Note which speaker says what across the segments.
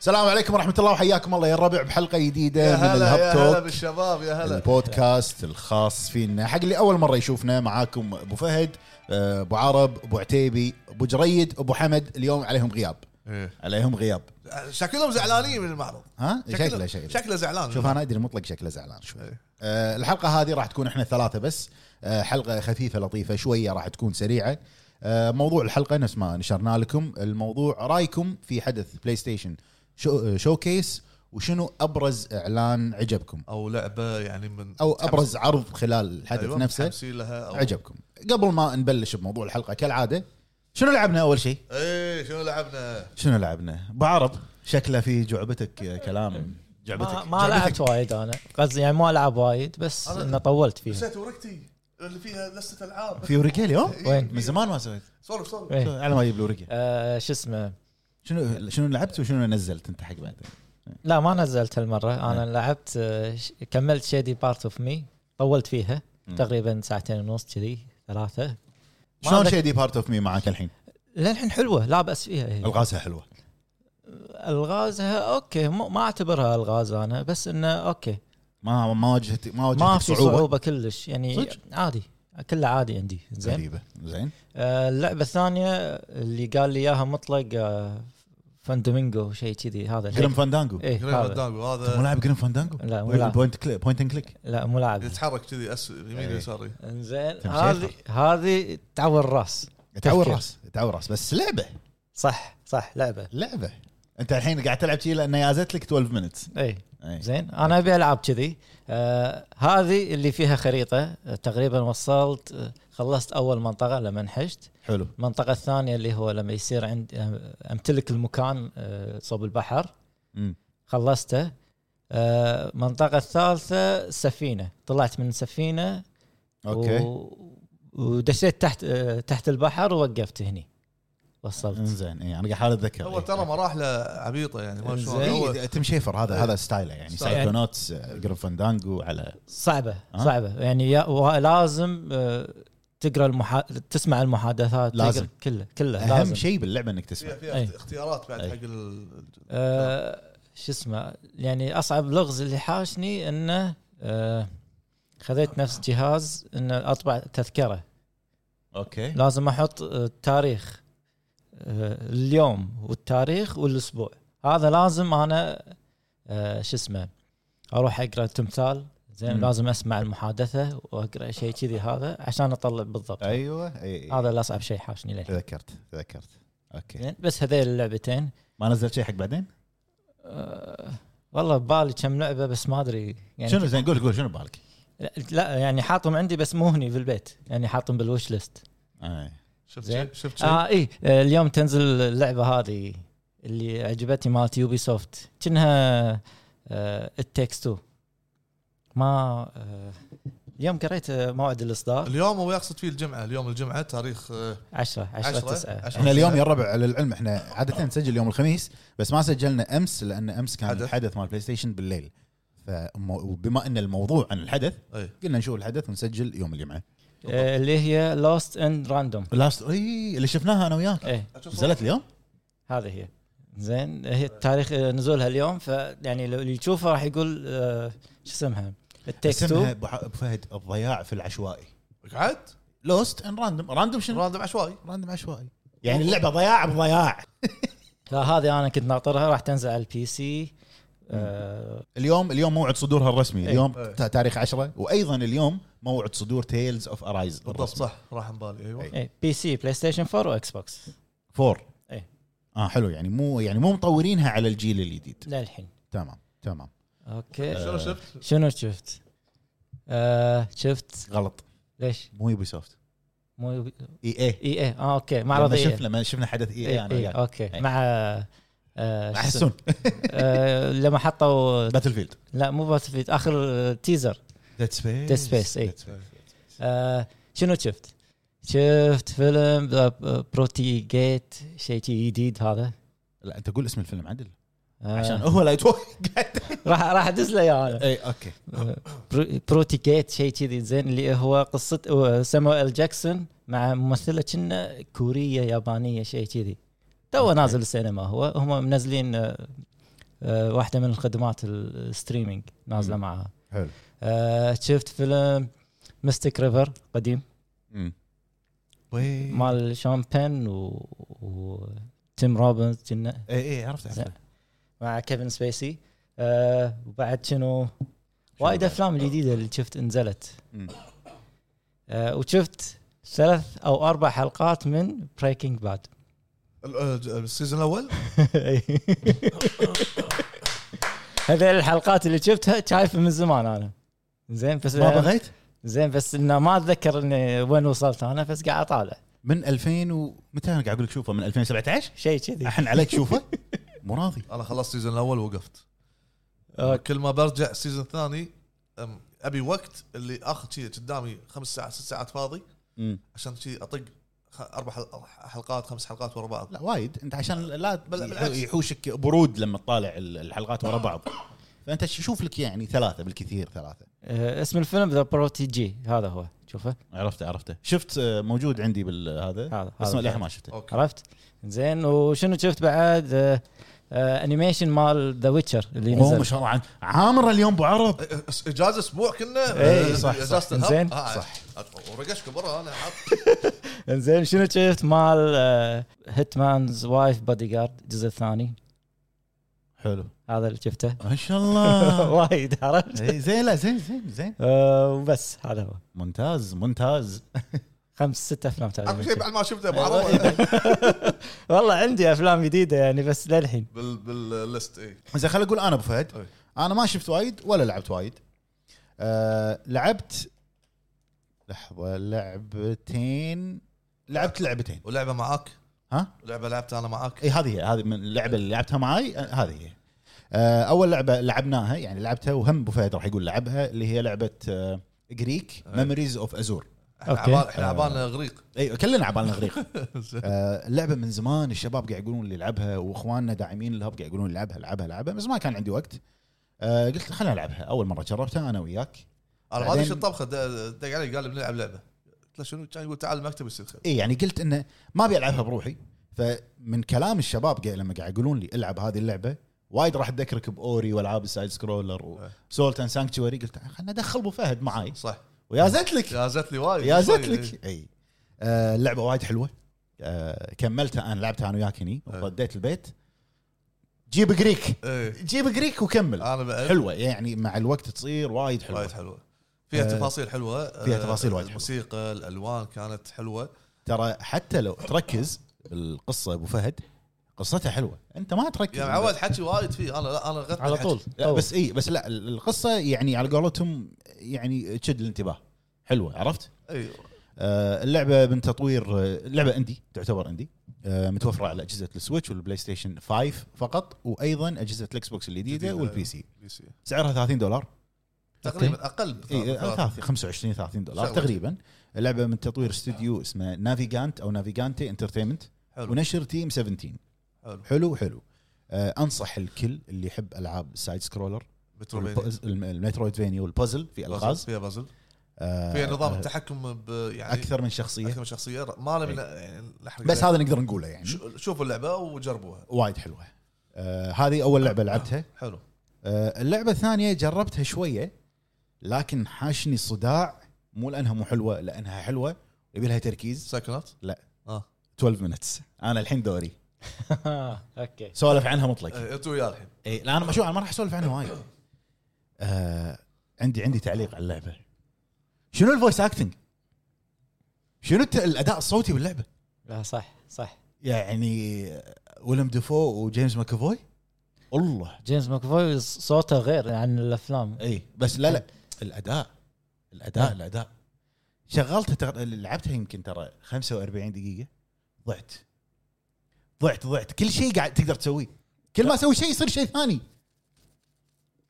Speaker 1: السلام عليكم ورحمة الله وحياكم الله يا الربع بحلقة
Speaker 2: يا
Speaker 1: جديدة من
Speaker 2: هلا يا هلا
Speaker 1: الهاب توك
Speaker 2: بالشباب يا هلا
Speaker 1: البودكاست الخاص فينا حق اللي أول مرة يشوفنا معاكم أبو فهد آه، أبو عرب أبو عتيبي أبو جريد أبو حمد اليوم عليهم غياب
Speaker 2: إيه.
Speaker 1: عليهم غياب
Speaker 2: شكلهم زعلانين من المعرض
Speaker 1: ها شكله
Speaker 2: شكله,
Speaker 1: شكله
Speaker 2: شكله زعلان
Speaker 1: شوف أنا أدري مطلق شكله زعلان شوي
Speaker 2: إيه.
Speaker 1: آه، الحلقة هذه راح تكون احنا ثلاثة بس آه، حلقة خفيفة لطيفة شوية راح تكون سريعة آه، موضوع الحلقة نفس ما نشرنا لكم الموضوع رايكم في حدث بلاي ستيشن شو شوكيس وشنو أبرز إعلان عجبكم
Speaker 2: او لعبه يعني من
Speaker 1: أو أبرز عرض خلال الحدث أيوة نفسه
Speaker 2: متحمسين لها أو...
Speaker 1: عجبكم قبل ما نبلش بموضوع الحلقة كالعادة شنو لعبنا أول شيء
Speaker 2: ايه شنو لعبنا؟
Speaker 1: شنو لعبنا بعرض شكله في جعبتك آه، كلام جعبتك
Speaker 3: ما, ما لعبت وايد انا قصدي يعني ما العب وايد بس
Speaker 2: أنا-
Speaker 3: انه طولت فيها
Speaker 2: نسيت ورقتي اللي فيها إيه، لسته العاب
Speaker 1: في ورقة اليوم
Speaker 3: وين؟
Speaker 1: من زمان ما سويت
Speaker 2: سولف سولف
Speaker 3: إيه.
Speaker 1: على ما يجيب لي ورقة
Speaker 3: آه، شو اسمه
Speaker 1: شنو شنو لعبت وشنو نزلت انت حق بعد
Speaker 3: لا ما نزلت
Speaker 1: إيه.
Speaker 3: هالمره انا لعبت آه، ش- كملت شادي بارت اوف مي طولت فيها
Speaker 1: مم.
Speaker 3: تقريبا ساعتين ونص كذي ثلاثه ما
Speaker 1: شلون
Speaker 3: عندك-
Speaker 1: شيدي بارت اوف مي معاك الحين
Speaker 3: للحين حلوه لا باس فيها هي
Speaker 1: الغازها حلوه
Speaker 3: الغازها اوكي مو- ما اعتبرها الغاز انا بس انه اوكي
Speaker 1: ما ما واجهت ما واجهت
Speaker 3: ما في
Speaker 1: صعوبه
Speaker 3: صعوبه كلش يعني
Speaker 1: صدق؟
Speaker 3: عادي كله عادي عندي زين
Speaker 1: غريبه زين
Speaker 3: آه، اللعبة الثانية اللي قال لي اياها مطلق آه، فاندومينجو شيء كذي هذا
Speaker 1: جريم فاندانجو
Speaker 3: ايه
Speaker 2: جرين
Speaker 3: هذا.
Speaker 2: فاندانجو
Speaker 1: مو
Speaker 2: هذا
Speaker 1: لاعب جريم فاندانجو
Speaker 3: لا، مو لاعب.
Speaker 1: بوينت كليك بوينت اند كليك
Speaker 3: لا مو لاعب
Speaker 2: يتحرك كذي أس... يمين
Speaker 1: إيه.
Speaker 2: يسار إيه.
Speaker 3: انزين
Speaker 1: تم
Speaker 3: هذه هذه تعور الراس
Speaker 1: تعور
Speaker 3: تفكير.
Speaker 1: راس تعور راس بس لعبه
Speaker 3: صح صح لعبة
Speaker 1: لعبه انت الحين قاعد تلعب شيء لان يازت لك إيه. 12 مينتس
Speaker 3: اي إيه، زين انا ابي العاب كذي آه هذه اللي فيها خريطة آه، تقريبا وصلت آه، خلصت اول منطقة لما انحشت
Speaker 1: حلو
Speaker 3: المنطقة الثانية اللي هو لما يصير عند آه، امتلك المكان آه، صوب البحر
Speaker 1: مم.
Speaker 3: خلصته آه، المنطقة الثالثة سفينة طلعت من سفينة
Speaker 1: اوكي
Speaker 3: و... ودشيت تحت آه، تحت البحر ووقفت هني وصلت
Speaker 1: زين اي انا قاعد احاول اتذكر
Speaker 2: هو ترى مراحله عبيطه يعني ما شلون
Speaker 3: إنزين.
Speaker 2: هو
Speaker 1: إيه، تيم شيفر هذا هذا ستايله يعني
Speaker 2: ستايل.
Speaker 1: سايكونوتس جريم فاندانجو على
Speaker 3: صعبة
Speaker 1: ها؟
Speaker 3: صعبة يعني يا... و- لازم آه، تقرا المحا... تسمع المحادثات
Speaker 1: لازم.
Speaker 3: تقرا كله كله
Speaker 1: اهم
Speaker 3: لازم
Speaker 1: شيء باللعبه انك تسمع
Speaker 2: فيها, فيها
Speaker 3: إيه.
Speaker 2: اختيارات بعد
Speaker 1: إيه.
Speaker 2: حق ال...
Speaker 3: آه، شو اسمه يعني اصعب لغز اللي حاشني انه آه، خذيت نفس جهاز انه اطبع تذكره
Speaker 1: اوكي
Speaker 3: لازم احط آه، تاريخ آه، اليوم والتاريخ والاسبوع هذا لازم انا آه، شو اسمه اروح اقرا التمثال زين
Speaker 1: مم.
Speaker 3: لازم اسمع المحادثه واقرا شيء كذي هذا عشان اطلع بالضبط
Speaker 1: ايوه اي
Speaker 3: هذا اللي اصعب شيء حاشني للحين
Speaker 1: تذكرت تذكرت اوكي
Speaker 3: زين بس هذيل اللعبتين
Speaker 1: ما نزلت شيء حق بعدين؟
Speaker 3: آه، والله ببالي كم لعبه بس ما ادري يعني
Speaker 1: شنو زين قول قول شنو ببالك؟
Speaker 3: لا يعني حاطهم عندي بس مو هني في البيت يعني حاطهم بالوش ليست
Speaker 1: آه.
Speaker 2: شفت
Speaker 3: زين.
Speaker 2: شيء- شفت شيء
Speaker 3: اه اي آه، اليوم تنزل اللعبه هذه اللي عجبتني مالت آه، يوبي سوفت كأنها التكس تو ما آه، اليوم قريت آه، موعد الاصدار
Speaker 2: اليوم هو يقصد فيه الجمعه اليوم الجمعه تاريخ آه،
Speaker 3: 10 10
Speaker 2: عشرة،
Speaker 3: 9
Speaker 2: عشرة.
Speaker 1: احنا اليوم يا الربع للعلم احنا عاده نسجل يوم الخميس بس ما سجلنا امس لان امس كان
Speaker 2: حدث.
Speaker 1: الحدث مال بلاي ستيشن بالليل فبما ان الموضوع عن الحدث
Speaker 2: إيه.
Speaker 1: قلنا نشوف الحدث ونسجل يوم الجمعه
Speaker 3: آه، اللي هي لوست اند راندوم
Speaker 1: لاست اي إيه، اللي شفناها انا وياك
Speaker 3: ايه
Speaker 1: نزلت اليوم؟
Speaker 3: هذه هي زين هي تاريخ آه، نزولها اليوم فيعني لو اللي يشوفها راح يقول آه، شو اسمها التكس
Speaker 1: اسمها
Speaker 3: تو
Speaker 1: ابو ح- أبو فهد الضياع في العشوائي
Speaker 2: قعدت
Speaker 1: لوست ان راندوم راندوم شنو؟
Speaker 2: راندم عشوائي
Speaker 1: راندوم عشوائي يعني اللعبه ضياع بضياع
Speaker 3: فهذه انا كنت ناطرها راح تنزل على البي سي آه،
Speaker 1: اليوم اليوم موعد صدورها الرسمي
Speaker 3: إيه.
Speaker 1: اليوم
Speaker 2: إيه.
Speaker 1: تا- تاريخ 10 وايضا اليوم موعد صدور تيلز اوف ارايز
Speaker 2: بالضبط صح راح بالي ايوه
Speaker 1: إيه.
Speaker 3: اي بي سي بلاي ستيشن 4 واكس بوكس
Speaker 1: 4
Speaker 3: إيه.
Speaker 1: اه حلو يعني مو يعني مو مطورينها على الجيل الجديد
Speaker 3: للحين
Speaker 1: تمام تمام
Speaker 3: اوكي
Speaker 2: شنو شفت؟
Speaker 3: آه، شنو شفت؟ آه شفت
Speaker 1: غلط
Speaker 3: ليش؟
Speaker 1: مو يوبي سوفت
Speaker 3: مو
Speaker 1: اي اي
Speaker 3: اي اي اه اوكي
Speaker 1: لما
Speaker 3: معرض اي
Speaker 1: شفنا لما شفنا حدث اي اي
Speaker 3: اي
Speaker 1: انا
Speaker 3: إي،
Speaker 1: وياك.
Speaker 3: اوكي
Speaker 1: إي.
Speaker 3: مع إيه، آه،
Speaker 1: مع
Speaker 3: شو اسمه؟
Speaker 1: حسون
Speaker 3: آه، لما حطوا
Speaker 1: باتل فيلد
Speaker 3: لا مو باتل فيلد اخر تيزر
Speaker 1: ديد سبيس
Speaker 3: Dead Space، إي. آه، شنو شفت؟ شفت فيلم ذا بروتي جيت شيء شي جديد هذا
Speaker 1: لا انت قول اسم الفيلم عدل
Speaker 3: آه،
Speaker 1: عشان هو لا يتوقع
Speaker 3: راح راح ادز له اياه انا
Speaker 1: اي اوكي
Speaker 3: برو- بروتي جيت شيء كذي زين اللي هو قصه هو سامويل جاكسون مع ممثله كنا كوريه يابانيه شيء كذي تو نازل السينما هو هم منزلين آه، آه، واحده من الخدمات الستريمينج نازله
Speaker 1: مم.
Speaker 3: معها
Speaker 1: حلو
Speaker 3: آه، شفت فيلم ميستيك ريفر قديم
Speaker 1: إيه. طيب.
Speaker 2: وي.
Speaker 3: مال شون بين و... و... تيم روبنز كنا
Speaker 2: اي اي عرفت عرفت
Speaker 3: زين. مع كيفن سبيسي آه وبعد شنو وايد
Speaker 1: بعد؟
Speaker 3: افلام جديده اللي شفت نزلت
Speaker 1: مم.
Speaker 3: آه وشفت ثلاث او اربع حلقات من بريكنج باد
Speaker 2: ال- ال- السيزون الاول
Speaker 3: هذه الحلقات اللي شفتها شايفها من زمان انا زين بس
Speaker 1: ما بغيت
Speaker 3: زين بس انه ما اتذكر اني وين وصلت انا بس قاعد اطالع
Speaker 1: من 2000 ومتى انا قاعد اقول لك شوفه من 2017
Speaker 3: شيء كذي
Speaker 1: الحين عليك شوفه مو راضي
Speaker 2: انا خلصت السيزون الاول وقفت
Speaker 1: آه.
Speaker 3: أوكي.
Speaker 2: كل ما برجع السيزون الثاني أم، ابي وقت اللي اخذ شيء قدامي خمس ساعات ست ساعات فاضي عشان شي اطق خ- اربع حل- حلقات خمس حلقات ورا بعض
Speaker 1: لا وايد انت عشان لا
Speaker 2: بل- بالعكس.
Speaker 1: يحوشك برود لما تطالع ال- الحلقات ورا بعض فانت ش- شوف لك يعني ثلاثه بالكثير ثلاثه
Speaker 3: آه اسم الفيلم ذا بروتيجي هذا هو شوفه
Speaker 1: عرفته عرفته شفت آه، موجود عندي بالهذا
Speaker 3: هذا
Speaker 1: بس
Speaker 3: هذا.
Speaker 1: ما- للحين ما شفته
Speaker 2: اوكي
Speaker 3: عرفت زين وشنو شفت بعد آه آه انيميشن مال ذا ويتشر اللي
Speaker 1: اوه ما
Speaker 3: نزل
Speaker 1: شاء الله عن- عامر اليوم ابو عرب
Speaker 2: إيه، إيه، اجازه اسبوع كنا
Speaker 1: إيه،
Speaker 2: إيه،
Speaker 1: صح، صح.
Speaker 2: اجازه الهب
Speaker 3: زين.
Speaker 2: آه،
Speaker 1: صح.
Speaker 2: عاد. ورقشك برا انا حاط
Speaker 3: زين شنو شفت مال آه، هيتمانز وايف بودي جارد الجزء الثاني
Speaker 1: حلو
Speaker 3: هذا اللي شفته
Speaker 1: ما شاء الله
Speaker 3: وايد عرفت
Speaker 1: آه. إيه، زين لا زين زين زين
Speaker 3: آه، وبس هذا هو
Speaker 1: ممتاز ممتاز
Speaker 3: خمس ست افلام
Speaker 2: اخر شيء
Speaker 3: تقريبا
Speaker 2: بعد ما شفته ابو عرب
Speaker 3: والله عندي افلام جديده يعني بس للحين
Speaker 2: بال بالليست اي
Speaker 1: زين خليني اقول انا ابو
Speaker 2: أي.
Speaker 1: فهد انا ما شفت وايد ولا لعبت وايد أه لعبت لحظه لعبتين لعبت لعبتين
Speaker 2: ولعبه معاك
Speaker 1: ها
Speaker 2: لعبه لعبتها انا معاك
Speaker 1: اي إيه، هذه هي هذه من اللعبه اللي لعبتها معاي أه، هذه هي أه اول لعبه لعبناها يعني لعبتها وهم ابو فهد راح يقول لعبها اللي هي آه، لعبه جريك ميموريز اوف ازور
Speaker 2: احنا
Speaker 3: أوكي.
Speaker 2: عبال
Speaker 1: آه.
Speaker 2: احنا عبالنا غريق
Speaker 1: اي إيه، كلنا عبالنا غريق آه، اللعبه من زمان الشباب قاعد يقولون لي العبها واخواننا داعمين الهب قاعد يقولون لي العبها العبها العبها بس ما كان عندي وقت آه، قلت خلينا العبها اول مره جربتها انا وياك
Speaker 2: انا ما
Speaker 1: بعدين-
Speaker 2: ادري شو الطبخه د- دق علي قال بنلعب لعبه قلت له شنو كان يقول تعال المكتب يصير خير
Speaker 1: اي يعني قلت انه ما ابي العبها بروحي فمن كلام الشباب قاعد لما قاعد يقولون لي العب هذه اللعبه وايد راح تذكرك باوري والعاب السايد سكرولر
Speaker 2: إيه.
Speaker 1: وسولت اند سانكتوري قلت خلنا ادخل ابو فهد معاي
Speaker 2: صح
Speaker 1: ويا زت لك
Speaker 2: يا زت لي وايد
Speaker 1: يا زت
Speaker 2: وايد، إيه.
Speaker 1: لك اي آه، اللعبه وايد حلوه آه، كملتها انا لعبتها انا وياك هني
Speaker 2: إيه.
Speaker 1: وضديت البيت جيب جريك
Speaker 2: ايه
Speaker 1: جيب جريك وكمل
Speaker 2: انا بقى-
Speaker 1: حلوه يعني مع الوقت تصير وايد حلوه
Speaker 2: آه. وايد حلوه فيها
Speaker 1: آه،
Speaker 2: تفاصيل حلوه
Speaker 1: فيها
Speaker 2: آه،
Speaker 1: تفاصيل وايد
Speaker 2: الموسيقى الالوان كانت حلوه
Speaker 1: ترى حتى لو تركز القصه ابو فهد قصتها حلوه انت ما تركز
Speaker 2: يعني عواد حكي وايد فيه انا لا انا غثت
Speaker 3: على
Speaker 2: الحكي.
Speaker 3: طول
Speaker 1: لا بس اي بس لا ال- القصه يعني على قولتهم يعني تشد الانتباه حلوه عرفت؟
Speaker 2: اي
Speaker 1: آه اللعبه من تطوير آه، اللعبه اندي تعتبر اندي آه متوفره على اجهزه السويتش والبلاي ستيشن 5 فقط وايضا اجهزه الاكس بوكس الجديده
Speaker 2: جديدة.
Speaker 1: والبي سي
Speaker 2: بي سي.
Speaker 1: سعرها 30 دولار
Speaker 2: تقريبا اقل
Speaker 1: اي آه،
Speaker 2: ثلاثة.
Speaker 1: 30 25 30 دولار
Speaker 2: شغلة.
Speaker 1: تقريبا اللعبه من تطوير استوديو اسمه نافيجانت او نافيجانتي انترتينمنت
Speaker 2: حلو
Speaker 1: ونشر تيم 17
Speaker 2: حلو
Speaker 1: حلو حلو آه انصح الكل اللي يحب العاب السايد سكرولر
Speaker 2: متروفينيا.
Speaker 1: والبوز- الم- المترويدفينيا والبازل في الغاز
Speaker 2: فيها بازل
Speaker 1: آه،
Speaker 2: فيها نظام
Speaker 1: آه،
Speaker 2: التحكم ب يعني
Speaker 1: اكثر من شخصيه
Speaker 2: اكثر من شخصيه ما له من يعني
Speaker 1: إيه. بس هذا نقدر نقوله يعني
Speaker 2: هذا شوفوا اللعبه وجربوها
Speaker 1: وايد حلوه آه هذه اول لعبه لعبتها
Speaker 2: حلو
Speaker 1: آه اللعبه الثانيه جربتها شويه لكن حاشني صداع مو لانها مو حلوه لانها حلوه يبي لها تركيز
Speaker 2: سايكونات آه.
Speaker 1: 12 مينتس انا الحين دوري
Speaker 3: اوكي
Speaker 1: سولف عنها مطلق
Speaker 2: انت وياه الحين
Speaker 1: اي لا انا شو انا ما راح اسولف عنها وايد آه عندي عندي تعليق على اللعبه شنو الفويس اكتنج؟ شنو الت- الاداء الصوتي باللعبه؟
Speaker 3: لا صح صح
Speaker 1: يعني آه، ويلم ديفو وجيمس ماكافوي الله
Speaker 3: جيمس ماكفوي صوته غير عن الافلام
Speaker 1: اي إيه، بس لا لا الاداء الاداء
Speaker 3: نعم.
Speaker 1: الاداء شغلتها تغ... لعبتها يمكن ترى 45 دقيقه ضعت ضعت ضعت كل شيء قاعد تقدر تسويه كل ما اسوي شيء يصير شيء ثاني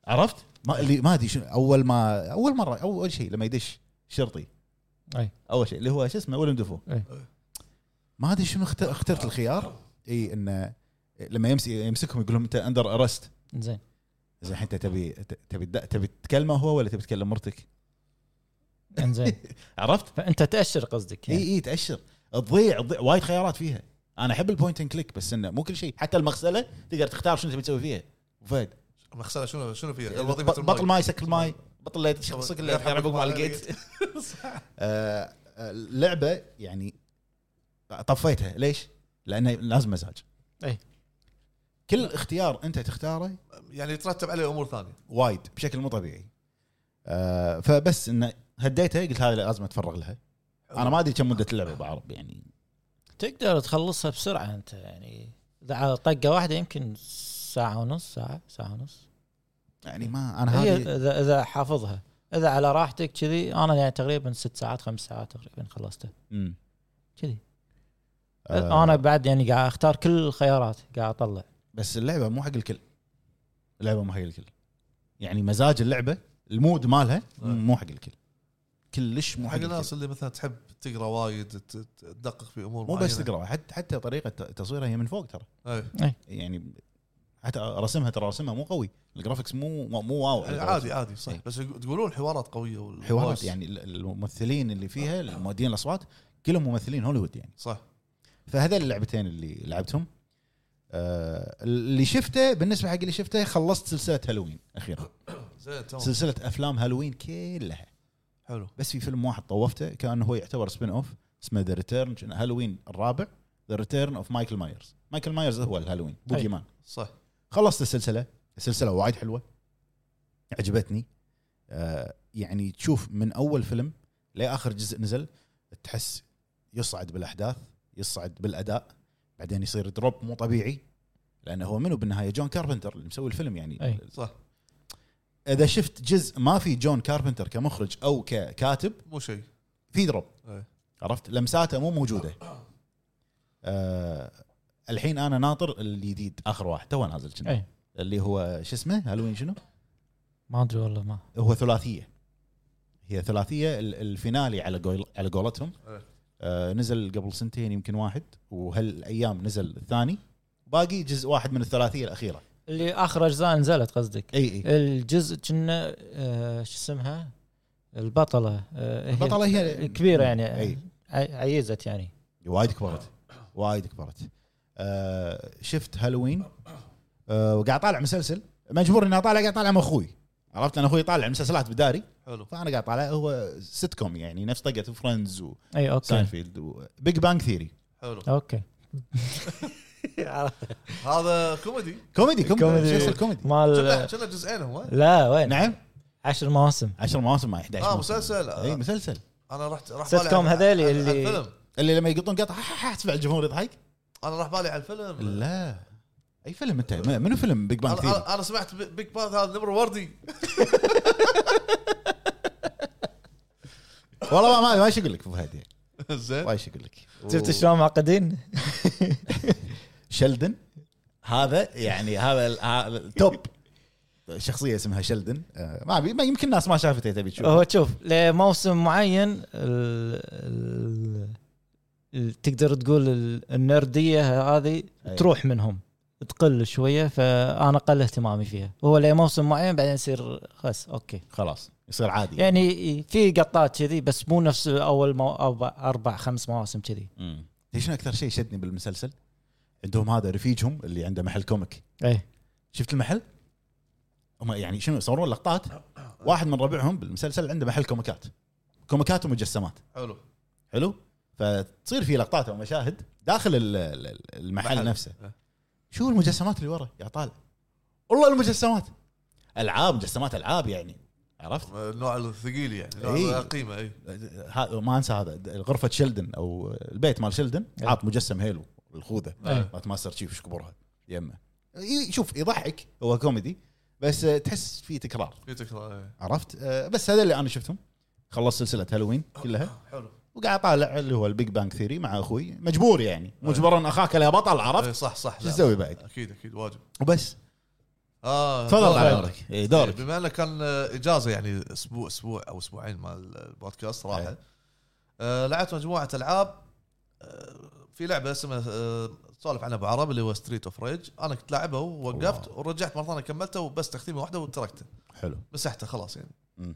Speaker 1: عرفت ما اللي ما ادري شنو اول ما اول مره اول شيء لما يدش شرطي
Speaker 3: أي.
Speaker 1: اول شيء اللي هو شو اسمه ولم دفو
Speaker 3: أي.
Speaker 1: ما ادري شنو اخت- اخترت الخيار اي انه لما يمسك يمسكهم يقول لهم انت اندر ارست
Speaker 3: زين
Speaker 1: زين الحين انت تبي تبي تبي تكلمه هو ولا تبي تكلم مرتك؟
Speaker 3: زين
Speaker 1: عرفت؟
Speaker 3: فانت تاشر قصدك
Speaker 1: اي
Speaker 3: يعني.
Speaker 1: اي تاشر تضيع تضيع وايد خيارات فيها انا احب البوينت اند كليك بس انه مو كل شيء حتى المغسله تقدر تختار شنو تبي تسوي فيها فهد
Speaker 2: مخسره شنو شنو فيها؟ الوظيفه
Speaker 1: ب- يعني بطل ماي سكر الماي بطل لا يشخصك الا
Speaker 2: يرحم
Speaker 1: يرحم عقب ما
Speaker 2: الله
Speaker 1: لقيت آه، آه، اللعبه يعني طفيتها ليش؟ لانه لازم مزاج
Speaker 3: أي.
Speaker 1: كل اختيار انت تختاره
Speaker 2: يعني يترتب عليه امور ثانيه
Speaker 1: وايد بشكل مو طبيعي آه، فبس انه هديتها قلت هذه لازم اتفرغ لها انا ما ادري كم مده اللعبه بعرب يعني
Speaker 3: تقدر تخلصها بسرعه انت يعني إذا على طقه واحده يمكن ساعه ونص ساعه ساعه ونص
Speaker 1: يعني ما انا
Speaker 3: هي
Speaker 1: هذه
Speaker 3: اذا اذا حافظها اذا على راحتك كذي انا يعني تقريبا ست ساعات خمس ساعات تقريبا خلصتها
Speaker 1: مم.
Speaker 3: كذي
Speaker 1: آه،
Speaker 3: انا بعد يعني قاعد اختار كل الخيارات قاعد اطلع
Speaker 1: بس اللعبه مو حق الكل اللعبه مو حق الكل يعني مزاج اللعبه المود مالها مو حق الكل كلش مو
Speaker 2: آه. حق
Speaker 1: حق الكل
Speaker 2: الناس اللي مثلا تحب تقرا وايد ت- ت- تدقق في امور
Speaker 1: مو بس
Speaker 2: معينة.
Speaker 1: تقرا حتى حتى طريقه تصويرها هي من فوق ترى
Speaker 2: إيه.
Speaker 1: يعني حتى رسمها ترى رسمها مو قوي الجرافكس مو مو- مو واو
Speaker 2: يعني عادي عادي صح
Speaker 1: إيه.
Speaker 2: بس تقولون حوارات قويه وال-
Speaker 1: حوارات
Speaker 2: voice.
Speaker 1: يعني ال- الممثلين اللي فيها المؤدين الاصوات كلهم ممثلين هوليوود يعني
Speaker 2: صح
Speaker 1: فهذول اللعبتين اللي لعبتهم آه اللي شفته بالنسبه حق اللي شفته خلصت سلسله هالوين اخيرا
Speaker 2: زين تمام
Speaker 1: سلسله افلام هالوين كلها
Speaker 2: حلو
Speaker 1: بس في فيلم واحد طوفته كان هو يعتبر سبين اوف اسمه ذا ريتيرن هالوين الرابع ذا ريتيرن اوف مايكل مايرز مايكل مايرز هو الهالوين بوكي مان
Speaker 2: صح
Speaker 1: خلصت السلسله السلسله وايد حلوه عجبتني آه يعني تشوف من اول فيلم لاخر جزء نزل تحس يصعد بالاحداث يصعد بالاداء بعدين يصير دروب مو طبيعي لانه هو منو بالنهايه جون كاربنتر اللي مسوي الفيلم يعني
Speaker 3: أي.
Speaker 2: صح
Speaker 1: اذا شفت جزء ما في جون كاربنتر كمخرج او ككاتب
Speaker 2: مو شيء
Speaker 1: في دروب
Speaker 2: إيه.
Speaker 1: عرفت لمساته مو موجوده آه الحين انا ناطر الجديد اخر واحد تو نازل كنا
Speaker 3: أي.
Speaker 1: اللي هو شو اسمه هالوين شنو؟
Speaker 3: ما ادري والله ما
Speaker 1: هو ثلاثيه هي ثلاثيه ال- الفينالي على قول على قولتهم
Speaker 2: إيه.
Speaker 1: آه نزل قبل سنتين يمكن واحد وهالايام نزل الثاني باقي جزء واحد من إيه، الثلاثيه الاخيره
Speaker 3: اللي اخر اجزاء نزلت قصدك
Speaker 1: اي اي
Speaker 3: الجزء كنا آه، شو اسمها البطله آه، هي
Speaker 1: البطله هي إيه.
Speaker 3: كبيره يعني
Speaker 1: اي
Speaker 3: ع- عيزت يعني
Speaker 1: وايد كبرت وايد كبرت آه شفت هالوين آه وقاعد طالع مسلسل مجبور اني اطالع قاعد طالع مع اخوي عرفت لان اخوي طالع مسلسلات بداري
Speaker 2: حلو
Speaker 1: فانا قاعد طالع هو سيت كوم يعني نفس طقه فريندز
Speaker 3: اي اوكي
Speaker 1: وساينفيلد وبيج بانج ثيري
Speaker 2: حلو
Speaker 3: اوكي
Speaker 2: هذا كوميدي
Speaker 1: كوميدي كوميدي
Speaker 3: كوميدي.
Speaker 1: مسلسل كوميدي
Speaker 2: كنا
Speaker 3: مال
Speaker 2: كنا جزئين هو
Speaker 3: لا وين
Speaker 1: نعم
Speaker 3: عشر مواسم
Speaker 1: 10 مواسم ما 11
Speaker 2: اه
Speaker 1: موسم.
Speaker 2: مسلسل
Speaker 1: اي مسلسل
Speaker 2: انا رحت راح
Speaker 3: سيت
Speaker 2: بالي
Speaker 3: كوم
Speaker 2: على-
Speaker 3: هذيلي
Speaker 2: على-
Speaker 3: اللي-
Speaker 2: على الفيلم
Speaker 1: اللي لما يقطون قطع ح- ح- تسمع الجمهور يضحك
Speaker 2: انا راح بالي على الفيلم
Speaker 1: لا اي فيلم انت م- منو فيلم بيج بانج
Speaker 2: أنا-
Speaker 1: ثيري
Speaker 2: انا انا سمعت بي- بيج باث هذا نمر وردي
Speaker 1: والله ما- ما ما ايش اقول لك ابو فهد يعني.
Speaker 2: زين
Speaker 1: ما ايش اقول لك
Speaker 3: شفت شلون معقدين؟
Speaker 1: شلدن هذا يعني هذا ال- هذا التوب شخصيه اسمها شلدن آه، ما أبي- ما يمكن ناس ما شافته تبي تشوف
Speaker 3: هو شوف لموسم معين ال... ال... ال... تقدر تقول ال- النرديه هذه
Speaker 1: أي.
Speaker 3: تروح منهم تقل شويه فانا قل اهتمامي فيها وهو لموسم معين بعدين يصير خلاص اوكي
Speaker 1: خلاص يصير عادي
Speaker 3: يعني في قطات كذي بس مو نفس اول مو... أو اربع خمس مواسم كذي
Speaker 1: مم. ليش أنا اكثر شيء شدني بالمسلسل عندهم هذا رفيجهم اللي عنده محل كوميك
Speaker 3: اي
Speaker 1: شفت المحل هم يعني شنو يصورون لقطات واحد من ربعهم بالمسلسل عنده محل كوميكات كوميكات ومجسمات
Speaker 2: حلو
Speaker 1: حلو فتصير في لقطات او مشاهد داخل ال- ال- المحل
Speaker 2: محل.
Speaker 1: نفسه
Speaker 2: إيه.
Speaker 1: شو المجسمات اللي ورا يا طالع والله المجسمات العاب مجسمات العاب يعني عرفت
Speaker 2: النوع الثقيل يعني
Speaker 1: إي.
Speaker 2: نوع القيمه اي
Speaker 1: ها- ما انسى هذا غرفه شلدن او البيت مال شلدن
Speaker 3: إيه.
Speaker 1: عاط مجسم هيلو الخوذه
Speaker 3: إيه.
Speaker 1: مالت ماستر تشيف ايش كبرها يمه ي- شوف يضحك هو كوميدي بس آه، تحس في تكرار
Speaker 2: في تكرار إيه. إي.
Speaker 1: عرفت آه، بس هذا اللي انا شفتهم خلصت سلسله هالوين كلها
Speaker 2: حلو
Speaker 1: وقاعد طالع اللي هو البيج بانك ثيري مع اخوي مجبور يعني مجبرا اخاك يا بطل عرفت
Speaker 2: اي صح صح
Speaker 1: شو
Speaker 2: لا.
Speaker 1: تسوي بعد
Speaker 2: اكيد اكيد واجب
Speaker 1: وبس
Speaker 2: اه
Speaker 1: تفضل
Speaker 2: دورك.
Speaker 1: على دورك إي، دورك
Speaker 2: بما انه كان آه، اجازه يعني اسبوع اسبوع او اسبوعين مال البودكاست راحه
Speaker 1: إيه.
Speaker 2: آه لعبت مجموعه العاب آه في لعبه اسمها آه، سولف عنها ابو عرب اللي هو ستريت اوف ريج انا كنت لاعبها ووقفت
Speaker 1: الله.
Speaker 2: ورجعت مره ثانيه كملتها وبس تختيمه واحده وتركتها
Speaker 1: إيه، حلو
Speaker 2: مسحتها خلاص يعني
Speaker 1: مم.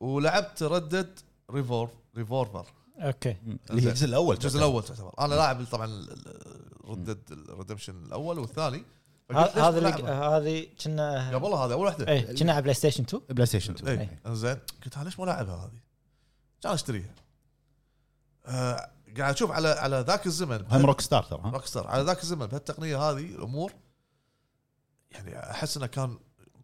Speaker 2: ولعبت ردد ريفولف ريفولفر
Speaker 3: اوكي
Speaker 1: اللي هي الجزء الاول
Speaker 2: الجزء الاول تعتبر انا لاعب طبعا ردد الريدمشن الاول والثاني فقلت ليش
Speaker 3: هذا اللي إيه.
Speaker 2: بلعبها؟
Speaker 3: هذه كنا
Speaker 2: قبل هذا اول واحده
Speaker 3: اي كنا على بلاي ستيشن 2
Speaker 1: بلاي ستيشن 2
Speaker 3: إيه.
Speaker 2: اي انزين إيه. قلت أنا ليش ما لاعبها هذه؟ كان اشتريها آه، قاعد اشوف على على ذاك الزمن
Speaker 1: هم روك ستار ترى ها؟
Speaker 2: روكستر على ذاك الزمن بهالتقنيه هذه الامور يعني احس انه كان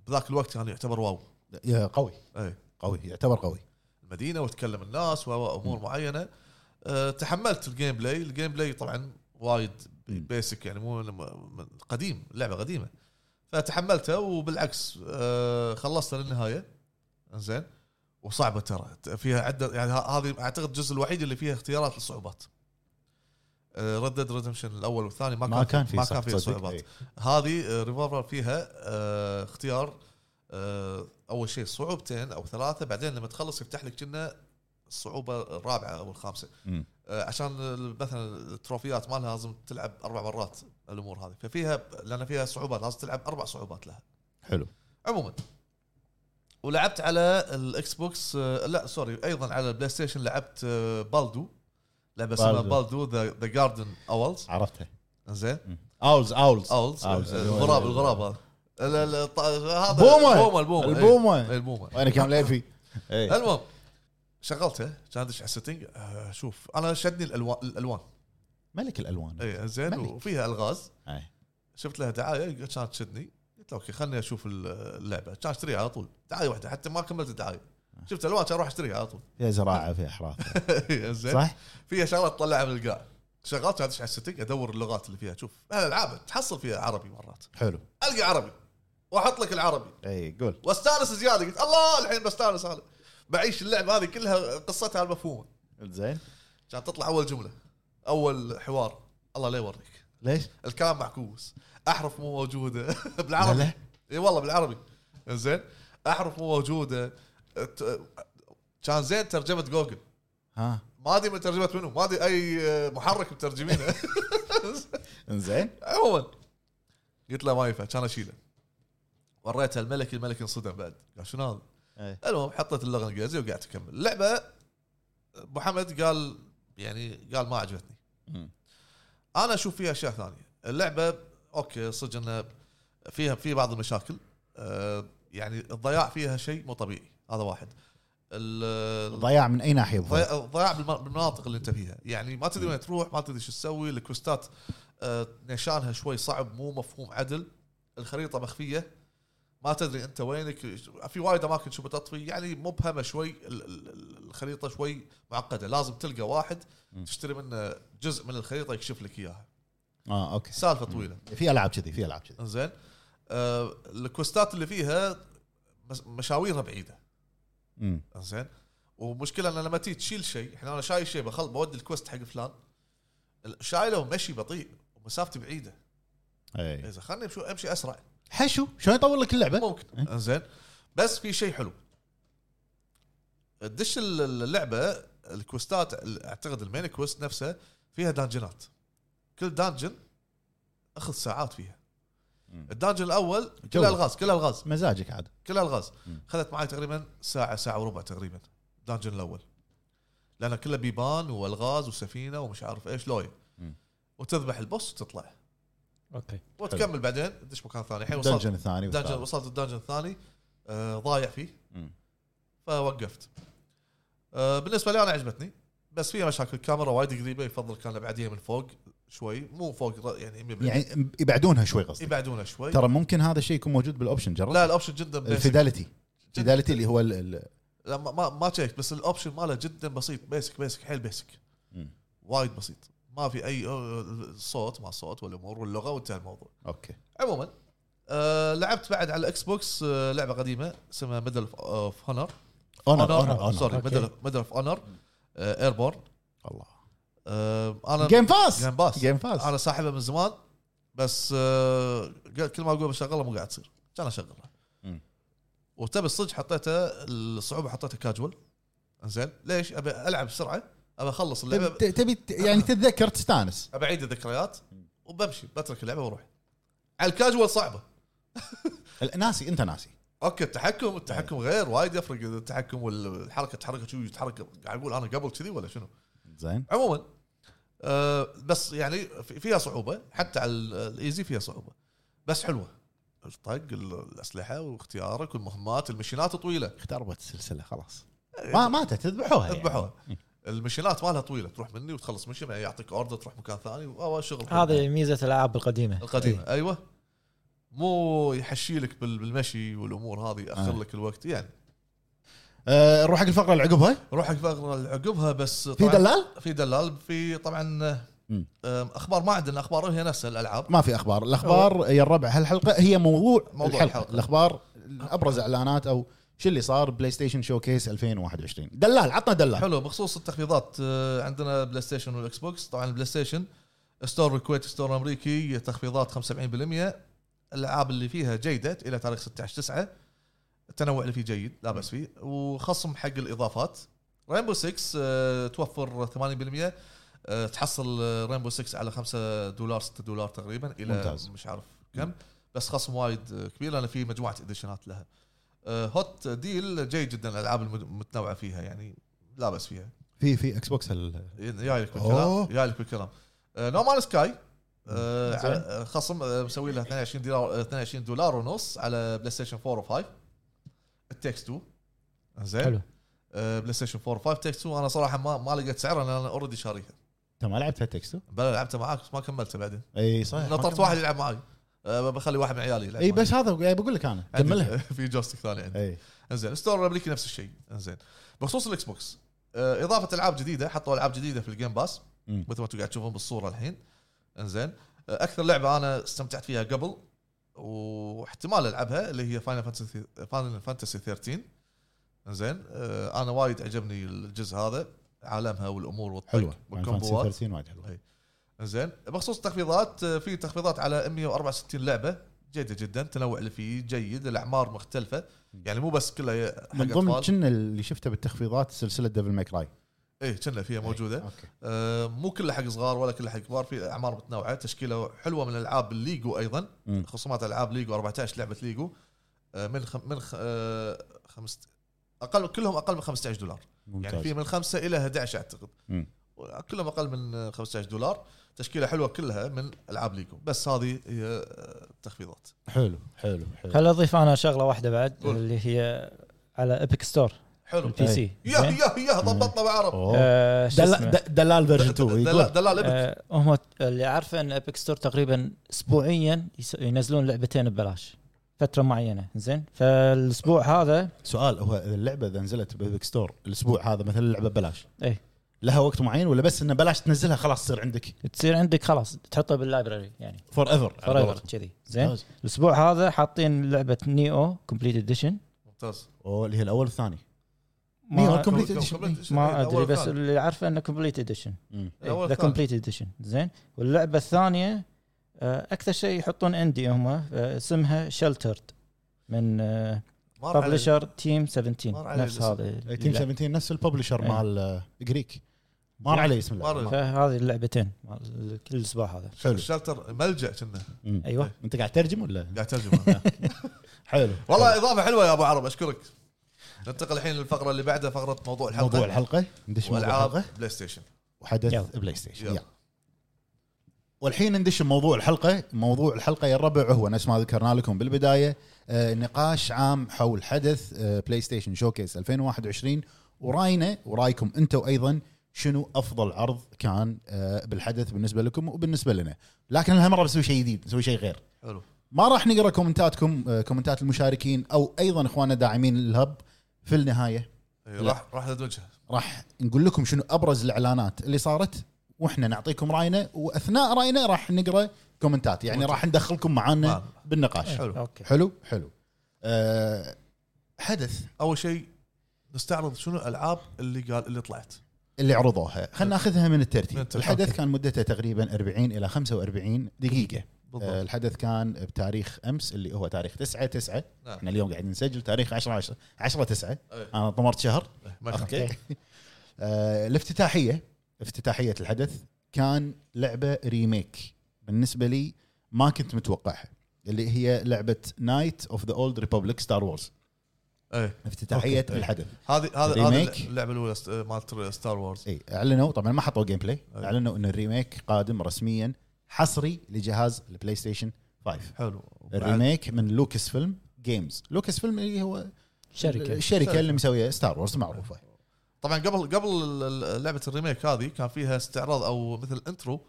Speaker 2: بذاك الوقت كان يعتبر واو
Speaker 1: يا قوي
Speaker 2: اي
Speaker 1: قوي يعتبر قوي
Speaker 2: المدينه وتكلم الناس وامور معينه أه تحملت الجيم بلاي الجيم بلاي طبعا وايد
Speaker 1: مم.
Speaker 2: بيسك يعني مو لما- قديم اللعبه قديمه فتحملتها وبالعكس أه خلصتها للنهايه زين وصعبه ترى فيها عده يعني ه- هذه اعتقد الجزء الوحيد اللي فيها اختيارات للصعوبات أه، ردد ريدمشن الاول والثاني ما كان
Speaker 1: ما كان في إيه.
Speaker 2: ما كان فيها
Speaker 1: صدق.
Speaker 2: صعوبات
Speaker 1: إي.
Speaker 2: هذه ريفولفر فيها آه، اختيار آه، اول شيء صعوبتين او ثلاثه بعدين لما تخلص يفتح لك كنا الصعوبه الرابعه او الخامسه
Speaker 1: مم.
Speaker 2: آه، عشان ال- مثلا التروفيات مالها لازم تلعب اربع مرات الامور هذه ففيها لان فيها صعوبات لازم تلعب اربع صعوبات لها
Speaker 1: حلو
Speaker 2: عموما ولعبت على الاكس بوكس آه، لا سوري ايضا على البلاي ستيشن لعبت آه، بالدو لعبه اسمها بالدو ذا جاردن اولز
Speaker 1: عرفتها
Speaker 2: زين
Speaker 1: اولز اولز
Speaker 2: اولز
Speaker 1: أولز.
Speaker 2: الغراب الغراب هذا لا- لا، ط- هذا
Speaker 1: بومة.
Speaker 2: البومه البومه إي.
Speaker 1: البومة.
Speaker 2: إي، البومه
Speaker 1: وانا كان إيه. لعب فيه إي.
Speaker 2: المهم شغلته كان ادش على السيتنج آه، شوف انا شدني الالوان الالوان
Speaker 1: ملك إيه. الالوان
Speaker 2: اي زين
Speaker 1: ملي.
Speaker 2: وفيها الغاز
Speaker 1: أي.
Speaker 2: شفت لها دعايه كانت تشدني قلت اوكي خلني اشوف ال- اللعبه كان اشتريها على طول دعايه واحده حتى ما كملت الدعايه شفت الوان كان اروح اشتريها على طول
Speaker 1: فيها زراعه فيها احراث
Speaker 2: إيه. زين
Speaker 1: صح؟
Speaker 2: فيها شغلات تطلعها من القاع شغلت ادش على السيتنج ادور اللغات اللي فيها شوف الالعاب تحصل فيها عربي مرات
Speaker 1: حلو
Speaker 2: القى عربي واحط لك العربي
Speaker 1: اي قول
Speaker 2: واستانس زياده قلت الله الحين بستانس هذا بعيش اللعبه هذه كلها قصتها المفهومه
Speaker 1: زين
Speaker 2: عشان تطلع اول جمله اول حوار الله لا يوريك
Speaker 1: ليش؟
Speaker 2: الكلام معكوس احرف مو موجوده
Speaker 1: لا
Speaker 2: بالعربي
Speaker 1: لا
Speaker 2: اي والله بالعربي زين احرف مو موجوده ت- كان زين ترجمه جوجل
Speaker 1: ها
Speaker 2: ما ادري من ترجمه منو ما ادري اي محرك مترجمينه
Speaker 1: انزين
Speaker 2: عموما قلت له ما ينفع كان اشيله وريتها الملك الملك انصدم بعد قال شنو هذا؟
Speaker 1: إيه.
Speaker 2: المهم حطيت اللغه الانجليزيه وقعدت اكمل اللعبه أبو حمد قال يعني قال ما عجبتني
Speaker 1: مم.
Speaker 2: انا اشوف فيها اشياء ثانيه اللعبه اوكي صدق انها فيها في بعض المشاكل أه، يعني الضياع فيها شيء مو طبيعي هذا واحد ال-
Speaker 1: ضياع من اي ناحيه الضياع؟
Speaker 2: ضياع ضياع بالم- بالمناطق اللي انت فيها يعني ما تدري وين تروح ما تدري شو تسوي الكوستات آه، نشانها شوي صعب مو مفهوم عدل الخريطه مخفيه ما تدري انت وينك في وايد اماكن شو بتطفي يعني مبهمه شوي ال- ال- ال- الخريطه شوي معقده لازم تلقى واحد
Speaker 1: مم.
Speaker 2: تشتري منه جزء من الخريطه يكشف لك اياها
Speaker 1: اه اوكي
Speaker 2: سالفه طويله
Speaker 1: في العاب كذي في العاب كذي
Speaker 2: زين آه، الكوستات اللي فيها مس- مشاويرها بعيده إيه.
Speaker 1: مم.
Speaker 2: زين ومشكله ان لما تيجي تشيل شيء احنا انا شايل شيء بخل بودي الكوست حق فلان ال- شايله ومشي بطيء ومسافتي بعيده
Speaker 1: اي
Speaker 2: اذا خلني شو امشي اسرع
Speaker 1: إيه. حشو شلون يطول لك اللعبه؟
Speaker 2: ممكن زين بس في شيء حلو تدش ال- اللعبه الكوستات ال- اعتقد المين كوست نفسها فيها دانجنات كل دانجن اخذ ساعات فيها
Speaker 1: مم.
Speaker 2: الدانجن الاول
Speaker 1: جو.
Speaker 2: كله الغاز كله الغاز
Speaker 1: مزاجك عاد
Speaker 2: كلها الغاز
Speaker 1: مم.
Speaker 2: خذت معي تقريبا ساعه ساعه وربع تقريبا دانجن الاول لان كله بيبان والغاز وسفينه ومش عارف ايش لوية
Speaker 1: مم.
Speaker 2: وتذبح البوس وتطلع
Speaker 3: اوكي
Speaker 2: وتكمل بعدين تدش مكان ثاني الحين
Speaker 1: الدنجن
Speaker 2: وصلت
Speaker 1: الثاني
Speaker 2: دانجن
Speaker 1: والثالث.
Speaker 2: وصلت الدانجن الثاني آه ضايع فيه
Speaker 1: مم.
Speaker 2: فوقفت آه بالنسبه لي انا عجبتني بس فيها مشاكل الكاميرا وايد قريبه يفضل كان بعديها من فوق شوي مو فوق يعني 100%
Speaker 1: يعني يبعدونها شوي قصدي
Speaker 2: يبعدونها شوي
Speaker 1: ترى ممكن هذا الشيء يكون موجود بالاوبشن جرب
Speaker 2: لا الاوبشن جدا بيسك
Speaker 1: الفيداليتي الفيداليتي اللي هو ال- ال-
Speaker 2: لا ما ما, ما تشيك بس الاوبشن ماله جدا بسيط بيسك بيسك حيل بيسك
Speaker 1: مم.
Speaker 2: وايد بسيط ما في اي أه، صوت ما صوت والامور واللغه وانتهى الموضوع
Speaker 1: اوكي
Speaker 2: عموما آه لعبت بعد على الاكس بوكس آه لعبه قديمه اسمها ميدل اوف هونر آه،
Speaker 1: اونر اونر اونر
Speaker 2: سوري
Speaker 3: أوكي.
Speaker 2: ميدل ميدل اوف هونر ايربورن
Speaker 1: الله
Speaker 2: انا
Speaker 1: جيم باس
Speaker 2: جيم باس
Speaker 1: جيم باس
Speaker 2: انا صاحبه من زمان بس آه كل ما اقول بشغلها مو قاعد تصير كان اشغلها
Speaker 1: مم.
Speaker 2: وتبي الصدق حطيتها الصعوبه حطيتها كاجوال زين ليش ابي العب بسرعه ابي اخلص اللعبه
Speaker 1: تبي- تبي ت-
Speaker 2: آه.
Speaker 1: يعني تتذكر تستانس
Speaker 2: ابعيد الذكريات وبمشي بترك اللعبه واروح على الكاجوال صعبه
Speaker 1: ال- ناسي انت ناسي
Speaker 2: اوكي التحكم التحكم غير وايد يفرق التحكم والحركه تحركه شو يتحرك قاعد اقول انا قبل كذي ولا شنو
Speaker 1: زين
Speaker 2: عموما آه بس يعني في- فيها صعوبه حتى على ال- الايزي فيها صعوبه بس حلوه الطق ال- الاسلحه واختيارك والمهمات المشينات طويله
Speaker 4: اختربت السلسله خلاص
Speaker 1: ما ماتت تذبحوها يعني.
Speaker 2: اذبحوها المشينات مالها طويله تروح مني وتخلص مشي يعطيك اوردر تروح مكان ثاني وأوه، شغل
Speaker 3: هذه ميزه الالعاب القديمه
Speaker 2: القديمه ايوه مو يحشيلك بال- بالمشي والامور هذه ياخر لك الوقت يعني
Speaker 1: آه، نروح حق الفقره اللي عقبها
Speaker 2: روح حق فقره عقبها بس
Speaker 1: في
Speaker 2: طبعاً-
Speaker 1: دلال؟
Speaker 2: في دلال في طبعا
Speaker 4: مم.
Speaker 2: آم، اخبار ما عندنا اخبار هي نفس الالعاب
Speaker 1: ما في اخبار الاخبار يا الربع هالحلقه هي موضوع,
Speaker 2: موضوع
Speaker 1: الحلقه,
Speaker 2: الحلقة.
Speaker 1: الاخبار ابرز اعلانات او شو اللي صار بلاي ستيشن شو كيس 2021 دلال عطنا دلال
Speaker 2: حلو بخصوص التخفيضات آه، عندنا بلاي ستيشن والاكس بوكس طبعا البلاي ستيشن ستور الكويت ستور امريكي تخفيضات 75% الالعاب اللي فيها جيده الى تاريخ 16 9 التنوع اللي فيه جيد لا باس فيه وخصم حق الاضافات رينبو 6 آه، توفر 80% آه، تحصل رينبو 6 على 5 دولار 6 دولار تقريبا الى
Speaker 1: ممتاز.
Speaker 2: ممتاز. مش عارف كم بس خصم وايد آه، كبير لان في مجموعه اديشنات لها آه، هوت ديل جيد جدا الالعاب المتنوعه فيها يعني لا باس فيها
Speaker 4: في في اكس بوكس
Speaker 2: جاي لك
Speaker 4: أوه.
Speaker 2: بالكلام جاي لك بالكلام نو مان سكاي آه،
Speaker 3: زين.
Speaker 2: على- خصم آه، مسوي له 22 دولار آه، 22 دولار ونص على بلاي ستيشن 4 و5 التكس 2 زين
Speaker 3: حلو
Speaker 2: آه، بلاي ستيشن 4 و5 تكس 2 انا صراحه ما ما لقيت سعرها لان انا اوريدي شاريها
Speaker 1: انت ما لعبتها تكستو
Speaker 2: بلا لعبته معاك بس ما كملته بعدين
Speaker 1: اي صحيح
Speaker 2: نطرت واحد يلعب معي آه، بخلي واحد من عيالي يلعب
Speaker 1: اي
Speaker 2: معي.
Speaker 1: بس هذا قاعد بقول لك انا
Speaker 2: عندي-
Speaker 1: كملها
Speaker 2: في جوستيك ثاني عندي
Speaker 1: اي
Speaker 2: انزين ستور الامريكي نفس الشيء انزين بخصوص الاكس بوكس آه، اضافه العاب جديده حطوا العاب جديده في الجيم باس
Speaker 1: مم.
Speaker 2: مثل ما انتم قاعد تشوفون بالصوره الحين انزين آه، اكثر لعبه انا استمتعت فيها قبل واحتمال العبها اللي هي فاينل فانتسي فاينل فانتسي 13 انزين آه، انا وايد عجبني الجزء هذا عالمها والامور والطق
Speaker 1: حلوه
Speaker 2: والكومبوات
Speaker 1: 30 وايد حلوه
Speaker 2: زين بخصوص التخفيضات آه، في تخفيضات على 164 لعبه جيده جدا تنوع اللي فيه جيد الاعمار مختلفه يعني مو بس كلها حق
Speaker 1: من ضمن
Speaker 2: أطفال.
Speaker 1: كنا اللي شفته بالتخفيضات سلسله ديفل ماي كراي
Speaker 2: ايه كنا فيها موجوده
Speaker 1: اوكي
Speaker 2: آه مو كلها حق صغار ولا كلها حق كبار في اعمار متنوعه تشكيله حلوه من العاب الليجو ايضا
Speaker 1: مم.
Speaker 2: خصومات العاب ليجو 14 لعبه ليجو آه من خم من خ آه خمس اقل كلهم اقل من 15 دولار
Speaker 1: ممتاز
Speaker 2: يعني في من 5 الى 11 اعتقد
Speaker 1: مم.
Speaker 2: كلهم اقل من 15 دولار تشكيله حلوه كلها من العاب ليجو بس هذه هي آه، التخفيضات
Speaker 1: حلو حلو حلو
Speaker 3: خل اضيف انا شغله واحده بعد
Speaker 2: قول.
Speaker 3: اللي هي على ايبك ستور
Speaker 2: حلو
Speaker 3: البي سي
Speaker 2: يا يا يا ضبطنا بعرب
Speaker 1: أوه.
Speaker 3: آه، شو
Speaker 1: دلال-
Speaker 3: اسمه؟
Speaker 1: د- دلال فيرجن 2
Speaker 2: دلال
Speaker 1: يقول
Speaker 2: دلال ابك
Speaker 3: آه، هم اللي عارفه ان ابيك ستور تقريبا اسبوعيا يس- ينزلون لعبتين ببلاش فتره معينه زين فالاسبوع هذا
Speaker 1: سؤال هو اللعبه اذا نزلت بابك ستور الاسبوع هذا مثلا اللعبه ببلاش
Speaker 3: إيه.
Speaker 1: لها وقت معين ولا بس انه بلاش تنزلها خلاص تصير عندك
Speaker 3: تصير عندك خلاص تحطه باللايبرري يعني
Speaker 1: فور ايفر
Speaker 3: فريفر كذي زين الاسبوع هذا حاطين لعبه نيو كومبليت اديشن
Speaker 2: ممتاز
Speaker 1: اللي هي الاول والثاني نيو
Speaker 3: ما
Speaker 1: Complete
Speaker 2: كم-
Speaker 1: Edition.
Speaker 2: كم- كم-
Speaker 3: ما ادري
Speaker 2: أول
Speaker 3: بس
Speaker 2: ثاني.
Speaker 3: اللي عارفه انه كومبليت اديشن
Speaker 2: الأول
Speaker 3: ذا
Speaker 2: والثاني.
Speaker 3: كومبليت اديشن زين واللعبه الثانيه آه، اكثر شيء يحطون عندي هم آه، اسمها شلترد من آه،
Speaker 2: ما راح عليه.
Speaker 3: ببلشر تيم
Speaker 2: مر
Speaker 3: 17
Speaker 2: علي
Speaker 3: نفس
Speaker 2: الاسم.
Speaker 3: هذا
Speaker 1: تيم 17 نفس الببلشر
Speaker 3: إيه. يعني
Speaker 1: مال جريك مار عليه اسم
Speaker 2: مر
Speaker 1: اللعبة.
Speaker 2: عليه.
Speaker 3: فهذه اللعبتين مال كل اسبوع هذا
Speaker 1: حلو
Speaker 2: شلتر ملجا كنا
Speaker 1: مم.
Speaker 3: ايوه
Speaker 1: انت قاعد تترجم ولا
Speaker 2: قاعد ترجمه
Speaker 1: حلو
Speaker 2: والله اضافه حلوه يا ابو عرب اشكرك ننتقل الحين للفقره اللي بعدها فقره موضوع الحلقه
Speaker 1: موضوع الحلقه ندش موضوع الحلقه
Speaker 2: والعاب بلاي ستيشن
Speaker 1: وحدث
Speaker 3: يلا.
Speaker 1: بلاي ستيشن
Speaker 2: يلا.
Speaker 1: يلا. والحين ندش بموضوع الحلقه موضوع الحلقه يا الربع هو نفس ما ذكرنا لكم بالبدايه آه نقاش عام حول حدث آه بلاي ستيشن شوكيس 2021 وراينا ورايكم انتم ايضا شنو افضل عرض كان آه بالحدث بالنسبه لكم وبالنسبه لنا لكن هالمره بنسوي شيء جديد نسوي شيء غير
Speaker 2: حلو
Speaker 1: ما راح نقرا كومنتاتكم آه، كومنتات المشاركين او ايضا اخواننا داعمين الهب في النهايه
Speaker 2: إيه،
Speaker 1: لا.
Speaker 2: راح راح ندمجها
Speaker 1: راح نقول لكم شنو ابرز الاعلانات اللي صارت واحنا نعطيكم راينا واثناء راينا راح نقرا كومنتات يعني راح ندخلكم معانا
Speaker 2: معنا.
Speaker 1: بالنقاش
Speaker 2: نعم. حلو.
Speaker 3: اوكي
Speaker 1: حلو حلو أه حدث
Speaker 2: اول شيء نستعرض شنو الالعاب اللي قال اللي طلعت
Speaker 1: اللي عرضوها خلينا ناخذها من
Speaker 2: من
Speaker 1: الترتيب
Speaker 2: الترتيب.
Speaker 1: الحدث كان مدته تقريبا 40 الى 45 دقيقه أه
Speaker 2: بالضبط
Speaker 1: الحدث كان بتاريخ امس اللي هو تاريخ 9 9
Speaker 2: نعم.
Speaker 1: احنا اليوم قاعدين نسجل تاريخ 10 10 10 9
Speaker 2: إيه.
Speaker 1: انا طمرت شهر
Speaker 2: إيه، ما يخالف.
Speaker 1: اوكي آه، الافتتاحيه افتتاحيه الحدث كان لعبه ريميك بالنسبه لي ما كنت متوقعها اللي هي لعبه نايت اوف ذا اولد ريبوبليك ستار وورز
Speaker 2: إيه.
Speaker 1: افتتاحيه
Speaker 4: أوكي.
Speaker 1: الحدث
Speaker 2: هذه هذه
Speaker 1: ريميك.
Speaker 2: هذه اللعبه الاولى ست- مالت ستار وورز
Speaker 1: اي اعلنوا طبعا ما حطوا جيم بلاي
Speaker 2: أي.
Speaker 1: اعلنوا ان الريميك قادم رسميا حصري لجهاز البلاي ستيشن 5
Speaker 2: حلو
Speaker 1: الريميك من لوكس فيلم جيمز لوكس فيلم اللي هو إيه،
Speaker 3: شركه
Speaker 1: الشركه اللي مسويه ستار وورز معروفه
Speaker 2: طبعا قبل قبل ال- ال- لعبه الريميك هذه كان فيها استعراض او مثل انترو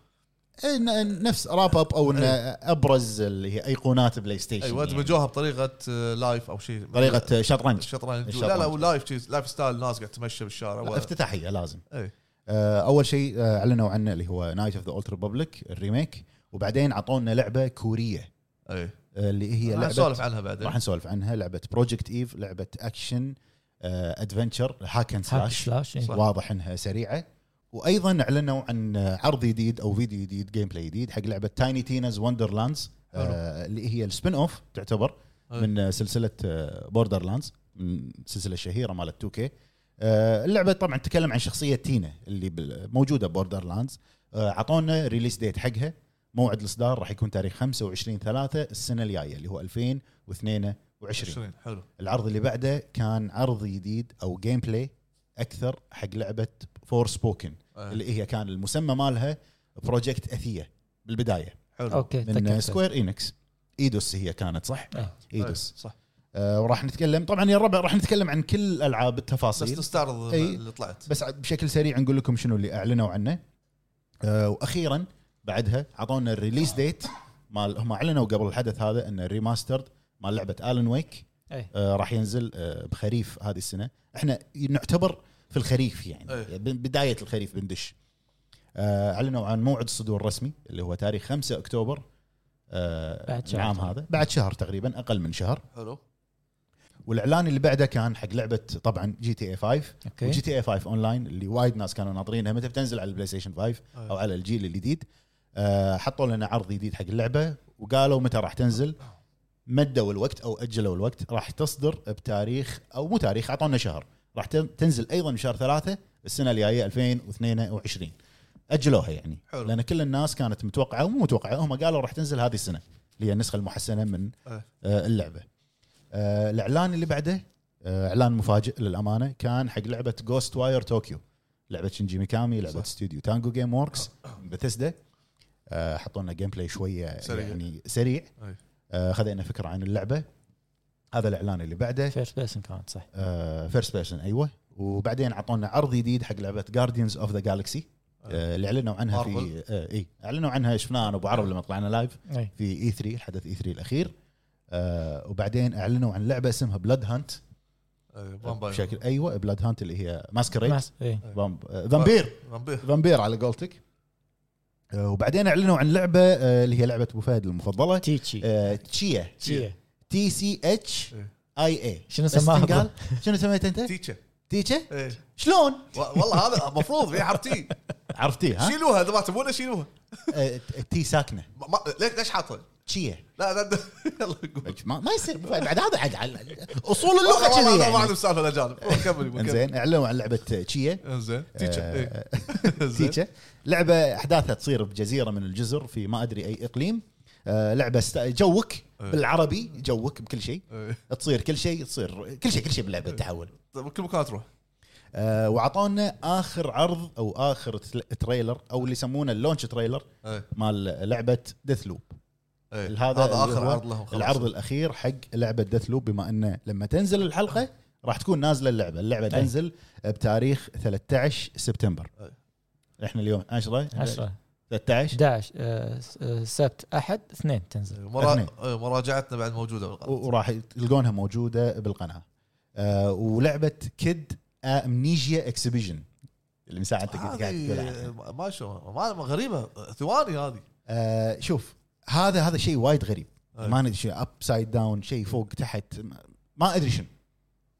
Speaker 1: إيه، ن- نفس راب اب او إن
Speaker 2: إيه.
Speaker 1: ابرز اللي هي ايقونات بلاي ستيشن
Speaker 2: ايوه
Speaker 1: يعني.
Speaker 2: دمجوها بطريقه آه، لايف او شيء
Speaker 1: طريقه شطرنج
Speaker 2: الشطرنج
Speaker 1: الشطرنج.
Speaker 2: لا لا ولايف شيء لايف ستايل ناس قاعد تمشى بالشارع إيه، و...
Speaker 1: افتتاحيه لازم
Speaker 2: اي
Speaker 1: آه، اول شيء آه، اعلنوا عنه اللي هو نايت اوف ذا اولد ريببليك الريميك وبعدين اعطونا لعبه كوريه
Speaker 2: اي
Speaker 1: آه، اللي هي
Speaker 2: راح
Speaker 1: لعبه
Speaker 2: نسولف إيه. عنها بعدين
Speaker 1: راح نسولف عنها لعبه بروجكت ايف لعبه اكشن آه، ادفنتشر هاك اند
Speaker 3: هاك
Speaker 1: سلاش
Speaker 3: سلاش إيه.
Speaker 2: صح.
Speaker 1: واضح انها سريعه وايضا اعلنوا عن عرض جديد او فيديو جديد جيم بلاي جديد حق لعبه تايني تينز وندرلاندز آه، اللي هي السبين اوف تعتبر
Speaker 2: أي.
Speaker 1: من آه، سلسله بوردر لاندز السلسله الشهيره مالت 2 كي اللعبه طبعا تتكلم عن شخصيه تينا اللي بال- آه، موجوده بوردر لاندز اعطونا ريليس ديت حقها موعد الاصدار راح يكون تاريخ 25 3 السنه الجايه اللي هو 2022
Speaker 2: 20 حلو
Speaker 1: العرض اللي بعده كان عرض جديد او جيم بلاي اكثر حق لعبه فور سبوكن
Speaker 2: أي.
Speaker 1: اللي هي كان المسمى مالها بروجكت اثيه بالبدايه
Speaker 2: حلو
Speaker 3: اوكي
Speaker 1: من
Speaker 3: تذكرت.
Speaker 1: سكوير انكس ايدوس هي كانت صح؟
Speaker 3: إيه.
Speaker 1: ايدوس
Speaker 2: أي، صح
Speaker 1: آه وراح نتكلم طبعا يا الربع راح نتكلم عن كل الالعاب
Speaker 2: بس
Speaker 1: التفاصيل
Speaker 2: تستعرض
Speaker 1: أي.
Speaker 2: اللي طلعت
Speaker 1: إيه. بس بشكل سريع نقول لكم شنو اللي اعلنوا عنه آه واخيرا بعدها اعطونا الريليس ديت مال هم اعلنوا قبل الحدث هذا ان الريماسترد مال لعبه الن ويك
Speaker 3: إيه.
Speaker 1: آه راح ينزل آه بخريف هذه السنه احنا نعتبر في الخريف يعني
Speaker 2: إيه.
Speaker 1: ب- بدايه الخريف بندش آه اعلنوا عن موعد الصدور الرسمي اللي هو تاريخ 5 اكتوبر آه
Speaker 3: بعد شهر.
Speaker 1: العام هذا بعد شهر تقريبا اقل من شهر
Speaker 2: حلو
Speaker 1: والاعلان اللي بعده كان حق لعبه طبعا جي تي إيه اي 5
Speaker 3: اوكي
Speaker 1: وجي تي اي 5 اونلاين اللي وايد ناس كانوا ناطرينها متى بتنزل على البلاي ستيشن 5 او على الجيل الجديد آه، حطوا لنا عرض جديد حق اللعبه وقالوا متى راح تنزل مدوا الوقت او اجلوا الوقت راح تصدر بتاريخ او مو تاريخ اعطونا شهر راح تن- تنزل ايضا بشهر ثلاثة السنه الجايه 2022 اجلوها يعني
Speaker 2: حلو.
Speaker 1: لان كل الناس كانت متوقعه ومو متوقعه هم قالوا راح تنزل هذه السنه اللي هي النسخه المحسنه من
Speaker 2: أيه.
Speaker 1: آه، اللعبه آه، الاعلان اللي بعده آه، اعلان مفاجئ للامانه كان حق لعبه جوست واير طوكيو لعبه شينجي ميكامي لعبه
Speaker 2: صح.
Speaker 1: استوديو تانجو جيم وركس بثسدا آه، حطوا لنا جيم بلاي شويه
Speaker 2: سريع.
Speaker 1: سريع. يعني سريع
Speaker 2: أي.
Speaker 1: آه، خذينا فكره عن اللعبه هذا الاعلان اللي بعده
Speaker 3: فيرست بيرسون كانت صح
Speaker 1: فيرست بيرسون ايوه وبعدين اعطونا عرض جديد حق لعبه جارديانز اوف ذا جالكسي
Speaker 2: إيه،
Speaker 1: آه، اللي اعلنوا عنها في
Speaker 2: Marvel.
Speaker 1: آه، اي اعلنوا عنها شفناها انا ابو عرب لما طلعنا لايف
Speaker 3: اي
Speaker 1: في اي 3 الحدث اي 3 الاخير آه وبعدين اعلنوا عن لعبه اسمها بلاد هانت
Speaker 2: أي، فامباير.
Speaker 1: بشكل ايوه بلاد هانت اللي هي آه، ماسكريد
Speaker 3: ماس- إيه.
Speaker 1: فامبير
Speaker 2: فامباير.
Speaker 1: فامبير على قولتك آه، وبعدين اعلنوا عن لعبه آه، اللي هي لعبه ابو فهد المفضله
Speaker 3: تيتشي
Speaker 1: آه، تشيا
Speaker 3: تشي
Speaker 1: تي سي اتش
Speaker 2: إيه.
Speaker 1: اي اي
Speaker 3: شنو
Speaker 1: بس
Speaker 3: سماها؟
Speaker 1: تنقال؟ شنو سميتها انت؟
Speaker 2: تيتشر
Speaker 1: تيتشا؟
Speaker 2: أي.
Speaker 1: شلون؟
Speaker 2: و- والله هذا المفروض في حرف تي
Speaker 1: عرفتي ها؟
Speaker 2: شيلوها اذا ما تبونها شيلوها
Speaker 1: آه، تي ساكنه
Speaker 2: ما- ما- ليش ليش حاطها؟
Speaker 1: تشيا
Speaker 2: لا لا لا. يلا قول
Speaker 1: ما, ما يصير بعد هذا عاد على- اصول اللغه
Speaker 2: والله- والله
Speaker 1: كذي
Speaker 2: أنا ما
Speaker 1: يعني
Speaker 2: اعرف سالفه الاجانب والله كمل كمل.
Speaker 1: انزين اعلنوا عن لعبه تشيا
Speaker 2: انزين تيتشر
Speaker 1: آه،
Speaker 2: إيه. إنزين.
Speaker 1: تيتشا لعبه احداثها تصير بجزيره من الجزر في ما ادري اي اقليم آه، لعبه است... جوك بالعربي جوك بكل شيء
Speaker 2: إيه.
Speaker 1: تصير كل شيء تصير كل شيء كل شيء باللعبه تحول
Speaker 2: طيب، كل مكان تروح
Speaker 1: آه، وعطونا اخر عرض او اخر تل- تريلر او اللي يسمونه اللونش تريلر
Speaker 2: إيه.
Speaker 1: مال لعبه ديث لوب
Speaker 2: إيه.
Speaker 1: هذا
Speaker 2: هذا
Speaker 1: اللي
Speaker 2: اخر
Speaker 1: هو
Speaker 2: عرض لهم خلاص.
Speaker 1: العرض الاخير حق لعبه ديث لوب بما انه لما تنزل الحلقه راح تكون نازله اللعبه اللعبه تنزل بتاريخ 13 سبتمبر
Speaker 2: إيه.
Speaker 1: احنا اليوم 10
Speaker 3: 10
Speaker 1: 13
Speaker 3: 11 آه، س- آه، سبت احد اثنين تنزل
Speaker 2: إيه، مرا-
Speaker 1: اثنين.
Speaker 2: إيه، مراجعتنا بعد موجوده بالقناة.
Speaker 1: و- وراح تلقونها موجوده بالقناه آه ولعبه كيد امنيجيا اكسبيجن اللي من ساعه انت قاعد قاعد تقول
Speaker 2: هذه
Speaker 1: عنها.
Speaker 2: ما شو ما ما غريبه ثواني هذه
Speaker 1: آه شوف هذا هذا شيء وايد غريب
Speaker 2: إيه.
Speaker 1: ما ندري شيء اب سايد داون شيء فوق تحت ما- ما ادري شنو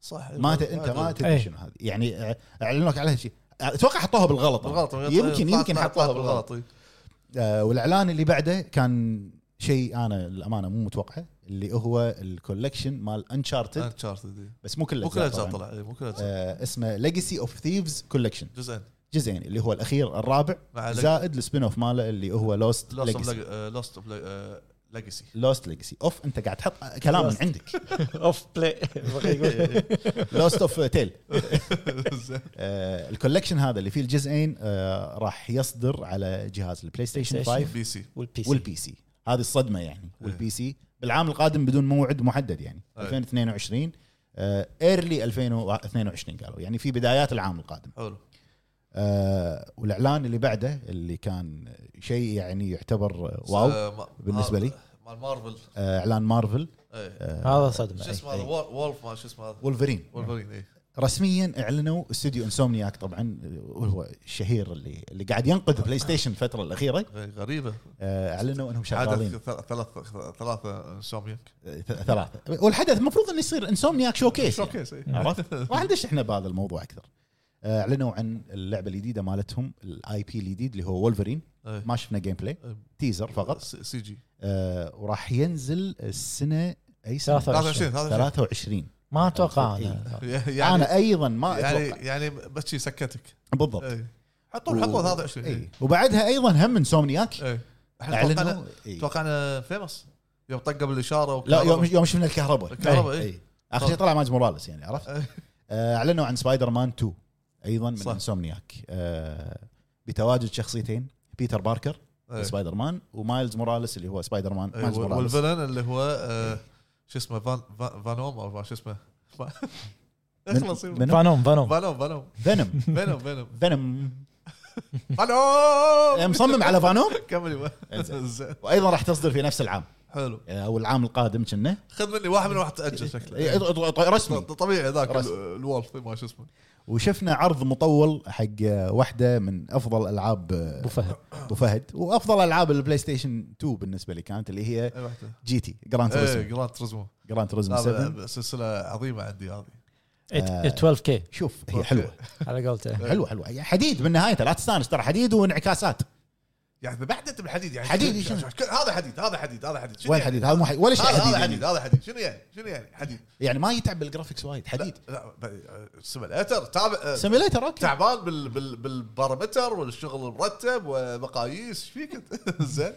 Speaker 2: صح
Speaker 1: ما ت... انت ما تدري
Speaker 3: إيه.
Speaker 1: شنو هذه يعني آه، اعلنوا لك عليها شيء اتوقع حطوها بالغلط
Speaker 2: بالغلط
Speaker 1: يمكن
Speaker 2: طلعت-
Speaker 1: يمكن
Speaker 2: طلعت-
Speaker 1: حطوها
Speaker 2: طلعت
Speaker 1: بالغلط
Speaker 2: إيه.
Speaker 1: آه والاعلان اللي بعده كان شيء انا للامانه مو متوقعه اللي هو الكولكشن مال انشارتد
Speaker 2: انشارتد إيه.
Speaker 1: بس مو كل
Speaker 2: مو كل
Speaker 1: الأجزاء
Speaker 2: الاجزاء
Speaker 1: طبعاً.
Speaker 2: طلع إيه، مو كل الاجزاء
Speaker 1: آه اسمه ليجسي اوف ثيفز كولكشن
Speaker 2: جزئين
Speaker 1: جزئين اللي هو الاخير الرابع
Speaker 2: مع
Speaker 1: زائد السبين اوف ماله اللي هو لوست
Speaker 2: لوست
Speaker 1: ليجسي
Speaker 2: اوف لوست اوف ليجاسي
Speaker 1: لوست ليجسي اوف انت قاعد تحط كلام من
Speaker 3: Lost.
Speaker 1: عندك
Speaker 3: اوف بلاي
Speaker 1: لوست اوف تيل
Speaker 2: إيه.
Speaker 1: الكولكشن هذا اللي فيه الجزئين آه راح يصدر على جهاز البلاي ستيشن
Speaker 3: PlayStation.
Speaker 1: 5
Speaker 2: بي سي
Speaker 3: والبي سي
Speaker 1: والبي سي هذه الصدمه يعني
Speaker 2: إيه.
Speaker 1: والبي سي بالعام القادم بدون موعد محدد يعني
Speaker 2: إيه.
Speaker 1: 2022 آه، ايرلي 2022 قالوا يعني في بدايات العام القادم
Speaker 2: حلو
Speaker 1: آه، والاعلان اللي بعده اللي كان شيء يعني يعتبر واو
Speaker 2: آه، ما-
Speaker 1: بالنسبة لي.
Speaker 2: آه، مال مارفل
Speaker 1: آه، اعلان مارفل
Speaker 2: ايه
Speaker 1: آه،
Speaker 3: هذا
Speaker 2: شو
Speaker 3: صدمه
Speaker 2: اسمه هذا وول- وولف ما شو اسمه هذا
Speaker 1: وولفرين
Speaker 2: وولفرين ايه
Speaker 1: رسميا اعلنوا استوديو انسومنياك طبعا آه، وهو الشهير اللي اللي قاعد ينقذ بلاي ستيشن الفتره الاخيره
Speaker 2: غ- غريبه
Speaker 1: آه، اعلنوا انهم
Speaker 2: عدد
Speaker 1: شغالين
Speaker 2: ثل- ثلاث ثلاثه انسوميك
Speaker 1: آه، ث- ثلاثه والحدث المفروض انه يصير انسومنياك شوكيس يعني.
Speaker 2: شوكيس إيه.
Speaker 1: عرفت؟ راح ندش احنا بهذا الموضوع اكثر آه، اعلنوا عن اللعبه الجديده مالتهم الاي بي الجديد اللي هو وولفرين
Speaker 2: إيه.
Speaker 1: ما شفنا جيم بلاي
Speaker 2: إيه.
Speaker 1: تيزر فقط
Speaker 2: س- سي جي
Speaker 1: آه، وراح ينزل السنه اي سنه
Speaker 2: 23 23
Speaker 1: 23
Speaker 3: ما اتوقع
Speaker 1: إيه.
Speaker 3: انا
Speaker 2: يعني
Speaker 1: انا ايضا ما اتوقع
Speaker 2: يعني يعني بس شي سكتك
Speaker 1: بالضبط
Speaker 2: إيه. حطوا حطوا 23
Speaker 1: اي
Speaker 2: إيه.
Speaker 1: وبعدها ايضا هم من سومنياك
Speaker 2: إيه. احنا توقعنا
Speaker 1: اعلنوا إي.
Speaker 2: توقعنا فيمس يوم طقب الاشاره
Speaker 1: لا
Speaker 2: وكهرباء.
Speaker 1: يوم يوم شفنا الكهرباء
Speaker 2: الكهرباء، إي.
Speaker 1: إي. اخر شيء طلع ماج موراليس يعني عرفت
Speaker 2: إي.
Speaker 1: آه، اعلنوا عن سبايدر مان 2 ايضا من
Speaker 2: صح.
Speaker 1: انسومنياك آه، بتواجد شخصيتين بيتر باركر
Speaker 2: إيه.
Speaker 1: سبايدر مان ومايلز موراليس اللي هو سبايدر مان
Speaker 2: إيه.
Speaker 1: مايلز
Speaker 2: وال-
Speaker 1: موراليس
Speaker 2: والفلن اللي هو آه، شو اسمه فان فان- فانوم او شو اسمه اخلص
Speaker 1: من- منو؟
Speaker 3: فانوم فانوم
Speaker 2: فانوم فانوم
Speaker 1: فينوم
Speaker 2: فانوم فانوم
Speaker 1: فينوم
Speaker 2: فانوم
Speaker 1: إيه، مصمم على فانوم إيه،
Speaker 2: كمل
Speaker 1: إنزين.
Speaker 2: زين
Speaker 1: وايضا راح تصدر في نفس العام
Speaker 2: حلو
Speaker 1: او العام القادم كنا
Speaker 2: خذ مني واحد من واحد تاجل
Speaker 1: إيه،
Speaker 2: شكله
Speaker 1: رسمي
Speaker 2: ط- طبيعي ذاك
Speaker 1: رسم.
Speaker 2: ال- الوولف ما شو اسمه
Speaker 1: وشفنا عرض مطول حق واحده من افضل العاب
Speaker 3: ابو فهد
Speaker 2: آه.
Speaker 1: ابو فهد وافضل العاب البلاي ستيشن 2 بالنسبه لي كانت اللي هي
Speaker 2: أي إيه، واحدة.
Speaker 1: جي تي جراند
Speaker 2: ايه
Speaker 1: توريزم
Speaker 2: جراند تريزمو
Speaker 1: جراند توريزم 7
Speaker 2: هذا سلسله عظيمه عندي هذه
Speaker 3: 12 كي
Speaker 1: شوف هي
Speaker 2: أوكي. إيه.
Speaker 1: حلوه
Speaker 3: على قولته
Speaker 1: حلوه حلوه هي يعني حديد من نهايتها لا تستانس ترى حديد وانعكاسات
Speaker 2: يعني بعد انت بالحديد يعني
Speaker 1: حديد،
Speaker 2: شنو-
Speaker 1: شنو؟
Speaker 2: شنو- شنو- هذا حديد هذا حديد هذا حديد شنو
Speaker 1: وين
Speaker 2: يعني؟
Speaker 1: حديد هذا مو حديد ولا شيء حديد
Speaker 2: هذا هذا حديد
Speaker 1: يعني.
Speaker 2: هذا حديد شنو يعني شنو يعني حديد
Speaker 1: يعني ما يتعب بالجرافكس وايد حديد
Speaker 2: لا سيميليتر تعب آه،
Speaker 1: سيميليتر اوكي
Speaker 2: تعبان بال بال بالبارامتر والشغل المرتب ومقاييس ايش فيك انت؟ زين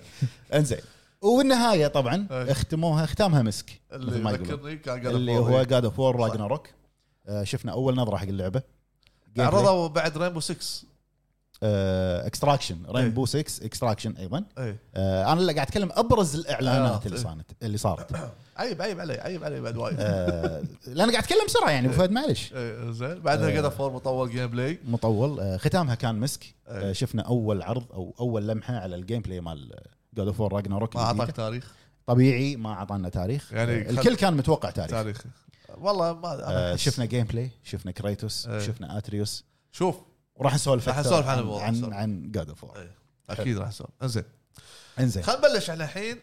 Speaker 1: انزين والنهايه طبعا
Speaker 2: أي.
Speaker 1: اختموها ختامها مسك مثل
Speaker 2: إيه. اللي
Speaker 1: ما يقولون
Speaker 2: يذكرني كان قال إيه.
Speaker 1: اللي هو جاد اوف وور راجناروك آه، شفنا اول نظره حق اللعبه
Speaker 2: عرضوا بعد رينبو 6
Speaker 1: آه، اكستراكشن
Speaker 2: إيه.
Speaker 1: رينبو 6 اكستراكشن ايضا
Speaker 2: اي
Speaker 1: آه، انا اللي قاعد اتكلم ابرز
Speaker 2: آه،
Speaker 1: الاعلانات اللي
Speaker 2: إيه.
Speaker 1: صارت اللي صارت
Speaker 2: عيب عيب علي عيب علي بعد وايد
Speaker 1: آه، لان قاعد اتكلم بسرعه يعني ابو فهد معلش
Speaker 2: إيه، زين بعدها
Speaker 1: آه.
Speaker 2: قدر فور مطول جيم بلاي
Speaker 1: مطول آه، ختامها كان مسك آه،
Speaker 2: إيه.
Speaker 1: شفنا اول عرض او اول لمحه على الجيم بلاي مال جاد اوف وور راجناروك
Speaker 2: ما اعطاك تاريخ
Speaker 1: طبيعي ما اعطانا تاريخ
Speaker 2: يعني
Speaker 1: يعني
Speaker 2: خل-
Speaker 1: الكل كان متوقع تاريخ
Speaker 2: تاريخ والله ما أنا
Speaker 1: آه،
Speaker 2: أحس-
Speaker 1: شفنا جيم بلاي شفنا كريتوس
Speaker 2: إيه.
Speaker 1: شفنا اتريوس
Speaker 2: شوف
Speaker 1: وراح نسولف
Speaker 2: راح
Speaker 1: أكثر
Speaker 2: نسولف عن
Speaker 1: عن
Speaker 2: الموضوع،
Speaker 1: عن,
Speaker 2: نسولف.
Speaker 1: عن جاد اوف
Speaker 2: إيه. اكيد راح يصير انزين
Speaker 1: انزين
Speaker 2: خلينا نبلش على الحين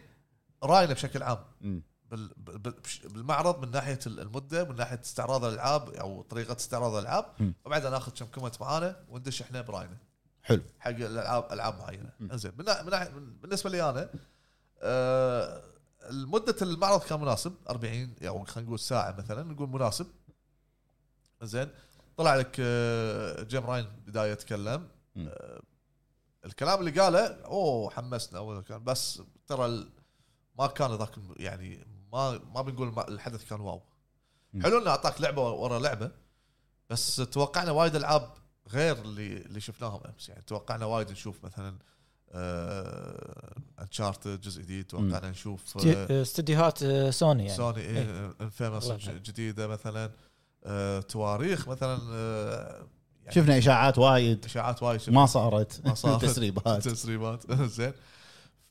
Speaker 2: راينا بشكل عام
Speaker 1: مم.
Speaker 2: بال- بال- بش- بالمعرض من ناحيه ال- المده من ناحيه استعراض الالعاب او طريقه استعراض
Speaker 1: مم.
Speaker 2: الالعاب وبعدها ناخذ كم كومنت معانا وندش احنا براينا
Speaker 1: حلو
Speaker 2: حق الالعاب العاب معينه
Speaker 1: مم.
Speaker 2: انزين من ناح- من ناح- من- بالنسبه لي انا آه، مده المعرض كان مناسب 40 او خلينا نقول ساعه مثلا نقول مناسب زين طلع لك آه، جيم راين بدايه يتكلم
Speaker 1: مم.
Speaker 2: آه، الكلام اللي قاله اوه حمسنا أول كان بس ترى ال- ما كان ذاك الم- يعني ما ما بنقول ما- الحدث كان واو
Speaker 1: مم.
Speaker 2: حلو انه اعطاك لعبه ورا لعبه بس توقعنا وايد العاب غير اللي اللي شفناهم امس يعني توقعنا وايد نشوف مثلا انشارتد جزء جديد توقعنا نشوف آه،
Speaker 3: استديوهات آه، سوني يعني
Speaker 2: سوني إيه انفيمس
Speaker 3: الله يرحمه.
Speaker 2: جديده مثلا آه، تواريخ مثلا آه، يعني
Speaker 1: شفنا اشاعات وايد
Speaker 2: اشاعات وايد شفنا
Speaker 1: ما صارت
Speaker 2: ما صارت.
Speaker 1: تسريبات
Speaker 2: تسريبات زين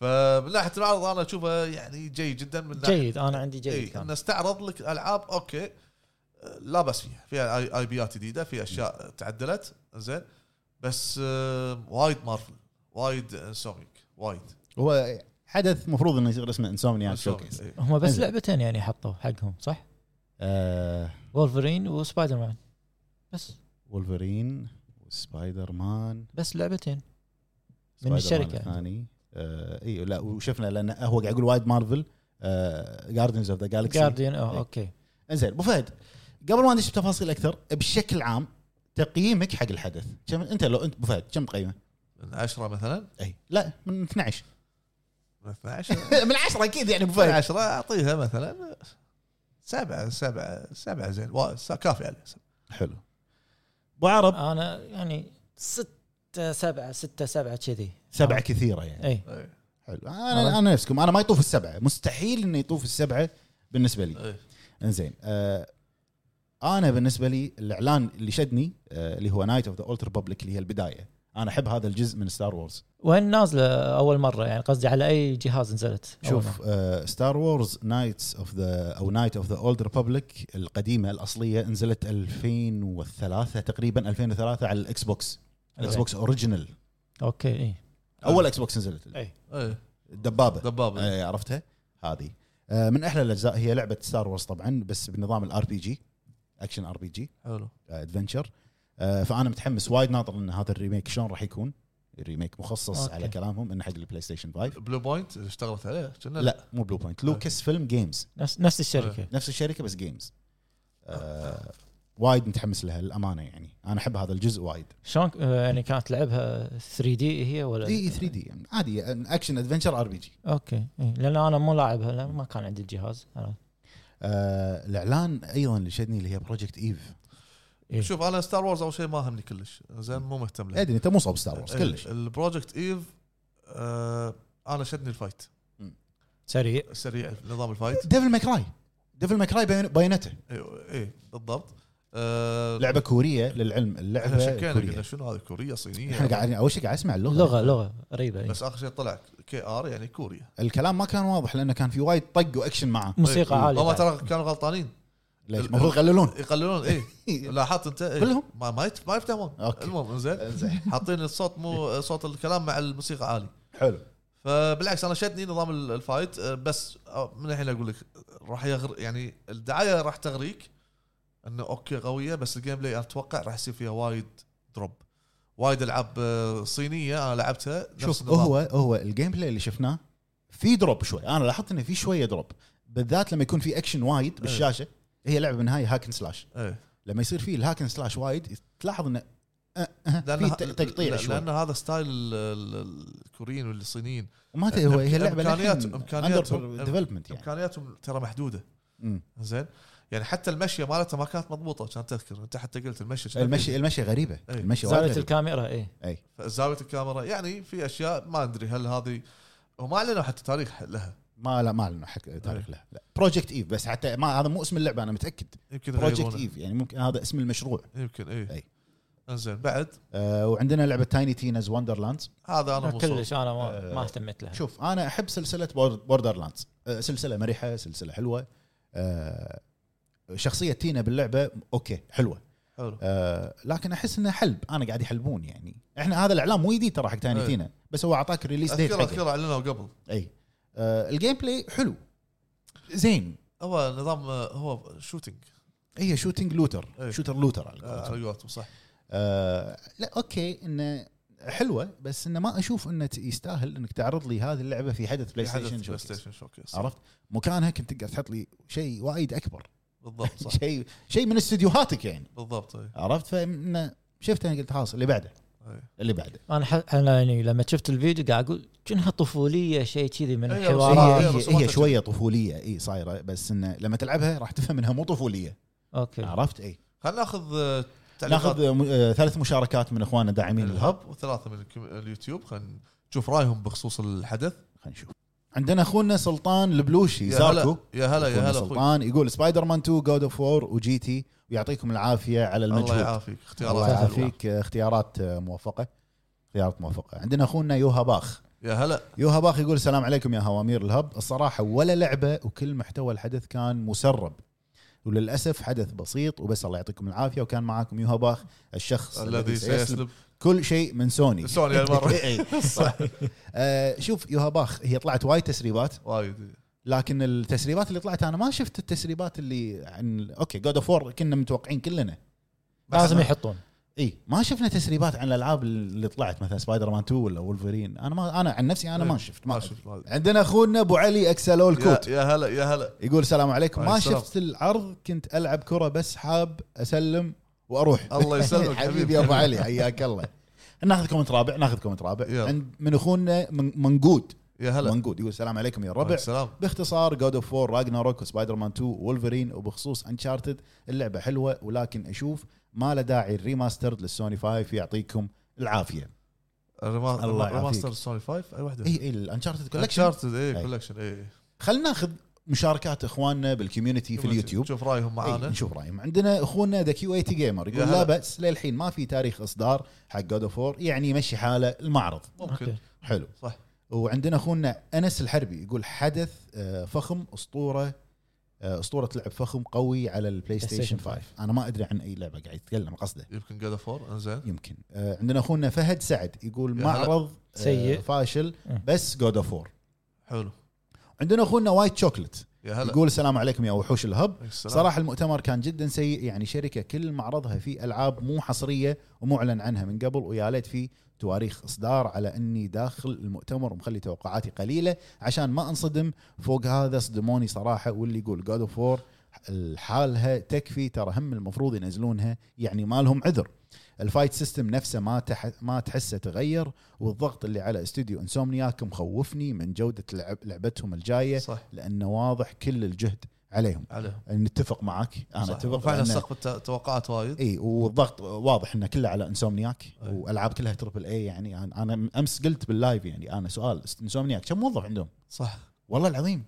Speaker 2: فمن ناحيه المعرض انا اشوفه يعني جيد جدا من ناحيه
Speaker 3: جيد انا عندي جيد
Speaker 2: إيه
Speaker 3: كان
Speaker 2: انه استعرض لك العاب اوكي آه، لا بس فيها فيها آي- اي بيات جديده في اشياء تعدلت زين بس آه، وايد مارفل وايد انسوميك وايد
Speaker 3: يعني
Speaker 1: هو حدث مفروض انه يصير اسمه انسومنيا
Speaker 2: Insomniac،
Speaker 1: شوكيس
Speaker 2: إيه.
Speaker 3: هم بس
Speaker 1: انزين.
Speaker 3: لعبتين يعني حطوا حقهم صح؟
Speaker 1: آه،
Speaker 3: وولفرين وسبايدر مان بس
Speaker 1: وولفرين وسبايدر مان
Speaker 3: بس لعبتين
Speaker 1: سبايدر مان
Speaker 3: الشركة.
Speaker 1: الثاني آه، اي لا وشفنا لان هو قاعد يقول وايد مارفل آه، جاردنز اوف ذا جالكسي
Speaker 3: جارديان
Speaker 1: إيه.
Speaker 3: أوه اوكي
Speaker 1: انزين ابو فهد قبل ما ندش بتفاصيل اكثر بشكل عام تقييمك حق الحدث كم انت لو انت ابو فهد كم تقيمه؟
Speaker 2: من 10 مثلا
Speaker 1: اي لا من 12
Speaker 2: من 12
Speaker 1: من 10 اكيد يعني ابو
Speaker 2: من
Speaker 1: فهد
Speaker 2: 10 اعطيها مثلا سبعه سبعه سبعه زين وا- س- كافي عليه سبعة.
Speaker 1: حلو ابو
Speaker 3: آه.
Speaker 1: عرب
Speaker 3: انا يعني ستة سبعة ستة سبعة كذي
Speaker 1: سبعه كثيره يعني
Speaker 3: اي
Speaker 2: إيه.
Speaker 1: حلو انا انا نفسكم انا ما يطوف السبعه مستحيل انه يطوف السبعه بالنسبه لي
Speaker 2: إيه.
Speaker 1: انزين آه انا بالنسبه لي الاعلان اللي شدني آه اللي هو نايت اوف ذا اولتر بابليك اللي هي البدايه انا احب هذا الجزء من ستار وورز
Speaker 3: وين نازله اول مره يعني قصدي على اي جهاز نزلت أول مرة؟
Speaker 1: شوف آه ستار وورز نايتس اوف ذا او نايت اوف ذا اولد ريببليك القديمه الاصليه نزلت 2003 تقريبا 2003 على الاكس بوكس الاكس بوكس اوريجينال
Speaker 3: اوكي اي
Speaker 1: اول اكس بوكس نزلت
Speaker 2: ايه
Speaker 1: الدبابه
Speaker 2: دبابه
Speaker 1: آه، عرفتها هذه آه، من احلى الاجزاء هي لعبه ستار وورز طبعا بس بنظام الار بي جي اكشن ار بي جي
Speaker 2: حلو
Speaker 1: ادفنشر فانا آه، متحمس وايد ناطر ان هذا الريميك شلون راح يكون الريميك مخصص
Speaker 3: أوكي.
Speaker 1: على كلامهم انه حق البلاي ستيشن 5
Speaker 2: بلو بوينت اللي اشتغلت عليه كنا
Speaker 1: لا مو بلو بوينت لوكس فيلم جيمز
Speaker 3: نفس نفس الشركه
Speaker 1: نفس الشركه بس جيمز آه وايد متحمس لها الامانه يعني انا احب هذا الجزء وايد
Speaker 3: شلون آه، يعني كانت لعبها 3 دي هي ولا
Speaker 1: اي 3 دي يعني. عادي اكشن ادفنشر ار بي جي
Speaker 3: اوكي إيه. لان انا مو لاعبها لأن ما كان عندي الجهاز أنا-
Speaker 1: آه، الاعلان ايضا اللي شدني اللي هي بروجكت ايف
Speaker 3: إيه.
Speaker 2: شوف انا ستار وورز اول شيء ما همني كلش زين مو مهتم له
Speaker 1: ادري انت مو صوب ستار وورز
Speaker 2: ال-
Speaker 1: كلش
Speaker 2: البروجكت ايف آه انا شدني الفايت
Speaker 3: سريع
Speaker 2: سريع نظام الفايت
Speaker 1: ديفل ماكراي ديفل ماكراي باينته
Speaker 2: ايه, إيه بالضبط آه
Speaker 1: لعبه كوريه للعلم
Speaker 2: احنا
Speaker 1: اللعبه
Speaker 2: شكينا قلنا
Speaker 1: كوريه
Speaker 2: شنو هذه كوريه صينيه
Speaker 1: احنا قاعدين اول شيء قاعد اسمع اللغه
Speaker 3: لغه لغه غريبه إيه.
Speaker 2: بس اخر شيء طلع كي ار يعني كوريا
Speaker 1: الكلام ما كان واضح لانه كان في وايد طق واكشن معاه
Speaker 3: موسيقى
Speaker 2: إيه.
Speaker 3: عاليه
Speaker 2: هم
Speaker 3: بعد.
Speaker 2: ترى كانوا غلطانين
Speaker 1: ليش المفروض يقللون
Speaker 2: يقللون ايه لاحظت انت إيه؟
Speaker 1: كلهم؟
Speaker 2: ما ما يت- ما يفتهمون
Speaker 1: أوكي.
Speaker 2: المهم زين حاطين الصوت مو صوت الكلام مع الموسيقى عالي
Speaker 1: حلو
Speaker 2: فبالعكس انا شدني نظام ال- الفايت أه، بس أه، من الحين اقول لك راح يغر يعني الدعايه راح تغريك انه اوكي قويه بس الجيم بلاي اتوقع راح يصير فيها وايد دروب وايد العاب أه، صينيه انا لعبتها نفس
Speaker 1: شوف
Speaker 2: النظام.
Speaker 1: هو هو الجيم بلاي اللي شفناه في دروب شوي انا لاحظت انه في شويه دروب بالذات لما يكون في اكشن وايد بالشاشه هي لعبه بالنهايه هاكن سلاش
Speaker 2: إيه.
Speaker 1: لما يصير فيه الهاكن سلاش وايد تلاحظ انه أه أه في
Speaker 2: لأن-
Speaker 1: ت- تقطيع
Speaker 2: لأن-
Speaker 1: شوي
Speaker 2: لان هذا ستايل ال- ال- الكوريين والصينيين
Speaker 1: ما أدري هو هي اللعبه
Speaker 2: إمكانيات- إمكانيات-
Speaker 1: ديفلوبمنت يعني
Speaker 2: امكانياتهم ترى محدوده
Speaker 1: مم.
Speaker 2: زين يعني حتى المشيه مالتها ما كانت مضبوطه عشان تذكر انت حتى قلت المشيه شلون
Speaker 1: المشي المشي غريبه
Speaker 2: إيه.
Speaker 1: المشي وايد إيه.
Speaker 3: زالت
Speaker 1: غريبة.
Speaker 3: الكاميرا اي
Speaker 2: زاويه الكاميرا يعني في اشياء ما ادري هل هذه وما اعلنوا حتى تاريخ لها
Speaker 1: ما لا ما لنا حق تاريخ
Speaker 2: إيه.
Speaker 1: له لا بروجكت ايف بس حتى ما هذا مو اسم اللعبه انا متاكد
Speaker 2: يمكن
Speaker 1: بروجكت
Speaker 2: يغيرونه.
Speaker 1: ايف يعني ممكن هذا اسم المشروع
Speaker 2: يمكن
Speaker 1: أي.
Speaker 2: اي انزين بعد
Speaker 1: آه وعندنا لعبه تايني تينز وندرلاندز
Speaker 2: هذا انا مو صوب.
Speaker 3: كلش انا ما, ما اهتميت لها
Speaker 1: شوف انا احب سلسله بوردر لاندز سلسله مرحه سلسله حلوه آه، شخصيه تينا باللعبه اوكي حلوه
Speaker 2: حلو
Speaker 1: آه، لكن احس انه حلب انا قاعد يحلبون يعني احنا هذا الاعلان مو جديد ترى حق تايني
Speaker 2: إيه.
Speaker 1: تينا بس هو اعطاك ريليس ديت
Speaker 2: اذكر
Speaker 1: حقه
Speaker 2: اذكر اعلنوا قبل
Speaker 1: اي آه، الجيم بلاي حلو زين
Speaker 2: هو نظام آه، هو شوتنج
Speaker 1: هي شوتنج لوتر
Speaker 2: إيه.
Speaker 1: شوتر لوتر على
Speaker 2: آه،
Speaker 1: قولتهم.
Speaker 2: على قولتهم صح
Speaker 1: آه لا اوكي انه حلوه بس انه ما اشوف انه ت- يستاهل انك تعرض لي هذه اللعبه في حدث بلاي
Speaker 2: حدث
Speaker 1: ستيشن
Speaker 2: بلاي
Speaker 1: showcase.
Speaker 2: ستيشن شوكيس
Speaker 1: عرفت مكانها كنت تقدر تحط لي شيء وايد اكبر
Speaker 2: بالضبط صح
Speaker 1: شيء شيء من استديوهاتك يعني
Speaker 2: بالضبط إيه. اي
Speaker 1: عرفت فانه شفتها قلت خلاص اللي بعده
Speaker 2: أي.
Speaker 1: اللي بعده
Speaker 3: انا ح... انا يعني لما شفت الفيديو قاعد اقول كأنها طفوليه شيء كذي من
Speaker 2: أي،
Speaker 1: هي,
Speaker 2: آه،
Speaker 3: الحوارات
Speaker 2: بس
Speaker 1: هي,
Speaker 2: ما
Speaker 1: هي
Speaker 2: تشوف.
Speaker 1: شويه طفوليه اي صايره بس انه لما تلعبها راح تفهم انها مو طفوليه
Speaker 3: اوكي
Speaker 1: عرفت اي
Speaker 2: خلينا ناخذ آه، نعم. تعليقات
Speaker 1: ناخذ آه، م- آه، ثلاث مشاركات من اخواننا داعمين الهب
Speaker 2: الهب وثلاثه من الكم- اليوتيوب خلينا نشوف رايهم بخصوص الحدث
Speaker 1: خلينا نشوف عندنا اخونا سلطان البلوشي
Speaker 2: يا
Speaker 1: زاركو
Speaker 2: هلا يا هلا يا
Speaker 1: أخونا
Speaker 2: هلا اخوي
Speaker 1: سلطان يقول سبايدر مان 2 جود اوف وور وجي تي ويعطيكم العافيه على المجهود
Speaker 2: الله يعافيك
Speaker 1: الله
Speaker 2: اختيارات حلوة.
Speaker 1: يعافيك اختيارات آه، موفقه اختيارات موفقه عندنا اخونا يوها باخ
Speaker 2: يا هلا
Speaker 1: يوها باخ يقول السلام عليكم يا هوامير الهب الصراحه ولا لعبه وكل محتوى الحدث كان مسرب وللاسف حدث بسيط وبس الله يعطيكم العافيه وكان معاكم يوها باخ الشخص
Speaker 2: الذي سيسلب
Speaker 1: كل شيء من سوني
Speaker 2: سوني هالمرة.
Speaker 1: إي، صح آه، شوف يوها باخ هي طلعت وايد تسريبات
Speaker 2: وايد
Speaker 1: لكن التسريبات اللي طلعت انا ما شفت التسريبات اللي عن اوكي جود اوف وور كنا متوقعين كلنا
Speaker 3: لازم يحطون
Speaker 1: اي ما شفنا تسريبات عن الالعاب اللي طلعت مثلا سبايدر مان 2 ولا وولفرين انا ما انا عن نفسي انا ما
Speaker 2: إيه.
Speaker 1: شفت ما
Speaker 2: ما
Speaker 1: شفت
Speaker 2: شفت ما-
Speaker 1: عندنا اخونا ابو علي اكسلول
Speaker 2: يا-
Speaker 1: كوت
Speaker 2: يا هلا يا هلا
Speaker 1: يقول السلام عليكم ما
Speaker 2: عليكم السلام.
Speaker 1: شفت العرض كنت العب كره بس حاب اسلم واروح
Speaker 2: الله يسلمك
Speaker 1: حبيبي يا ابو علي حياك الله ناخذ كومنت رابع ناخذ كومنت رابع
Speaker 2: يلا.
Speaker 1: عند من اخونا من- منقود
Speaker 2: يا هلا
Speaker 1: منقود يقول السلام عليكم يا الربع
Speaker 2: سلام
Speaker 1: باختصار جود اوف وور راجناروك وسبايدر مان 2 وولفرين وبخصوص انشارتد اللعبه حلوه ولكن اشوف ما له داعي الريماسترد للسوني 5 يعطيكم العافيه
Speaker 2: الريما-
Speaker 1: الله يعافيك. إيه،
Speaker 2: ريماستر سوني 5 اي واحده
Speaker 1: اي اي الانشارتد كولكشن
Speaker 2: انشارتد اي
Speaker 1: أي.
Speaker 2: كولكشن
Speaker 1: إيه،
Speaker 2: اي
Speaker 1: خلينا ناخذ مشاركات اخواننا بالكوميونتي في اليوتيوب
Speaker 2: شوف رايهم
Speaker 1: أي
Speaker 2: معانا
Speaker 1: نشوف رايهم عندنا اخونا ذا كيو 80 جيمر
Speaker 2: يا
Speaker 1: يقول
Speaker 2: هلا.
Speaker 1: لا باس للحين ما في تاريخ اصدار حق جود اوف يعني يمشي حاله المعرض
Speaker 2: ممكن
Speaker 3: أوكي.
Speaker 1: حلو
Speaker 2: صح.
Speaker 1: وعندنا اخونا انس الحربي يقول حدث آه، فخم اسطوره آه، اسطوره لعب فخم قوي على البلاي ستيشن 5 انا ما ادري عن اي لعبه قاعد يتكلم قصده
Speaker 2: يمكن جاد فور انزين
Speaker 1: يمكن آه، عندنا اخونا فهد سعد يقول
Speaker 2: يا هلا.
Speaker 1: معرض آه،
Speaker 3: سيء.
Speaker 1: فاشل
Speaker 3: أه.
Speaker 1: بس جود اوف وور
Speaker 2: حلو
Speaker 1: عندنا اخونا وايت شوكلت
Speaker 2: يا هلا
Speaker 1: يقول السلام عليكم يا وحوش الهب
Speaker 2: السلام.
Speaker 1: صراحه المؤتمر كان جدا سيء يعني شركه كل معرضها في العاب مو حصريه ومعلن عنها من قبل ويا ليت في تواريخ اصدار على اني داخل المؤتمر ومخلي توقعاتي قليله عشان ما انصدم فوق هذا صدموني صراحه واللي يقول جود اوف وور لحالها تكفي ترى هم المفروض ينزلونها يعني ما لهم عذر الفايت سيستم نفسه ما تح... ما تحسه تغير والضغط اللي على استوديو انسومنياك مخوفني من جوده لعب... لعبتهم الجايه
Speaker 2: صح
Speaker 1: لانه واضح كل الجهد عليهم
Speaker 2: عليهم
Speaker 1: يعني نتفق معك انا
Speaker 2: صح.
Speaker 1: اتفق
Speaker 2: فعلا
Speaker 1: لأن-
Speaker 2: سقف التوقعات وايد
Speaker 1: اي والضغط واضح انه كله على انسومنياك
Speaker 2: أي.
Speaker 1: والعاب كلها تربل اي يعني أنا- انا امس قلت باللايف يعني انا سؤال انسومنياك كم موظف عندهم؟
Speaker 2: صح
Speaker 1: والله العظيم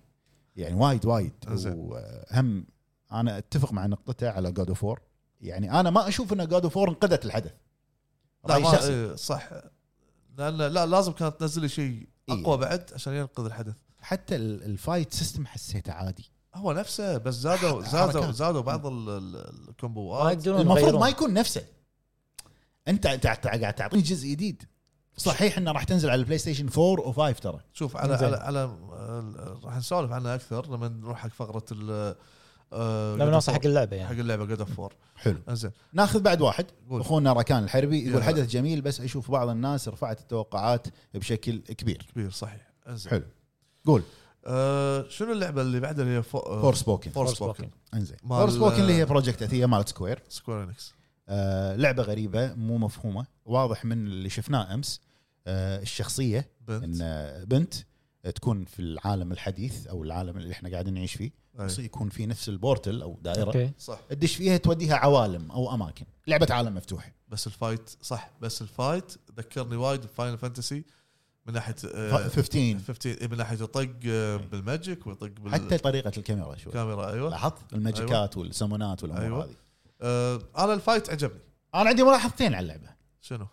Speaker 1: يعني وايد وايد
Speaker 2: زين.
Speaker 1: وهم انا اتفق مع نقطته على جود اوف يعني انا ما اشوف ان جود اوف انقذت الحدث
Speaker 2: لا
Speaker 1: رأيي
Speaker 2: ما
Speaker 1: شخصي.
Speaker 2: إيه، صح لان لا لازم كانت تنزل لي شيء
Speaker 1: إيه.
Speaker 2: اقوى بعد عشان ينقذ الحدث
Speaker 1: حتى ال- الفايت سيستم حسيته عادي
Speaker 2: هو نفسه بس زادوا
Speaker 1: ح-
Speaker 2: زادوا
Speaker 1: حركات.
Speaker 2: زادوا بعض ال- ال-
Speaker 3: ما
Speaker 2: الكومبوات
Speaker 3: يقدرون
Speaker 1: المفروض
Speaker 3: يغيرون
Speaker 1: ما يكون نفسه انت أنت قاعد تعطيني جزء جديد صحيح انه راح تنزل على البلاي ستيشن 4 و5 ترى
Speaker 2: شوف على
Speaker 3: زين.
Speaker 2: على على آه، راح نسولف عنها اكثر لما نروح حق فقره ال آه،
Speaker 3: لما نوصل حق اللعبه
Speaker 2: حق
Speaker 3: يعني
Speaker 2: اللعبه جود اوف 4
Speaker 1: حلو
Speaker 2: زين
Speaker 1: ناخذ بعد واحد
Speaker 2: قول.
Speaker 1: اخونا ركان الحربي
Speaker 2: يلا.
Speaker 1: يقول حدث جميل بس اشوف بعض الناس رفعت التوقعات بشكل كبير
Speaker 2: كبير صحيح انزين
Speaker 1: حلو قول
Speaker 2: آه، شنو اللعبه اللي بعدها اللي هي فو- آه،
Speaker 1: فور سبوكن
Speaker 2: فور سبوكن
Speaker 1: انزين
Speaker 2: مال-
Speaker 1: فور سبوكن اللي هي بروجكت اثيه مالت سكوير
Speaker 2: سكوير انكس
Speaker 1: آه لعبه غريبه مو مفهومه واضح من اللي شفناه امس آه الشخصيه ان
Speaker 2: بنت
Speaker 1: آه، بنت تكون في العالم الحديث او العالم اللي احنا قاعدين نعيش فيه
Speaker 2: أي.
Speaker 1: بس يكون في نفس البورتل او دائره
Speaker 3: اوكي
Speaker 2: صح
Speaker 1: تدش فيها توديها عوالم او اماكن لعبه عالم مفتوح
Speaker 2: بس الفايت صح بس الفايت ذكرني وايد بفاينل فانتسي من ناحيه آه،
Speaker 1: 15
Speaker 2: 15 إيه، من ناحيه يطق آه، بالماجيك ويطق
Speaker 1: إيه. حتى طريقه الكاميرا شوي
Speaker 2: بالكاميرا ايوه
Speaker 3: أيوة.
Speaker 1: لاحظت الماجيكات والسمونات والامور
Speaker 2: أيوة.
Speaker 1: أيوة. هذه
Speaker 2: آه، انا الفايت عجبني
Speaker 1: انا عندي ملاحظتين على اللعبه
Speaker 2: شنو؟
Speaker 3: أه،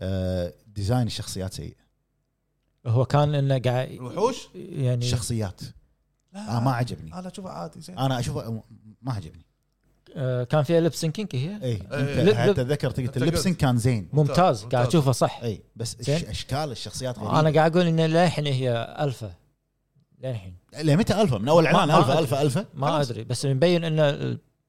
Speaker 1: آه، ديزاين الشخصيات سيء
Speaker 3: هو كان انه قاعد
Speaker 2: الوحوش؟
Speaker 3: يعني
Speaker 1: الشخصيات إيه. آه ما عجبني آه.
Speaker 2: انا اشوفها عادي زين
Speaker 1: انا اشوفه ما عجبني
Speaker 3: آه، كان فيها لبسنكينك هي
Speaker 1: اي
Speaker 2: لب-
Speaker 1: انت
Speaker 3: لب-
Speaker 1: حتى ذكرت
Speaker 2: أنت
Speaker 1: قلت
Speaker 2: قلت.
Speaker 1: اللبسن كان زين
Speaker 3: ممتاز قاعد
Speaker 2: ممتاز.
Speaker 3: اشوفه صح
Speaker 1: اي بس
Speaker 3: زين.
Speaker 1: إش- اشكال الشخصيات
Speaker 3: انا
Speaker 1: غريبه
Speaker 3: قاعد اقول ان للحين هي الفا للحين
Speaker 1: ليه متى الفا من اول اعلان
Speaker 3: ما- ما
Speaker 1: الفا
Speaker 3: أدري.
Speaker 1: الفا الفا
Speaker 3: ما
Speaker 1: خلاص.
Speaker 3: ادري بس مبين ان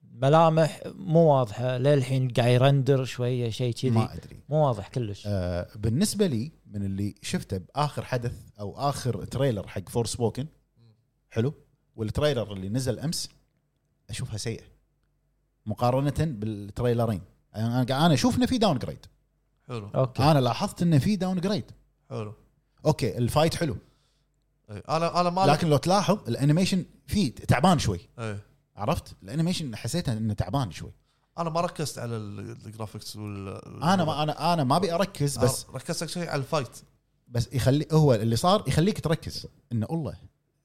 Speaker 3: الملامح مو واضحه للحين قاعد يرندر شويه شيء كذي
Speaker 1: ما ادري
Speaker 3: مو واضح كلش
Speaker 1: آه بالنسبه لي من اللي شفته باخر حدث او اخر تريلر حق فور سبوكن حلو والتريلر اللي نزل امس اشوفها سيئه مقارنه بالتريلرين انا انا اشوف انه في داون جريد
Speaker 2: حلو
Speaker 3: اوكي
Speaker 1: انا لاحظت انه في داون جريد
Speaker 2: حلو
Speaker 1: اوكي الفايت حلو
Speaker 2: إيه، انا انا ما
Speaker 1: لكن لو تلاحظ الانيميشن فيه تعبان شوي
Speaker 2: إيه،
Speaker 1: عرفت الانيميشن حسيته انه تعبان شوي
Speaker 2: انا ما ركزت على ال- الجرافيكس وال آه،
Speaker 1: انا ما انا انا ما ابي اركز بس
Speaker 2: ركزت شيء على الفايت
Speaker 1: بس يخلي هو اللي صار يخليك تركز انه والله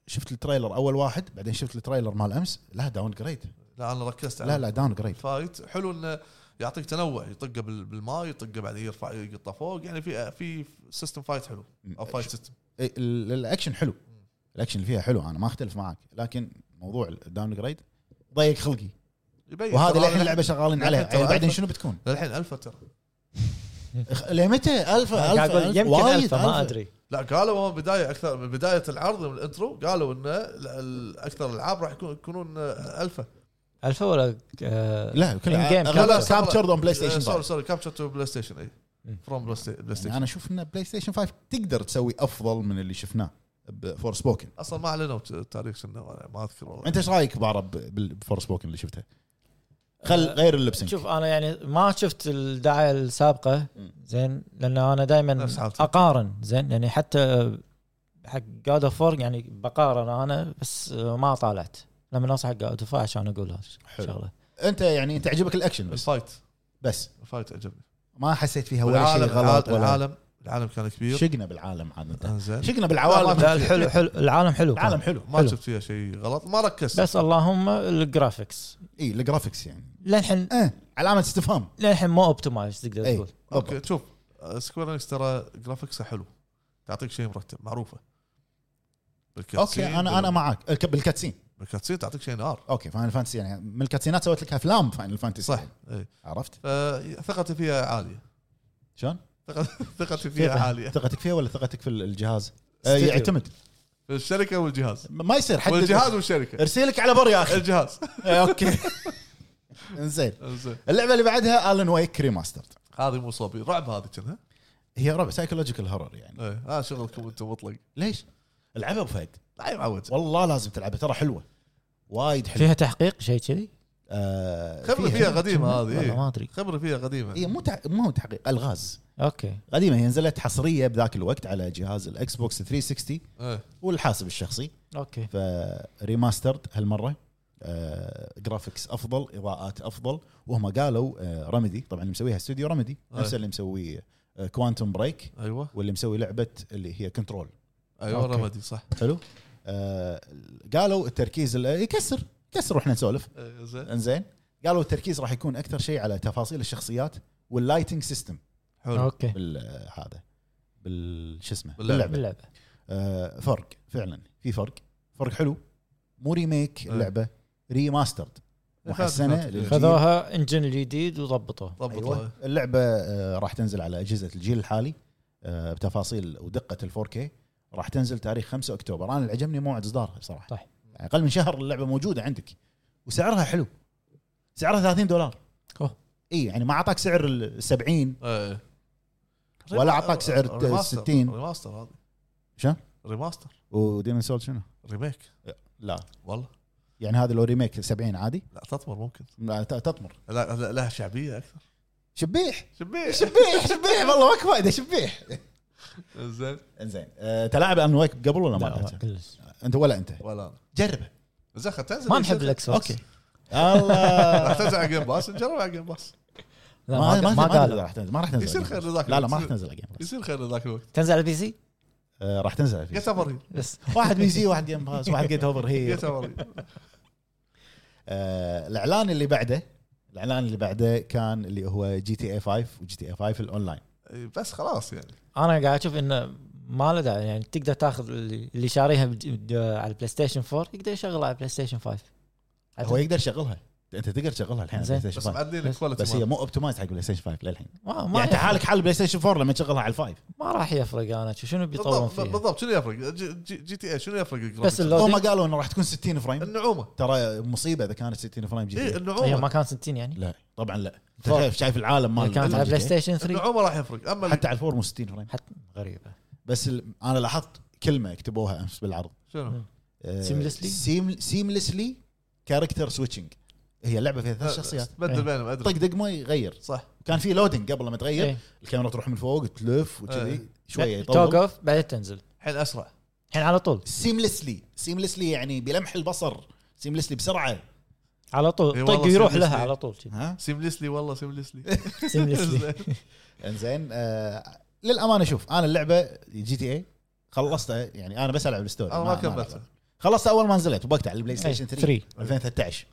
Speaker 1: شفت التريلر اول واحد بعدين شفت التريلر مال امس لا داون جريد
Speaker 2: لا انا ركزت على
Speaker 1: لا لا داون جريد
Speaker 2: فايت حلو انه يعطيك تنوع يطقه بال- بالماء يطقه بعدين يرفع يقطه فوق يعني في في سيستم فايت حلو او فايت سيستم
Speaker 1: إيه، ال- الاكشن حلو الاكشن اللي فيها حلو انا ما اختلف معك لكن موضوع الداون جريد ضيق خلقي
Speaker 2: يبين
Speaker 1: وهذا
Speaker 2: ترى
Speaker 1: اللي احنا
Speaker 2: للحين-
Speaker 1: اللعبه شغالين
Speaker 2: لكن
Speaker 1: عليها
Speaker 2: ترى
Speaker 1: يعني بعدين
Speaker 2: ألفا-
Speaker 1: شنو بتكون؟
Speaker 2: للحين الفا ترى
Speaker 1: إخ- لمتى الفا
Speaker 3: قاعد
Speaker 1: الفا
Speaker 3: اقول
Speaker 1: ألفا؟
Speaker 3: يمكن
Speaker 1: وايد
Speaker 3: الفا ما ادري
Speaker 2: لا قالوا هو بدايه اكثر من بدايه العرض من الانترو قالوا ان ال- ال- اكثر الالعاب راح يكون- يكونون آه، الفا
Speaker 3: الفا ولا آه،
Speaker 1: لا كل
Speaker 3: In game
Speaker 1: اغلبها
Speaker 2: capture.
Speaker 1: كابتشرد اون بلاي
Speaker 2: آه،
Speaker 1: ستيشن
Speaker 2: سوري
Speaker 1: 5
Speaker 2: سوري كابتشر تو بلاي ستيشن اي
Speaker 3: مم.
Speaker 2: فروم بلاي ستي- بلاي
Speaker 1: يعني
Speaker 2: ستيشن
Speaker 1: انا اشوف ان بلاي ستيشن 5 تقدر تسوي افضل من اللي شفناه بفور سبوكن
Speaker 2: اصلا ما اعلنوا ت- تاريخ شنو ما- ما اذكر والله
Speaker 1: انت ايش رايك بعرب بالفور سبوكن اللي شفته؟ خل غير اللبسنج
Speaker 3: شوف انا يعني ما شفت الدعايه السابقه
Speaker 1: مم.
Speaker 3: زين لان انا دائما
Speaker 2: نفس حالتي.
Speaker 3: اقارن زين يعني حتى حق جاد اوف يعني بقارن انا بس ما طالعت لما نصح جاد اوف عشان اقول هذا
Speaker 1: حلو.
Speaker 3: الشغله
Speaker 1: انت يعني انت عجبك الاكشن بس
Speaker 2: الفايت
Speaker 1: بس
Speaker 2: الفايت عجبني
Speaker 1: ما حسيت فيها ولا
Speaker 2: والعالم
Speaker 1: شيء غلط
Speaker 2: العالم,
Speaker 1: ولا
Speaker 2: العالم العالم كان كبير
Speaker 1: شقنا بالعالم عاده
Speaker 2: انزين
Speaker 1: شقنا
Speaker 2: لا،
Speaker 1: بالعوالم
Speaker 2: لا،
Speaker 3: لا الحلو حلو العالم حلو كان.
Speaker 1: العالم حلو
Speaker 2: ما
Speaker 3: حلو.
Speaker 2: شفت فيها شيء غلط ما ركزت
Speaker 3: بس اللهم الجرافكس
Speaker 1: اي الجرافكس يعني
Speaker 3: للحين
Speaker 1: اه علامه استفهام
Speaker 3: للحين مو اوبتمايز تقدر
Speaker 1: إي.
Speaker 3: تقول
Speaker 2: اوكي شوف سكوير انكس ترى جرافيكسها حلو تعطيك شيء مرتب معروفه
Speaker 1: اوكي انا انا معاك الك- بالكاتسين
Speaker 2: بالكاتسين تعطيك شيء نار
Speaker 1: اوكي فاينل فانتسي يعني من الكاتسينات سويت لك افلام فاينل فانتسي
Speaker 2: صح إيه.
Speaker 1: عرفت
Speaker 2: فثقتي فيها عاليه
Speaker 1: شلون؟
Speaker 2: ثقة- ثقتي فيها عاليه
Speaker 1: ثقتك فيها ولا ثقتك في الجهاز؟ آه
Speaker 2: استديو.
Speaker 1: يعتمد
Speaker 2: في الشركه والجهاز
Speaker 1: ما يصير حد
Speaker 2: والجهاز والشركه
Speaker 1: ارسلك على بر يا إيه، اخي
Speaker 2: الجهاز
Speaker 1: اوكي انزين
Speaker 2: زين.
Speaker 1: اللعبه اللي بعدها الن ويك ريماسترد
Speaker 2: هذه مو صبي رعب هذه كنا
Speaker 1: هي رعب سايكولوجيكال هورر يعني
Speaker 2: ايه هذا شغلكم انتم مطلق
Speaker 1: ليش؟ العبها ابو فهد
Speaker 2: لا يا معود
Speaker 1: والله لازم تلعبها ترى حلوه وايد حلوه
Speaker 3: فيها تحقيق شيء كذي
Speaker 1: آه
Speaker 2: خبرة فيها قديمة هذه
Speaker 3: والله
Speaker 2: إيه.
Speaker 3: ما ادري
Speaker 2: خبرة فيها قديمة
Speaker 1: هي مو تع... مو تحقيق الغاز
Speaker 3: اوكي
Speaker 1: قديمه هي نزلت حصريه بذاك الوقت على جهاز الاكس بوكس 360
Speaker 2: إيه.
Speaker 1: والحاسب الشخصي
Speaker 3: اوكي
Speaker 1: فريماسترد هالمره آه جرافيكس افضل اضاءات افضل وهم قالوا آه رمدي طبعا اللي مسويها استوديو رمدي نفس
Speaker 2: أي.
Speaker 1: اللي مسوي كوانتم بريك
Speaker 2: ايوه
Speaker 1: واللي مسوي لعبه اللي هي كنترول
Speaker 2: ايوه
Speaker 3: أوكي.
Speaker 2: رمدي صح
Speaker 1: حلو آه قالوا التركيز ال- يكسر يكسر واحنا نسولف
Speaker 2: إيه، زين
Speaker 1: انزين قالوا التركيز راح يكون اكثر شيء على تفاصيل الشخصيات واللايتنج سيستم
Speaker 2: حلو
Speaker 3: اوكي
Speaker 1: بال آه، هذا بال شو اسمه
Speaker 2: باللعبة.
Speaker 1: باللعبه
Speaker 3: باللعبه
Speaker 1: آه فرق فعلا في فرق فرق حلو مو ريميك اللعبه ريماسترد محسنه
Speaker 2: فاتت-
Speaker 1: للجيل.
Speaker 3: خذوها انجن الجديد وضبطوه
Speaker 1: أيوة.
Speaker 2: ضبطها
Speaker 1: اللعبه آه راح تنزل على اجهزه الجيل الحالي آه بتفاصيل ودقه ال 4K راح تنزل تاريخ 5 اكتوبر انا اللي عجبني موعد اصدارها بصراحه
Speaker 3: صح.
Speaker 1: يعني اقل من شهر اللعبه موجوده عندك وسعرها حلو سعرها 30 دولار
Speaker 3: أوه.
Speaker 1: اي يعني ما اعطاك سعر ال 70
Speaker 2: إيه.
Speaker 1: ولا أعطاك سعر
Speaker 2: ريماستر.
Speaker 1: 60.
Speaker 2: ريماستر هذه
Speaker 1: شنو؟
Speaker 2: ريماستر
Speaker 1: وديمن سول شنو؟
Speaker 2: ريميك
Speaker 1: لا
Speaker 2: والله
Speaker 1: يعني هذا لو ريميك 70 عادي
Speaker 2: لا تطمر ممكن
Speaker 1: لا ت- تطمر
Speaker 2: لا لا- لها شعبيه اكثر
Speaker 1: شبيح
Speaker 2: شبيش
Speaker 1: شبيح شبيح والله ماك فايده شبيح
Speaker 2: زين
Speaker 1: انزين أه تلاعب ان ويك قبل ولا ما
Speaker 3: لا،
Speaker 1: لعبتها؟
Speaker 3: كلش.
Speaker 1: انت ولا انت
Speaker 2: ولا أنا.
Speaker 1: جربه
Speaker 2: زين خل تنزل
Speaker 3: ما نحب الاكس بوكس
Speaker 1: اوكي الله
Speaker 2: راح تنزل على جيم باس نجرب على جيم باس
Speaker 3: لا ما, ما, ما
Speaker 1: نزل-
Speaker 3: قال
Speaker 1: راح تنزل ما راح تنزل
Speaker 2: يصير
Speaker 1: على
Speaker 2: خير
Speaker 1: Game Pass.
Speaker 2: ذاك
Speaker 1: لا لا ما راح
Speaker 2: يصير-
Speaker 1: تنزل على جيم Pass.
Speaker 2: يصير خير ذاك الوقت
Speaker 3: تنزل على البي سي
Speaker 1: أه، راح تنزل على
Speaker 2: جيت
Speaker 1: فيس.
Speaker 2: اوفر هيل
Speaker 3: بس
Speaker 1: واحد بي سي واحد جيم باس واحد جيت اوفر
Speaker 3: إيه.
Speaker 1: هي
Speaker 2: جيت اوفر هيل
Speaker 1: آه، الاعلان اللي بعده الاعلان اللي بعده كان اللي هو جي تي اي 5 وجي تي إيه اي 5 الاونلاين
Speaker 2: بس خلاص يعني
Speaker 3: انا قاعد اشوف انه ما له داعي يعني تقدر تاخذ اللي اللي شاريها بج- بد- على البلاي ستيشن 4 يقدر يشغلها على البلاي ستيشن 5
Speaker 1: هو يقدر يشغلها انت تقدر تشغلها الحين على
Speaker 3: زين.
Speaker 1: بلاي
Speaker 2: بس
Speaker 1: ستيشن 5
Speaker 2: معدلين
Speaker 3: بس-
Speaker 2: الكواليتي
Speaker 1: بس هي مو اوبتمايز حق بلاي ستيشن 5 للحين
Speaker 3: ما ما,
Speaker 1: يعني انت
Speaker 3: يفرق-
Speaker 1: حالك حال بلاي ستيشن 4 لما تشغلها على الفايف
Speaker 3: ما راح يفرق انا أشوف شنو بيطورون
Speaker 2: بالضبط
Speaker 3: فيها
Speaker 2: بالضبط شنو يفرق جي, جي- جي تي اي شنو يفرق الجرافيكس؟
Speaker 3: بس
Speaker 1: هم
Speaker 3: اللودينج
Speaker 1: قالوا انه راح تكون 60 فريم
Speaker 2: النعومه
Speaker 1: ترى مصيبه اذا كانت 60 فريم جي
Speaker 2: اي
Speaker 1: تي إيه.
Speaker 3: هي
Speaker 2: النعومه
Speaker 3: ما كان 60 يعني
Speaker 1: لا طبعا لا انت
Speaker 3: فرق.
Speaker 1: شايف شايف العالم مال
Speaker 3: هي كانت
Speaker 1: مال
Speaker 3: على
Speaker 1: GTA.
Speaker 3: بلاي ستيشن 3
Speaker 2: النعومه راح يفرق اما
Speaker 1: حتى على الفور مو 60 فريم
Speaker 3: حتى غريبه
Speaker 1: بس ال- انا لاحظت كلمه كتبوها امس بالعرض
Speaker 2: شنو؟
Speaker 1: آه،
Speaker 3: Seamlessly؟
Speaker 1: سيملسلي كاركتر سويتشنج هي اللعبه فيها ثلاث شخصيات
Speaker 2: بدل
Speaker 3: إيه.
Speaker 2: بينهم
Speaker 1: طق
Speaker 2: ادري
Speaker 1: دقمه يغير
Speaker 2: صح
Speaker 1: كان في لودنج قبل ما تغير
Speaker 3: إيه.
Speaker 1: الكاميرا تروح من فوق تلف وكذي
Speaker 2: إيه.
Speaker 1: شويه
Speaker 3: توقف
Speaker 1: يطول
Speaker 3: اوف بعدين تنزل
Speaker 2: الحين اسرع
Speaker 3: الحين على طول
Speaker 1: سيملسلي سيملسلي يعني بلمح البصر سيملسلي بسرعه
Speaker 3: على
Speaker 2: إي
Speaker 3: طول طق
Speaker 2: والله
Speaker 3: ويروح
Speaker 2: seamlessly.
Speaker 3: لها على طول كذي.
Speaker 1: ها
Speaker 2: سيمليسلي والله سيمليسلي
Speaker 3: seamlessly.
Speaker 1: انزين آه للامانه شوف انا اللعبه جي تي اي خلصتها يعني انا بس العب الستوري
Speaker 2: انا آه، ما كملتها
Speaker 1: خلصتها اول ما نزلت وقتها على البلاي
Speaker 3: إي،
Speaker 1: ستيشن 3
Speaker 3: 3
Speaker 1: 2013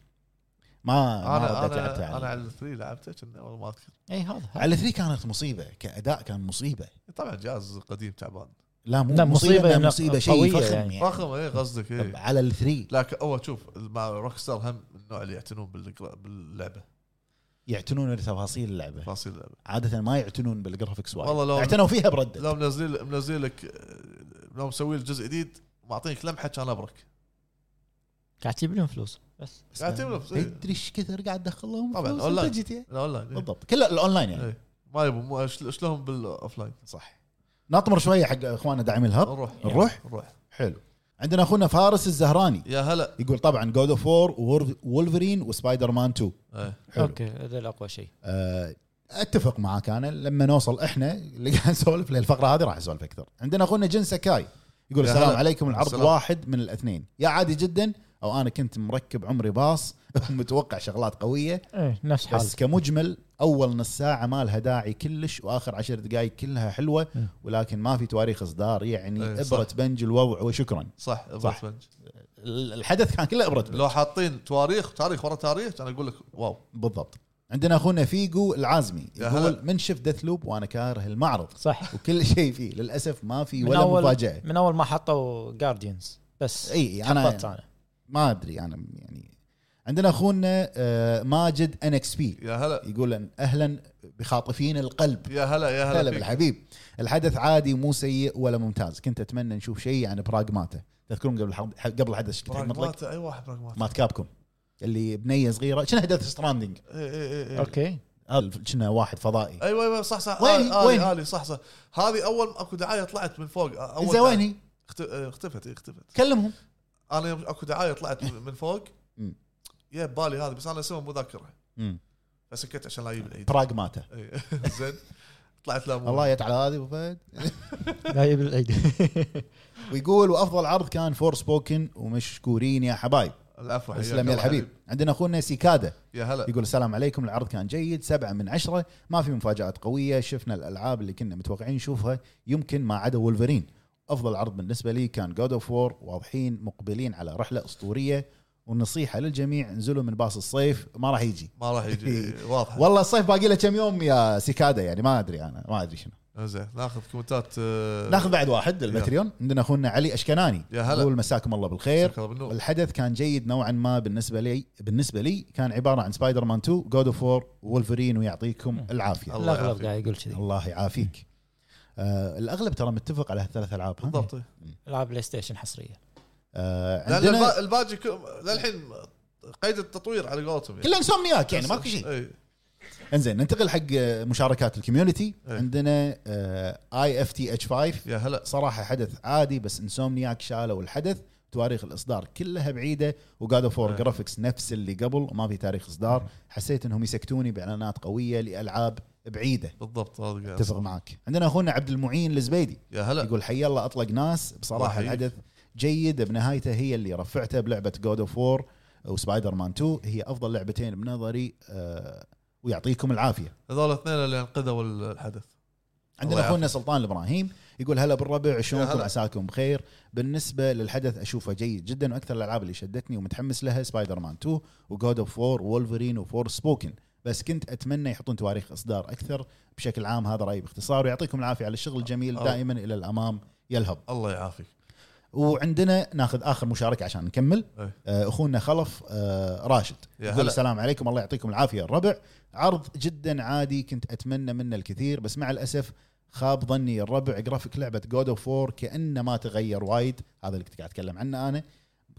Speaker 1: ما
Speaker 2: انا
Speaker 1: ما رديت لعبتها
Speaker 2: انا
Speaker 1: على
Speaker 2: انا على الثري لعبته كنا اول ما اذكر
Speaker 3: اي إيه، هذا
Speaker 1: على 3 كانت مصيبه كاداء كان مصيبه
Speaker 2: طبعا جهاز قديم تعبان
Speaker 1: لا مو
Speaker 3: لا،
Speaker 1: مصيبه
Speaker 3: مصيبة
Speaker 1: مصيبه,
Speaker 3: إنه
Speaker 1: مصيبة شيء
Speaker 3: قوية
Speaker 1: فخم يعني,
Speaker 3: يعني.
Speaker 2: فخم ايه قصدك
Speaker 1: طب
Speaker 2: ايه
Speaker 1: على الثري
Speaker 2: لكن هو شوف مع روك ستار هم من النوع اللي يعتنون بالجرا- باللعبه
Speaker 1: يعتنون بتفاصيل اللعبه
Speaker 2: تفاصيل اللعبه
Speaker 1: عاده ما يعتنون بالجرافكس وايد
Speaker 2: والله لو-
Speaker 1: اعتنوا فيها برده
Speaker 2: لو منزلين منزلين لك آه، لو مسوي لك جزء جديد معطينك لمحه كان ابرك
Speaker 3: قاعد تجيب لهم فلوس بس
Speaker 2: يعتبر نفس- إي.
Speaker 1: تدري ايش كثر قاعد دخل لهم
Speaker 2: إيه. طبعاً،
Speaker 1: فلوس
Speaker 2: أونلاين.
Speaker 1: أنت جي تي إيه؟
Speaker 2: لا والله
Speaker 1: بالضبط كله الاونلاين يعني
Speaker 2: إيه. ما يبون مو- شل- شلون بالاوفلاين
Speaker 1: صح نطمر شويه حق اخواننا داعمين الهب
Speaker 2: نروح
Speaker 1: نروح؟
Speaker 2: نروح
Speaker 1: حلو عندنا اخونا فارس الزهراني
Speaker 2: يا هلا
Speaker 1: يقول طبعا جود اوف وور وولفرين وسبايدر مان 2
Speaker 2: إيه.
Speaker 1: حلو.
Speaker 3: اوكي هذا الاقوى شيء
Speaker 1: أه، اتفق معاك انا لما نوصل احنا اللي قاعد نسولف للفقره هذه راح نسولف اكثر عندنا اخونا جن سكاي يقول
Speaker 2: يا
Speaker 1: السلام
Speaker 2: هلا.
Speaker 1: عليكم العرض
Speaker 2: السلام.
Speaker 1: واحد من الاثنين يا عادي جدا او انا كنت مركب عمري باص ومتوقع شغلات قويه
Speaker 3: ايه نفس حالك
Speaker 1: بس كمجمل اول نص ساعه ما لها داعي كلش واخر عشر دقائق كلها حلوه
Speaker 3: م.
Speaker 1: ولكن ما في تواريخ اصدار يعني
Speaker 2: إيه، صح.
Speaker 1: ابره بنج الوضع وشكرا
Speaker 2: صح
Speaker 1: صح.
Speaker 2: صح بنج
Speaker 1: الحدث كان كله ابره بنج
Speaker 2: لو حاطين تواريخ تاريخ ورا تاريخ انا اقول لك واو
Speaker 1: بالضبط عندنا اخونا فيجو العازمي
Speaker 2: يا هلا.
Speaker 1: يقول من شفت ديث لوب وانا كاره المعرض
Speaker 3: صح
Speaker 1: وكل شيء فيه للاسف ما في
Speaker 3: من
Speaker 1: ولا
Speaker 3: أول-
Speaker 1: مفاجاه
Speaker 3: من اول ما حطوا جارديانز بس
Speaker 1: اي إي،
Speaker 3: حبطت
Speaker 1: انا ما ادري انا يعني عندنا اخونا آه، ماجد ان اكس بي
Speaker 2: يا هلا
Speaker 1: يقول أن اهلا بخاطفين القلب
Speaker 2: يا هلا يا
Speaker 1: هلا
Speaker 2: هلا فيك.
Speaker 1: بالحبيب الحدث عادي مو سيء ولا ممتاز كنت اتمنى نشوف شيء عن براغماتا تذكرون قبل الحض... قبل الحدث إيش كنت مطلق
Speaker 2: براغماتا اي واحد براغماتا
Speaker 1: مات كابكم اللي بنيه صغيره شنو ديث ستراندنج
Speaker 2: اي اي اي اي
Speaker 3: اوكي
Speaker 1: شنو واحد فضائي
Speaker 2: ايوه ايوه صح صح
Speaker 1: وين-
Speaker 2: إيه، وين آلي
Speaker 1: وين؟
Speaker 2: وين آلي صح صح هذه اول اكو دعايه طلعت من فوق اول
Speaker 1: زين
Speaker 2: دعاية.
Speaker 1: وين هي؟
Speaker 2: اخت- آه، اختفت إي، اختفت
Speaker 1: كلمهم
Speaker 2: انا يوم اكو دعايه طلعت
Speaker 1: إيه.
Speaker 2: من من فوق
Speaker 1: مم.
Speaker 2: يا ببالي هذه بس انا اسمها مو ذاكرها فسكت عشان لا اجيب العيد
Speaker 1: براغماتا
Speaker 2: إي، زين طلعت لا مو
Speaker 1: الله يت على هذه أبو فهد
Speaker 3: جايب العيد
Speaker 1: ويقول وافضل عرض كان فور سبوكن ومشكورين يا حبايب
Speaker 2: العفو حياك
Speaker 1: اسلم يا
Speaker 2: الله
Speaker 1: الحبيب عندنا اخونا سيكادا
Speaker 2: يا هلا
Speaker 1: يقول السلام عليكم العرض كان جيد سبعة من عشرة ما في مفاجآت قوية شفنا الألعاب اللي كنا متوقعين نشوفها يمكن ما عدا وولفرين أفضل عرض بالنسبة لي كان جود اوف وور واضحين مقبلين على رحلة أسطورية والنصيحة للجميع انزلوا من باص الصيف ما راح يجي
Speaker 2: ما راح
Speaker 1: إيه.
Speaker 2: يجي واضحه
Speaker 1: والله الصيف باقي له كم يوم يا سيكادا يعني ما ادري انا ما ادري شنو
Speaker 2: إيه، زين ناخذ كومنتات آه،
Speaker 1: ناخذ بعد واحد البتريون عندنا اخونا علي اشكناني
Speaker 2: يا هلا.
Speaker 1: يقول مساكم الله بالخير
Speaker 2: شكرا بالنور.
Speaker 1: الحدث كان جيد نوعا ما بالنسبه لي بالنسبه لي كان عباره عن سبايدر مان 2 جود اوف وور وولفرين ويعطيكم العافيه
Speaker 2: الله
Speaker 3: الاغلب
Speaker 2: يعافيك.
Speaker 3: قاعد يقول كذي
Speaker 1: الله يعافيك آه الاغلب ترى متفق على هالثلاث العاب ها؟
Speaker 2: بالضبط إي.
Speaker 3: العاب بلاي ستيشن حصريه
Speaker 1: آه
Speaker 2: لان البا-
Speaker 1: عندنا
Speaker 2: الباجي كل- للحين قيد التطوير على قولتهم يعني إيه.
Speaker 1: كلها انسومنياك يعني ماكو شيء
Speaker 2: إي.
Speaker 1: انزين ننتقل حق آه، مشاركات الكوميونتي
Speaker 2: إيه.
Speaker 1: عندنا آه، اي اف تي اتش 5
Speaker 2: يا هلا
Speaker 1: صراحه حدث عادي بس انسومنياك شالوا الحدث تواريخ الاصدار كلها بعيده وجاد اوف وور
Speaker 2: أه.
Speaker 1: جرافيكس نفس اللي قبل وما في تاريخ اصدار حسيت انهم يسكتوني باعلانات قويه لالعاب بعيده
Speaker 2: بالضبط هذا قاعد.
Speaker 1: اتفق معك عندنا اخونا عبد المعين الزبيدي
Speaker 2: يا هلا
Speaker 1: يقول حي الله اطلق ناس بصراحه
Speaker 2: الله يحييك.
Speaker 1: الحدث جيد بنهايته هي اللي رفعته بلعبه جود اوف وور وسبايدر مان 2 هي افضل لعبتين بنظري آه، ويعطيكم العافيه
Speaker 2: هذول الاثنين اللي انقذوا الحدث
Speaker 1: عندنا
Speaker 2: الله
Speaker 1: اخونا سلطان الابراهيم يقول هلا بالربع شلونكم
Speaker 2: هلا.
Speaker 1: عساكم بخير بالنسبه للحدث اشوفه جيد جدا واكثر الالعاب اللي شدتني ومتحمس لها سبايدر مان 2 وجود اوف 4 وولفرين وفور سبوكن بس كنت اتمنى يحطون تواريخ اصدار اكثر بشكل عام هذا رايي باختصار ويعطيكم العافيه على الشغل الجميل
Speaker 2: أو-
Speaker 1: دائما الى الامام يلهب
Speaker 2: الله يعافيك
Speaker 1: وعندنا ناخذ اخر مشاركه عشان نكمل
Speaker 2: إيه.
Speaker 1: آه، اخونا خلف آه، راشد
Speaker 2: يا
Speaker 1: يقول
Speaker 2: هلا.
Speaker 1: السلام عليكم الله يعطيكم العافيه الربع عرض جدا عادي كنت اتمنى منه الكثير بس مع الاسف خاب ظني الربع جرافيك لعبه جود اوف 4 كانه ما تغير وايد هذا اللي كنت قاعد اتكلم عنه انا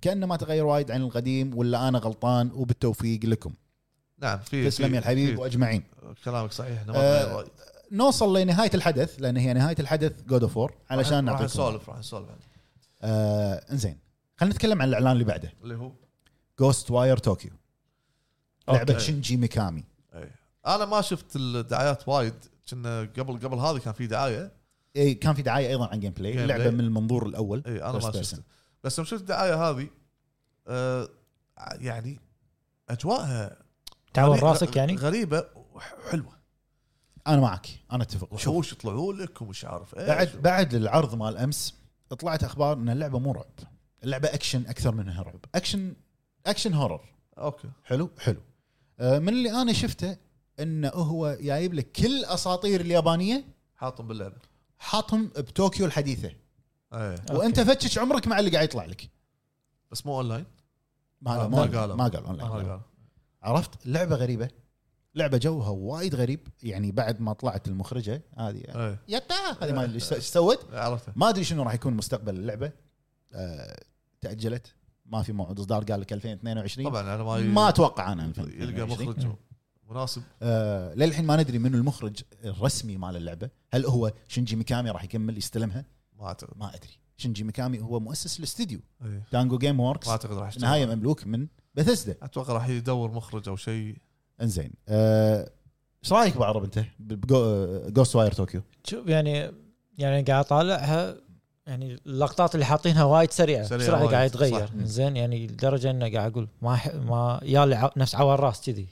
Speaker 1: كانه ما تغير وايد عن القديم ولا انا غلطان وبالتوفيق لكم
Speaker 2: نعم في
Speaker 1: تسلم
Speaker 2: في-
Speaker 1: يا الحبيب
Speaker 2: في-
Speaker 1: واجمعين
Speaker 2: كلامك صحيح إحنا ما
Speaker 1: آه،
Speaker 2: تغير وايد.
Speaker 1: نوصل لنهايه الحدث لان هي نهايه الحدث جود اوف 4
Speaker 2: راح-
Speaker 1: علشان
Speaker 2: راح
Speaker 1: نعطيكم
Speaker 2: نسولف راح نسولف عنه.
Speaker 1: آه انزين خلينا نتكلم عن الاعلان اللي بعده
Speaker 2: اللي هو
Speaker 1: جوست واير طوكيو لعبه
Speaker 2: أوكي.
Speaker 1: شنجي ميكامي
Speaker 2: أي. انا ما شفت الدعايات وايد كنا قبل قبل هذه كان في دعايه
Speaker 1: إيه، كان في دعايه ايضا عن جيم بلاي
Speaker 2: Game
Speaker 1: لعبه
Speaker 2: play.
Speaker 1: من المنظور الاول
Speaker 2: اي انا إيه، ما
Speaker 1: First person.
Speaker 2: شفت بس لما شفت الدعايه هذه آه يعني اجواءها
Speaker 3: تعور
Speaker 2: غريبة-
Speaker 3: راسك يعني
Speaker 2: غريبه وحلوه
Speaker 1: انا معك انا اتفق شوف
Speaker 2: وحوش يطلعوا لك ومش عارف ايش
Speaker 1: بعد بعد العرض مال امس طلعت اخبار ان اللعبه مو رعب اللعبه اكشن اكثر من رعب اكشن اكشن هورر
Speaker 2: اوكي
Speaker 1: حلو حلو آه، من اللي انا شفته انه هو جايب لك كل اساطير اليابانيه
Speaker 2: حاطهم باللعبه
Speaker 1: حاطهم بطوكيو الحديثه
Speaker 2: اي
Speaker 3: أوكي.
Speaker 1: وانت فتش عمرك مع اللي قاعد يطلع لك
Speaker 2: إيه، بس مو اونلاين
Speaker 1: ما
Speaker 2: آه،
Speaker 1: لا،
Speaker 2: ما
Speaker 1: ما قال
Speaker 2: قالوا.
Speaker 1: ما قال
Speaker 2: ما
Speaker 1: أونلاين.
Speaker 2: قالوا.
Speaker 1: عرفت لعبه غريبه لعبه جوها وايد غريب يعني بعد ما طلعت المخرجه هذه
Speaker 2: اي
Speaker 1: يتا هذه ما ادري ايش سوت
Speaker 2: إيه. عرفته
Speaker 1: يعني. ما ادري شنو راح يكون مستقبل اللعبه آه تاجلت ما في موعد اصدار قال لك 2022
Speaker 2: طبعا انا ما
Speaker 1: ما يعني، اتوقع انا
Speaker 2: يلقى
Speaker 1: 2022
Speaker 2: مخرج مناسب
Speaker 1: آه للحين ما ندري منو المخرج الرسمي مال اللعبه هل هو شنجي ميكامي راح يكمل يستلمها
Speaker 2: ما اعتقد
Speaker 1: ما ادري شنجي ميكامي هو مؤسس الاستديو
Speaker 2: إيه.
Speaker 1: تانجو جيم ووركس
Speaker 2: ما اعتقد راح يشتغل.
Speaker 1: نهايه مملوك من بثسدا
Speaker 2: اتوقع راح يدور مخرج او شيء
Speaker 1: انزين ايش آه إيش رايك بعرب انت بجوست واير طوكيو
Speaker 3: شوف يعني يعني قاعد اطالعها يعني اللقطات اللي حاطينها وايد سريعه
Speaker 2: سريعة
Speaker 3: بسرعه
Speaker 2: وايد،
Speaker 3: قاعد يتغير
Speaker 2: صح.
Speaker 3: زين يعني لدرجه انه قاعد اقول ما ح... ما يا لي ع- نفس عور راس كذي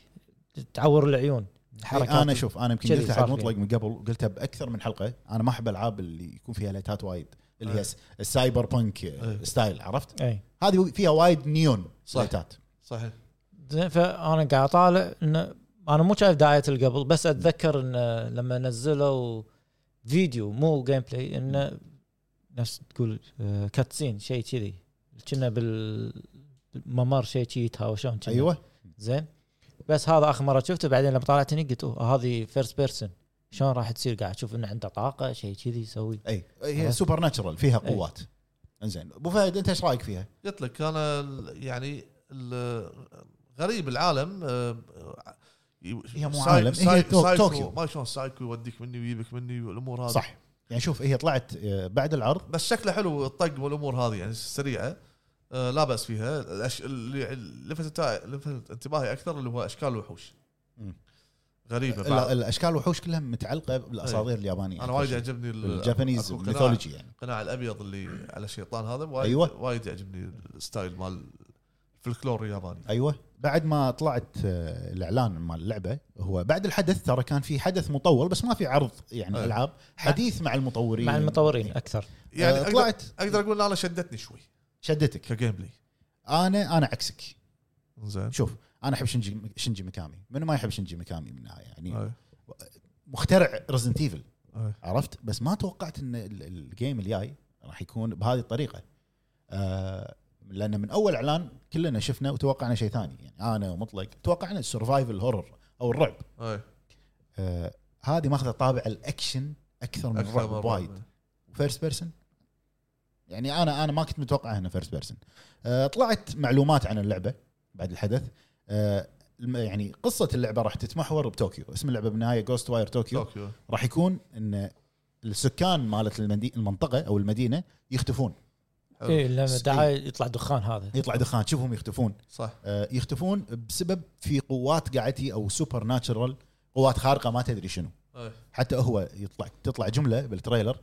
Speaker 3: تعور العيون حركات
Speaker 1: انا شوف انا يمكن
Speaker 3: كذي
Speaker 1: قلت
Speaker 3: صار
Speaker 1: حق
Speaker 3: فيها.
Speaker 1: مطلق من قبل قلتها باكثر من حلقه انا ما احب العاب اللي يكون فيها ليتات وايد اللي هي
Speaker 2: أي.
Speaker 1: س- السايبر بانك آه،
Speaker 2: أي.
Speaker 1: ستايل عرفت
Speaker 3: اي
Speaker 1: هذه فيها وايد نيون
Speaker 2: صح.
Speaker 1: ليتات
Speaker 2: صحيح
Speaker 3: زين، فانا قاعد اطالع انه انا مو شايف دعايه القبل بس اتذكر انه لما نزلوا فيديو مو جيم بلاي انه نفس تقول آه، كاتسين شيء كذي كنا بالممر شيء كذي يتهاوشون كنا.
Speaker 2: أيوة.
Speaker 1: ايوه
Speaker 3: زين بس هذا اخر مره شفته بعدين لما طالعتني قلت اوه هذه فيرست بيرسون شلون راح تصير قاعد اشوف انه عنده طاقه شيء كذي يسوي
Speaker 1: اي هي
Speaker 3: عرفت؟
Speaker 1: سوبر ناتشرال فيها
Speaker 3: أي.
Speaker 1: قوات انزين ابو فهد انت ايش رايك فيها؟
Speaker 2: قلت لك انا ال- يعني ال- غريب العالم آه، آه، ي-
Speaker 1: هي مو
Speaker 2: ساي-
Speaker 1: عالم، هي
Speaker 2: ساي-
Speaker 1: تو-
Speaker 2: سايكو،
Speaker 1: طوكيو.
Speaker 2: ما شلون سايكو يوديك مني ويجيبك مني والامور هذه
Speaker 1: صح يعني شوف هي طلعت آه، بعد العرض
Speaker 2: بس شكله حلو الطق والامور هذه يعني سريعه آه، لا باس فيها الأش... اللي اللي لفت لفت انتباهي اكثر اللي هو اشكال الوحوش
Speaker 1: مم.
Speaker 2: غريبه
Speaker 1: ال-
Speaker 2: بعض.
Speaker 1: الاشكال والوحوش كلها متعلقه بالاساطير اليابانيه
Speaker 2: انا وايد يعجبني ال-
Speaker 1: يعني الجابانيز
Speaker 2: أكو قناع-
Speaker 1: ميثولوجي يعني
Speaker 2: القناع الابيض اللي على الشيطان هذا وايد
Speaker 1: أيوة.
Speaker 2: أيوة. وايد يعجبني الستايل مال الفلكلور الياباني
Speaker 1: ايوه بعد ما طلعت آه، الاعلان مال اللعبه هو بعد الحدث ترى كان في حدث مطول بس ما في عرض يعني
Speaker 2: أي.
Speaker 1: العاب حديث مع المطورين
Speaker 3: مع المطورين
Speaker 1: أي.
Speaker 3: اكثر
Speaker 2: يعني
Speaker 1: آه،
Speaker 2: أقدر,
Speaker 1: طلعت
Speaker 2: اقدر اقول إن انا شدتني شوي
Speaker 1: شدتك
Speaker 2: كجيم بلاي
Speaker 1: انا انا عكسك
Speaker 2: زين
Speaker 1: شوف انا احب شنجي شنجي مكامي من ما يحب شنجي مكامي بالنهايه يعني
Speaker 2: أي.
Speaker 1: مخترع ريزنت ايفل
Speaker 2: أي.
Speaker 1: عرفت بس ما توقعت ان ال- الجيم الجاي راح يكون بهذه الطريقه آه لان من اول اعلان كلنا شفنا وتوقعنا شيء ثاني يعني انا ومطلق توقعنا السرفايفل هورر او الرعب
Speaker 2: أي.
Speaker 1: آه هذه ماخذه طابع الاكشن اكثر من
Speaker 2: أكثر
Speaker 1: الرعب
Speaker 2: مرة.
Speaker 1: وايد فيرست بيرسون يعني انا انا ما كنت متوقع انه فيرست بيرسون آه طلعت معلومات عن اللعبه بعد الحدث آه الم- يعني قصه اللعبه راح تتمحور بطوكيو اسم اللعبه بالنهايه جوست واير طوكيو
Speaker 2: طوكيو
Speaker 1: راح يكون ان السكان مالت المندي- المنطقه او المدينه يختفون
Speaker 2: حلو.
Speaker 3: إيه لما
Speaker 1: صحيح.
Speaker 3: دعايه يطلع دخان هذا
Speaker 1: يطلع دخان تشوفهم يختفون
Speaker 2: صح
Speaker 1: آه، يختفون بسبب في قوات قاعتي او سوبر ناتشرال قوات خارقه ما تدري شنو
Speaker 2: أي.
Speaker 1: حتى هو يطلع تطلع جمله بالتريلر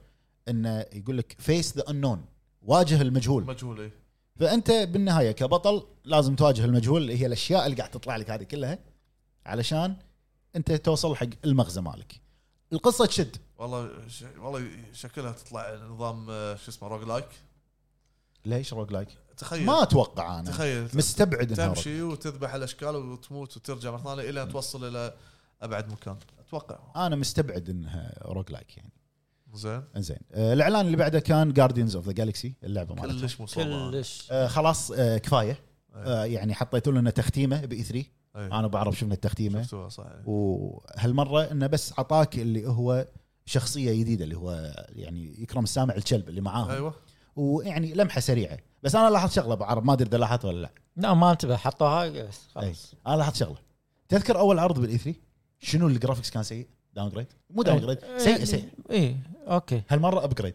Speaker 1: انه يقول لك فيس ذا انون واجه المجهول
Speaker 2: مجهول اي
Speaker 1: فانت بالنهايه كبطل لازم تواجه المجهول اللي هي الاشياء اللي قاعد تطلع لك هذه كلها علشان انت توصل حق المغزى مالك القصه تشد
Speaker 2: والله ش... والله شكلها تطلع نظام آه، شو اسمه روج لايك
Speaker 1: ليش روج لايك؟
Speaker 2: تخيل
Speaker 1: ما اتوقع انا
Speaker 2: تخيل
Speaker 1: مستبعد إنها roguelike.
Speaker 2: تمشي وتذبح الاشكال وتموت وترجع مره ثانيه الى ان توصل الى ابعد مكان اتوقع
Speaker 1: انا مستبعد انها روج لايك يعني
Speaker 2: زين
Speaker 1: انزين آه، الاعلان اللي بعده كان جاردينز اوف ذا جالكسي اللعبه مالتها
Speaker 2: كلش مصوبه
Speaker 3: كلش
Speaker 1: آه، خلاص آه، كفايه
Speaker 2: أي.
Speaker 1: آه، يعني حطيتوا لنا تختيمه باي 3
Speaker 2: أي.
Speaker 1: انا بعرف شفنا التختيمه
Speaker 2: شفتوها صح أي.
Speaker 1: وهالمره انه بس عطاك اللي هو شخصيه جديده اللي هو يعني يكرم السامع الكلب اللي معاهم
Speaker 2: ايوه
Speaker 1: ويعني لمحه سريعه بس انا لاحظت شغله ابو عرب ما ادري اذا لاحظت ولا لا
Speaker 3: لا ما انتبه حطوها خلاص
Speaker 1: انا لاحظت شغله تذكر اول عرض بالاي 3 شنو الجرافكس كان سيء داون جريد مو داون
Speaker 3: إيه.
Speaker 1: جريد سيء سيء
Speaker 3: اي اوكي
Speaker 1: هالمره ابجريد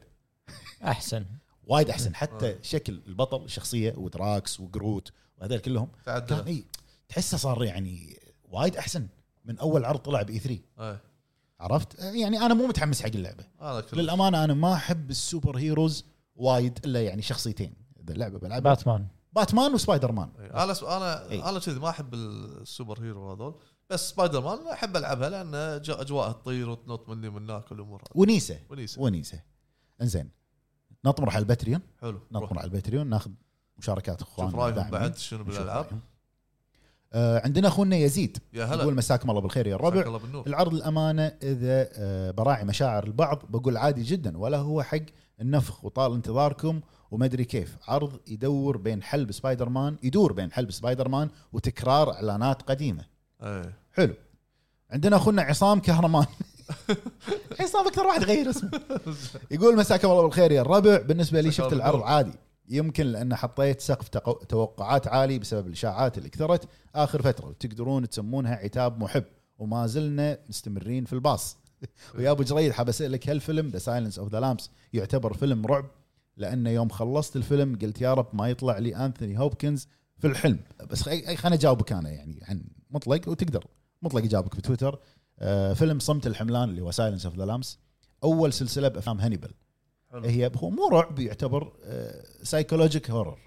Speaker 3: احسن
Speaker 1: وايد احسن حتى
Speaker 2: آه.
Speaker 1: شكل البطل الشخصيه ودراكس وجروت وهذول كلهم كان
Speaker 2: تعدل
Speaker 1: اي تحسه صار يعني وايد احسن من اول عرض طلع باي 3
Speaker 2: اي
Speaker 1: عرفت آه، يعني انا مو متحمس حق اللعبه
Speaker 2: انا كل
Speaker 1: للامانه انا ما احب السوبر هيروز وايد الا يعني شخصيتين اذا اللعبه بلعبها
Speaker 3: باتمان
Speaker 1: باتمان وسبايدر مان
Speaker 2: أي. انا طيب. س... انا
Speaker 1: أي.
Speaker 2: انا كذي ما احب السوبر هيرو هذول بس سبايدر مان احب العبها لان ج- اجواءها تطير وتنط مني من هناك والامور هذه
Speaker 1: ونيسه
Speaker 2: ونيسه
Speaker 1: ونيسه انزين نطمر على الباتريون
Speaker 2: حلو
Speaker 1: نطمر
Speaker 2: روح.
Speaker 1: على الباتريون ناخذ مشاركات
Speaker 2: شوف
Speaker 1: اخواننا
Speaker 2: رايهم
Speaker 1: وداعمين.
Speaker 2: بعد شنو
Speaker 1: نشوف
Speaker 2: بالالعاب
Speaker 1: رأيهم. آه عندنا اخونا يزيد
Speaker 2: يا هلا
Speaker 1: يقول مساكم الله بالخير يا
Speaker 2: مساك
Speaker 1: الربع
Speaker 2: الله بالنور
Speaker 1: العرض الامانه اذا آه، براعي مشاعر البعض بقول عادي جدا ولا هو حق النفخ وطال انتظاركم وما ادري كيف عرض يدور بين حلب سبايدر مان يدور بين حلب سبايدر مان وتكرار اعلانات قديمه
Speaker 2: أي.
Speaker 1: حلو عندنا اخونا عصام كهرمان عصام اكثر واحد غير اسمه يقول مساكم الله بالخير يا الربع بالنسبه لي
Speaker 2: مساك
Speaker 1: شفت
Speaker 2: الله
Speaker 1: العرض
Speaker 2: بالنور.
Speaker 1: عادي يمكن لان حطيت سقف تقو- توقعات عالي بسبب الاشاعات اللي كثرت اخر فتره وتقدرون تسمونها عتاب محب وما زلنا مستمرين في الباص ويا ابو جريد حاب اسالك هالفيلم ذا سايلنس اوف ذا لامبس يعتبر فيلم رعب لانه يوم خلصت الفيلم قلت يا رب ما يطلع لي انثوني هوبكنز في الحلم بس خليني اجاوبك انا يعني عن مطلق وتقدر مطلق يجاوبك في تويتر آه فيلم صمت الحملان اللي هو سايلنس اوف ذا لامس اول سلسله بافلام هانيبال
Speaker 2: حلو.
Speaker 1: هي هو مو رعب يعتبر سايكولوجيك هورر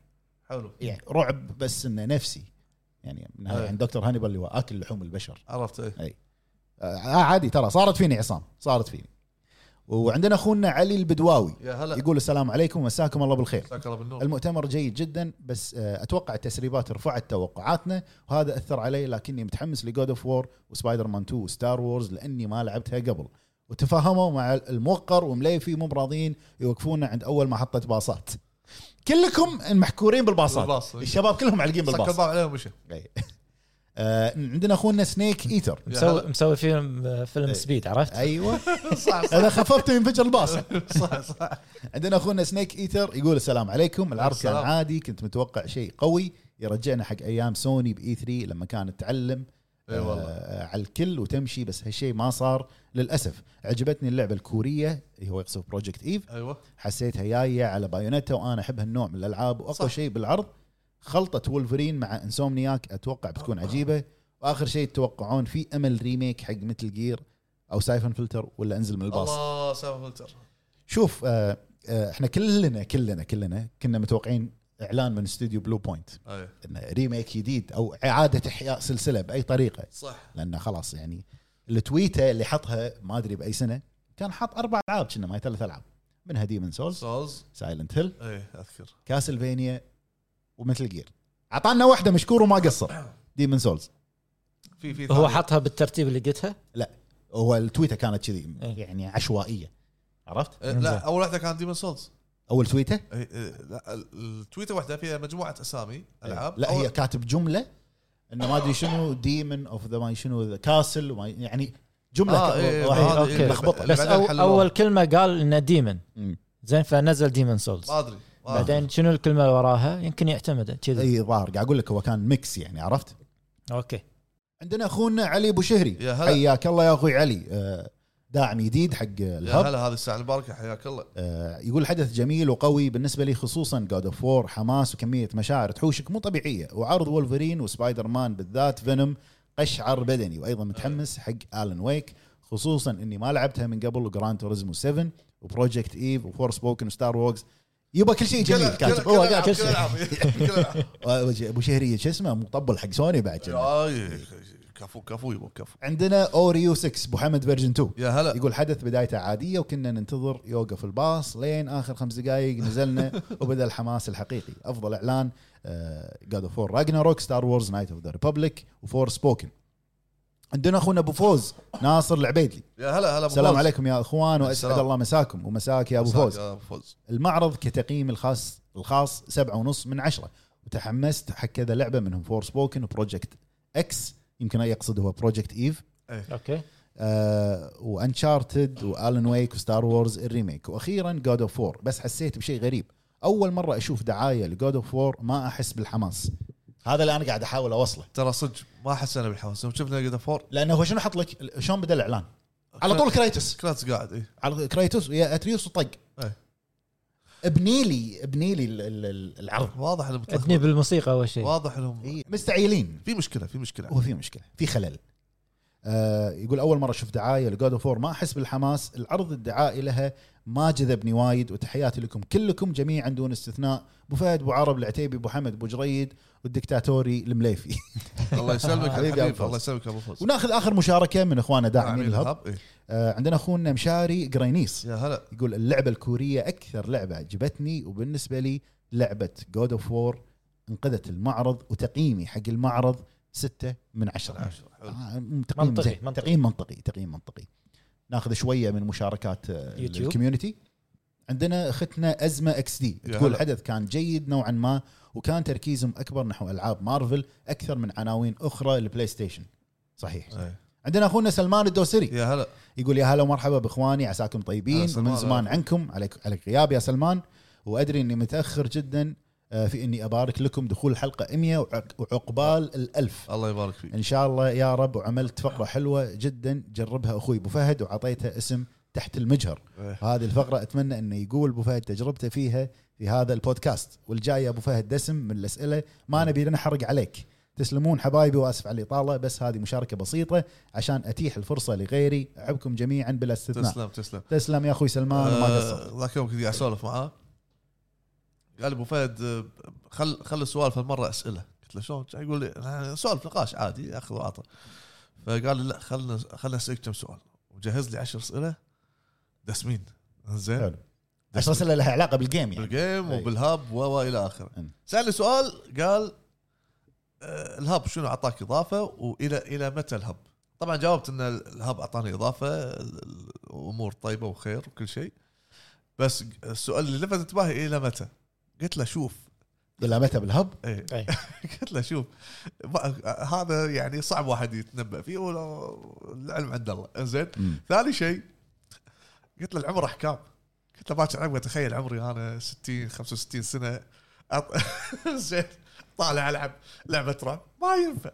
Speaker 2: حلو
Speaker 1: يعني رعب بس انه نفسي يعني من
Speaker 2: أي.
Speaker 1: عن دكتور هانيبال اللي هو اكل لحوم البشر
Speaker 2: عرفت إيه. اي
Speaker 1: آه عادي ترى صارت فيني عصام صارت فيني وعندنا اخونا علي البدواوي
Speaker 2: يا هلا
Speaker 1: يقول السلام عليكم مساكم الله بالخير
Speaker 2: مساك الله بالنور
Speaker 1: المؤتمر جيد جدا بس آه، اتوقع التسريبات رفعت توقعاتنا وهذا اثر علي لكني متحمس لجود اوف وور وسبايدر مان 2 وستار وورز لاني ما لعبتها قبل وتفاهموا مع الموقر ومليفي مو براضيين يوقفونا عند اول محطه باصات كلكم محكورين بالباصات
Speaker 2: بالباص.
Speaker 1: الشباب كلهم معلقين
Speaker 2: سكر
Speaker 1: بالباص
Speaker 2: الباب عليهم ومشى
Speaker 1: إي. آه، عندنا اخونا سنيك ايتر
Speaker 2: يا
Speaker 3: مسوي
Speaker 2: هلا.
Speaker 3: مسوي فيلم فيلم
Speaker 1: إيه.
Speaker 3: سبيد عرفت؟
Speaker 1: ايوه
Speaker 2: صح صح
Speaker 1: اذا خففت ينفجر الباص
Speaker 2: صح صح
Speaker 1: عندنا اخونا سنيك ايتر يقول السلام عليكم العرض كان
Speaker 2: السلام.
Speaker 1: عادي كنت متوقع شيء قوي يرجعنا حق ايام سوني باي 3 لما كانت تعلم
Speaker 2: اي والله
Speaker 1: آه على الكل وتمشي بس هالشيء ما صار للاسف عجبتني اللعبه الكوريه اللي هو يقصد بروجكت ايف
Speaker 2: ايوه
Speaker 1: حسيتها جايه على بايونيتا وانا احب هالنوع من الالعاب واقوى
Speaker 2: صح.
Speaker 1: شيء بالعرض خلطه وولفرين مع انسومنياك اتوقع
Speaker 2: آه.
Speaker 1: بتكون عجيبه واخر شيء تتوقعون في امل ريميك حق مثل جير او سايفن فلتر ولا انزل من الباص
Speaker 2: الله سام فلتر
Speaker 1: شوف آه، آه، احنا كلنا كلنا كلنا كنا متوقعين اعلان من استوديو بلو بوينت
Speaker 2: اي
Speaker 1: انه ريميك جديد او اعاده احياء سلسله باي طريقه
Speaker 2: صح
Speaker 1: لانه خلاص يعني التويته اللي حطها ما ادري باي سنه كان حاط اربع العاب كنا ما هي ثلاث العاب منها ديمن سولز
Speaker 2: سولز إيه،
Speaker 1: سايلنت هيل
Speaker 2: اي اذكر
Speaker 1: كاسلفينيا ومثل جير عطانا واحده مشكور وما قصر ديمن سولز
Speaker 2: في في
Speaker 3: هو
Speaker 2: ثانية.
Speaker 3: حطها بالترتيب اللي قلتها
Speaker 1: هو التويته كانت كذي
Speaker 3: إيه.
Speaker 1: يعني عشوائيه عرفت
Speaker 2: إيه، لا اول واحده كانت ديمون سولز
Speaker 1: اول تويته
Speaker 2: إيه، إيه، لا ال- التويتر واحده فيها مجموعه اسامي العاب
Speaker 1: إيه. لا
Speaker 2: أول-
Speaker 1: هي كاتب جمله انه ما ادري شنو ديمن اوف ذا ما شنو ذا كاسل يعني جمله
Speaker 2: آه،
Speaker 1: ك-
Speaker 2: إيه،
Speaker 1: واحدة.
Speaker 2: هذه
Speaker 3: أوكي.
Speaker 2: اللي-
Speaker 1: لخبطة.
Speaker 2: اللي
Speaker 3: بس
Speaker 2: بعدين
Speaker 3: أو
Speaker 2: حلوها.
Speaker 3: اول كلمه قال انه ديمن
Speaker 1: أمم.
Speaker 3: زين فنزل ديمن سولز
Speaker 2: ما ادري ما أدري.
Speaker 3: بعدين شنو الكلمه اللي وراها يمكن يعتمد كذي
Speaker 1: اي ظاهر إيه، قاعد اقول لك هو كان ميكس يعني عرفت
Speaker 3: اوكي
Speaker 1: عندنا اخونا علي ابو شهري
Speaker 2: يا هلا.
Speaker 1: حياك الله يا اخوي علي آه، داعم جديد حق
Speaker 2: يا
Speaker 1: الهب
Speaker 2: هلا هذه الساعه المباركه حياك الله
Speaker 1: آه، يقول حدث جميل وقوي بالنسبه لي خصوصا جود اوف وور حماس وكميه مشاعر تحوشك مو طبيعيه وعرض وولفرين وسبايدر مان بالذات فينوم قشعر بدني وايضا متحمس حق الن ويك خصوصا اني ما لعبتها من قبل وجراند توريزمو 7 وبروجكت ايف وفور سبوكن وستار ووكس يبا كل شيء جميل
Speaker 2: كل- كل-
Speaker 1: كاتب
Speaker 2: كل
Speaker 1: هو
Speaker 2: الألعاب،
Speaker 1: قاعد
Speaker 2: كل الألعاب، كل الألعاب.
Speaker 1: ابو شهري شو اسمه مطبل حق سوني بعد جنة.
Speaker 2: آي، كفو كفو يبا كفو
Speaker 1: عندنا اوريو 6 ابو حمد فيرجن 2
Speaker 2: يا هلا
Speaker 1: يقول حدث بدايته عاديه وكنا ننتظر يوقف الباص لين اخر خمس دقائق نزلنا وبدا الحماس الحقيقي آه، افضل اعلان جاد اوف فور راجناروك ستار وورز نايت اوف ذا ريببليك وفور سبوكن عندنا اخونا ابو فوز ناصر العبيدلي
Speaker 2: يا هلا هلا أبو
Speaker 1: السلام
Speaker 2: فوز.
Speaker 1: عليكم يا اخوان واسعد
Speaker 2: السلام.
Speaker 1: الله مساكم ومساك يا ابو
Speaker 2: مساك
Speaker 1: فوز
Speaker 2: يا ابو فوز
Speaker 1: المعرض كتقييم الخاص الخاص سبعة ونص من عشرة وتحمست حق كذا لعبه منهم فور سبوكن وبروجكت اكس يمكن يقصد هو بروجكت ايف
Speaker 3: اوكي
Speaker 1: آه، وانشارتد والن ويك وستار وورز الريميك واخيرا جود اوف وور بس حسيت بشيء غريب اول مره اشوف دعايه لجود اوف وور ما احس بالحماس هذا اللي انا قاعد احاول اوصله
Speaker 2: ترى صدق ما حسنا بالحماس يوم شفنا جود فور
Speaker 1: لانه هو شنو حط لك شلون بدا الاعلان على طول كريتوس
Speaker 2: كراتس قاعد إيه. اي
Speaker 1: على كريتوس يا اتريوس وطق
Speaker 2: إيه.
Speaker 1: ابني لي ابني لي ال- ال- ال- العرض
Speaker 2: واضح انهم
Speaker 3: ادني
Speaker 2: متلخبطين.
Speaker 3: بالموسيقى اول شيء
Speaker 2: واضح
Speaker 1: إيه.
Speaker 2: انهم
Speaker 1: مستعيلين
Speaker 2: في مشكله في مشكله
Speaker 1: هو في مشكله في خلل آه يقول اول مره اشوف دعايه لجود اوف ما احس بالحماس العرض الدعائي لها ما جذبني وايد وتحياتي لكم كلكم جميعا دون استثناء ابو فهد ابو عرب العتيبي ابو حمد ابو جريد والدكتاتوري المليفي
Speaker 2: الله يسلمك
Speaker 1: حبيبي
Speaker 2: حبيبي
Speaker 1: يا أبو فوز.
Speaker 2: الله يسلمك يا ابو فوز
Speaker 1: وناخذ اخر مشاركه من اخواننا داعمين
Speaker 2: عميل
Speaker 1: الهب
Speaker 2: الهب، إيه.
Speaker 1: آه عندنا اخونا مشاري قرينيس
Speaker 2: يا هلا
Speaker 1: يقول اللعبه الكوريه اكثر لعبه عجبتني وبالنسبه لي لعبه جود اوف وور انقذت المعرض وتقييمي حق المعرض ستة من عشرة
Speaker 2: عشرة، حلو.
Speaker 1: آه، تقييم
Speaker 3: منطقي،
Speaker 1: زين
Speaker 3: منطقي.
Speaker 1: تقييم منطقي تقييم منطقي ناخذ شويه من مشاركات آه،
Speaker 3: يوتيوب.
Speaker 1: الكوميونتي عندنا اختنا ازمه اكس دي
Speaker 2: يا
Speaker 1: تقول
Speaker 2: هلا.
Speaker 1: الحدث كان جيد نوعا ما وكان تركيزهم اكبر نحو العاب مارفل اكثر من عناوين اخرى للبلاي ستيشن صحيح
Speaker 2: إيه.
Speaker 1: عندنا اخونا سلمان الدوسري
Speaker 2: يا هلا
Speaker 1: يقول يا هلا ومرحبا باخواني عساكم
Speaker 2: هلا
Speaker 1: طيبين
Speaker 2: سلمان،
Speaker 1: من زمان
Speaker 2: هلا.
Speaker 1: عنكم عليك عليك غياب يا سلمان وادري اني متاخر جدا آه، في اني ابارك لكم دخول الحلقه 100 وعق- وعقبال الألف
Speaker 2: الله يبارك فيك
Speaker 1: ان شاء الله يا رب وعملت فقره حلوه جدا جربها اخوي ابو فهد وعطيتها اسم تحت المجهر
Speaker 2: إيه.
Speaker 1: هذه الفقره اتمنى انه يقول ابو فهد تجربته فيها في هذا البودكاست والجاي يا ابو فهد دسم من الاسئله ما نبي نحرق عليك تسلمون حبايبي واسف على الاطاله بس هذه مشاركه بسيطه عشان اتيح الفرصه لغيري اعبكم جميعا بلا استثناء تسلم,
Speaker 2: تسلم تسلم
Speaker 1: تسلم يا اخوي سلمان وما
Speaker 2: آه،
Speaker 1: قصرت
Speaker 2: ذاك يوم كنت قاعد اسولف معاه قال ابو فهد آه، خل خل السوالف هالمره اسئله قلت له شلون؟ يقول لي آه، سوالف نقاش عادي اخذ وعطى فقال لي لا خلنا خلنا اسالك كم سؤال وجهز لي 10 اسئله دسمين زين
Speaker 1: حلو 10 اسئله لها علاقه بالجيم يعني
Speaker 2: آه، بالجيم
Speaker 1: أي.
Speaker 2: وبالهاب والى اخره
Speaker 1: أمم.
Speaker 2: سالني سؤال قال آه، الهاب شنو اعطاك اضافه والى الى متى الهاب؟ طبعا جاوبت ان الهاب اعطاني اضافه ال- ال- الامور طيبه وخير وكل شيء بس السؤال اللي لفت انتباهي الى متى؟ قلت له شوف
Speaker 1: الى متى بالهب
Speaker 2: إيه.
Speaker 3: أي.
Speaker 2: قلت له شوف ما- هذا يعني صعب واحد يتنبا فيه ولا العلم عند الله زين
Speaker 1: مم.
Speaker 2: ثاني شيء قلت له العمر احكام قلت له باكر ابغى اتخيل عمري انا 60 65 سنه أط... زين طالع العب لعبه رعب ما ينفع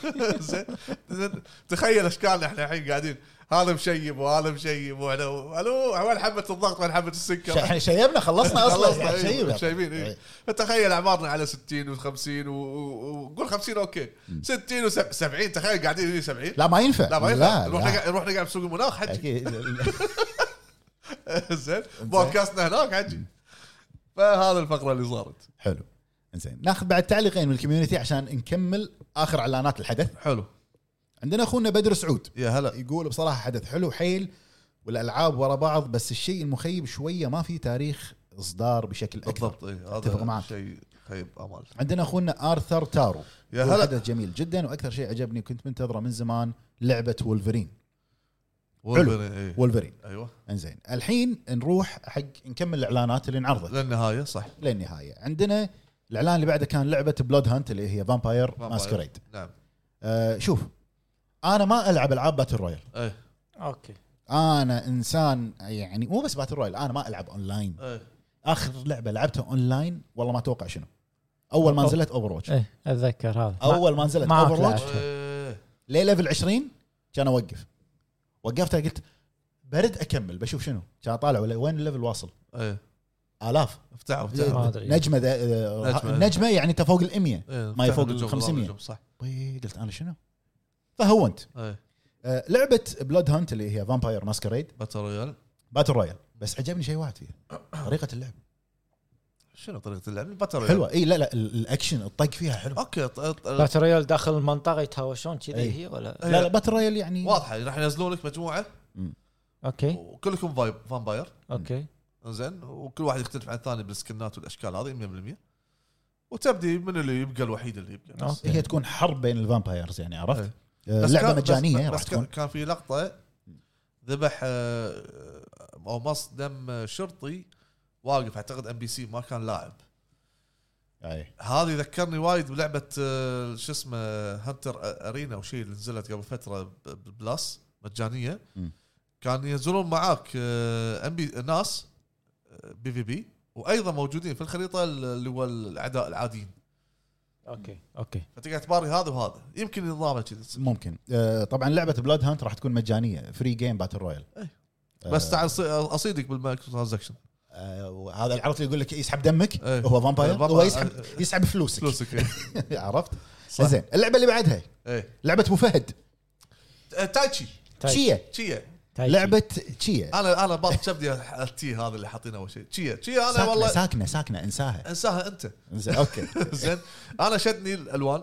Speaker 2: زين زين، تخيل اشكالنا احنا الحين قاعدين هذا مشيب وهذا مشيب واحنا الو وين حبه الضغط وين حبه السكر
Speaker 1: احنا شيبنا خلصنا اصلا
Speaker 2: خلصنا،
Speaker 1: يعني
Speaker 2: أيوة،
Speaker 1: شيبنا.
Speaker 2: شايبين
Speaker 1: إيه.
Speaker 2: اي فتخيل اعمارنا على 60 و50 وقول 50 اوكي 60 و70 تخيل قاعدين هنا 70
Speaker 1: لا ما ينفع
Speaker 2: لا ما
Speaker 1: لا,
Speaker 2: ينفع رحنا
Speaker 1: لا.
Speaker 2: قاعد- رحنا قاعد بسوق المناخ حجي
Speaker 1: اكيد
Speaker 2: زين بودكاستنا هناك حجي فهذا الفقره اللي صارت
Speaker 1: حلو زين ناخذ بعد تعليقين من الكوميونتي عشان نكمل اخر اعلانات الحدث
Speaker 2: حلو
Speaker 1: عندنا اخونا بدر سعود
Speaker 2: يا هلا
Speaker 1: يقول بصراحه حدث حلو حيل والالعاب ورا بعض بس الشيء المخيب شويه ما في تاريخ اصدار بشكل اكبر
Speaker 2: بالضبط اي
Speaker 1: أتفق
Speaker 2: هذا
Speaker 1: معك.
Speaker 2: شيء خيب امال
Speaker 1: عندنا اخونا ارثر تارو
Speaker 2: يا
Speaker 1: يقول
Speaker 2: هلا
Speaker 1: حدث جميل جدا واكثر شيء عجبني كنت منتظره من زمان لعبه وولفرين
Speaker 2: وولفرين، إي.
Speaker 1: وولفرين
Speaker 2: ايوه
Speaker 1: انزين الحين نروح حق نكمل الاعلانات اللي انعرضت
Speaker 2: للنهايه صح
Speaker 1: للنهايه عندنا الاعلان اللي بعده كان لعبه بلود هانت اللي هي فامباير ماسكريد
Speaker 2: نعم
Speaker 1: آه شوف انا ما العب العاب باتل رويال
Speaker 2: اي
Speaker 3: اوكي
Speaker 1: انا انسان يعني مو بس باتل رويال انا ما العب اونلاين
Speaker 2: اي
Speaker 1: اخر لعبه لعبتها اونلاين والله ما اتوقع شنو اول ما
Speaker 3: أو-
Speaker 1: نزلت اوفر واتش
Speaker 3: ايه اتذكر هذا
Speaker 1: اول ما نزلت
Speaker 3: معك
Speaker 1: اوفر واتش
Speaker 3: لعب.
Speaker 2: إي.
Speaker 1: ليه ليفل 20 كان اوقف وقفتها قلت برد اكمل بشوف شنو كان طالع ولا- وين الليفل واصل
Speaker 2: اي
Speaker 1: الاف
Speaker 2: إيه. افتحوا
Speaker 3: ما
Speaker 2: افتحوا
Speaker 3: ادري
Speaker 1: نجمه ذا-
Speaker 2: نجمة.
Speaker 1: نجمه يعني انت فوق ال 100
Speaker 2: إي،
Speaker 1: ما يفوق
Speaker 2: افتحوا نجوم،
Speaker 1: 500.
Speaker 2: نجوم، صح إيه.
Speaker 1: وي، قلت انا شنو فهونت
Speaker 2: اي
Speaker 1: آه، لعبه بلود هانت اللي هي فامباير ماسكريد
Speaker 2: باتل رويال
Speaker 1: باتل رويال بس عجبني شيء واحد فيها طريقه اللعب
Speaker 2: شنو طريقه اللعب الباتل رويال
Speaker 1: حلوه اي لا لا ال- الاكشن الطق فيها حلو
Speaker 2: اوكي ط- ط-
Speaker 3: باتل رويال داخل المنطقه يتهاوشون
Speaker 2: إيه.
Speaker 3: كذي
Speaker 1: أي.
Speaker 3: هي ولا
Speaker 2: أي.
Speaker 1: لا لا باتل رويال يعني
Speaker 2: واضحه راح ينزلون لك مجموعه
Speaker 1: إيه.
Speaker 3: اوكي
Speaker 2: وكلكم فايب فامباير
Speaker 3: اوكي
Speaker 2: زين وكل واحد يختلف عن الثاني بالسكنات والاشكال هذه 100% وتبدي من اللي يبقى الوحيد اللي يبقى بس,
Speaker 3: أوكي.
Speaker 1: هي تكون حرب بين الفامبايرز يعني عرفت؟ آه،
Speaker 2: إيه. بس
Speaker 1: لعبه
Speaker 2: كان- بس-
Speaker 1: مجانيه
Speaker 2: بس,
Speaker 1: راح
Speaker 2: بس كان,
Speaker 1: تكون
Speaker 2: كان في لقطه ذبح آه، او مص دم شرطي واقف اعتقد ام بي سي ما كان لاعب
Speaker 1: أي.
Speaker 2: هذه ذكرني وايد بلعبه آه، شو اسمه هانتر ارينا او شيء اللي نزلت قبل فتره ب- بالبلس مجانيه
Speaker 1: مم.
Speaker 2: كان ينزلون معاك ام بي ناس آه، بي في بي وايضا موجودين في الخريطه اللي هو الاعداء العاديين
Speaker 3: اوكي اوكي
Speaker 2: فتقعد تباري هذا وهذا يمكن نظامه كذي يصير.
Speaker 1: ممكن آه، طبعا لعبه بلود هانت راح تكون مجانيه فري جيم باتل رويال
Speaker 2: أي. بس تعال أصي- اصيدك بالمايكرو ترانزكشن
Speaker 1: هذا آه، عرفت اللي يقول لك يسحب دمك
Speaker 2: أي.
Speaker 1: هو فامباير
Speaker 2: الفامباير-
Speaker 1: هو يسحب يسحب فلوسك
Speaker 2: آه، فلوسك إيه.
Speaker 1: عرفت؟
Speaker 2: صح.
Speaker 1: زين اللعبه اللي بعدها
Speaker 2: إيه.
Speaker 1: لعبه ابو فهد
Speaker 2: آه، تايتشي
Speaker 3: طيب،
Speaker 1: شيا
Speaker 2: تشيا
Speaker 3: تايتشي.
Speaker 1: لعبه شيا
Speaker 2: انا انا باط كبدي التي هذا اللي حاطينه اول شيء تشيا تشيا انا
Speaker 1: ساكنه
Speaker 2: والله آه.
Speaker 1: ساكنه ساكنه انساها
Speaker 2: انساها انت
Speaker 1: زين اوكي
Speaker 2: زين انا شدني الالوان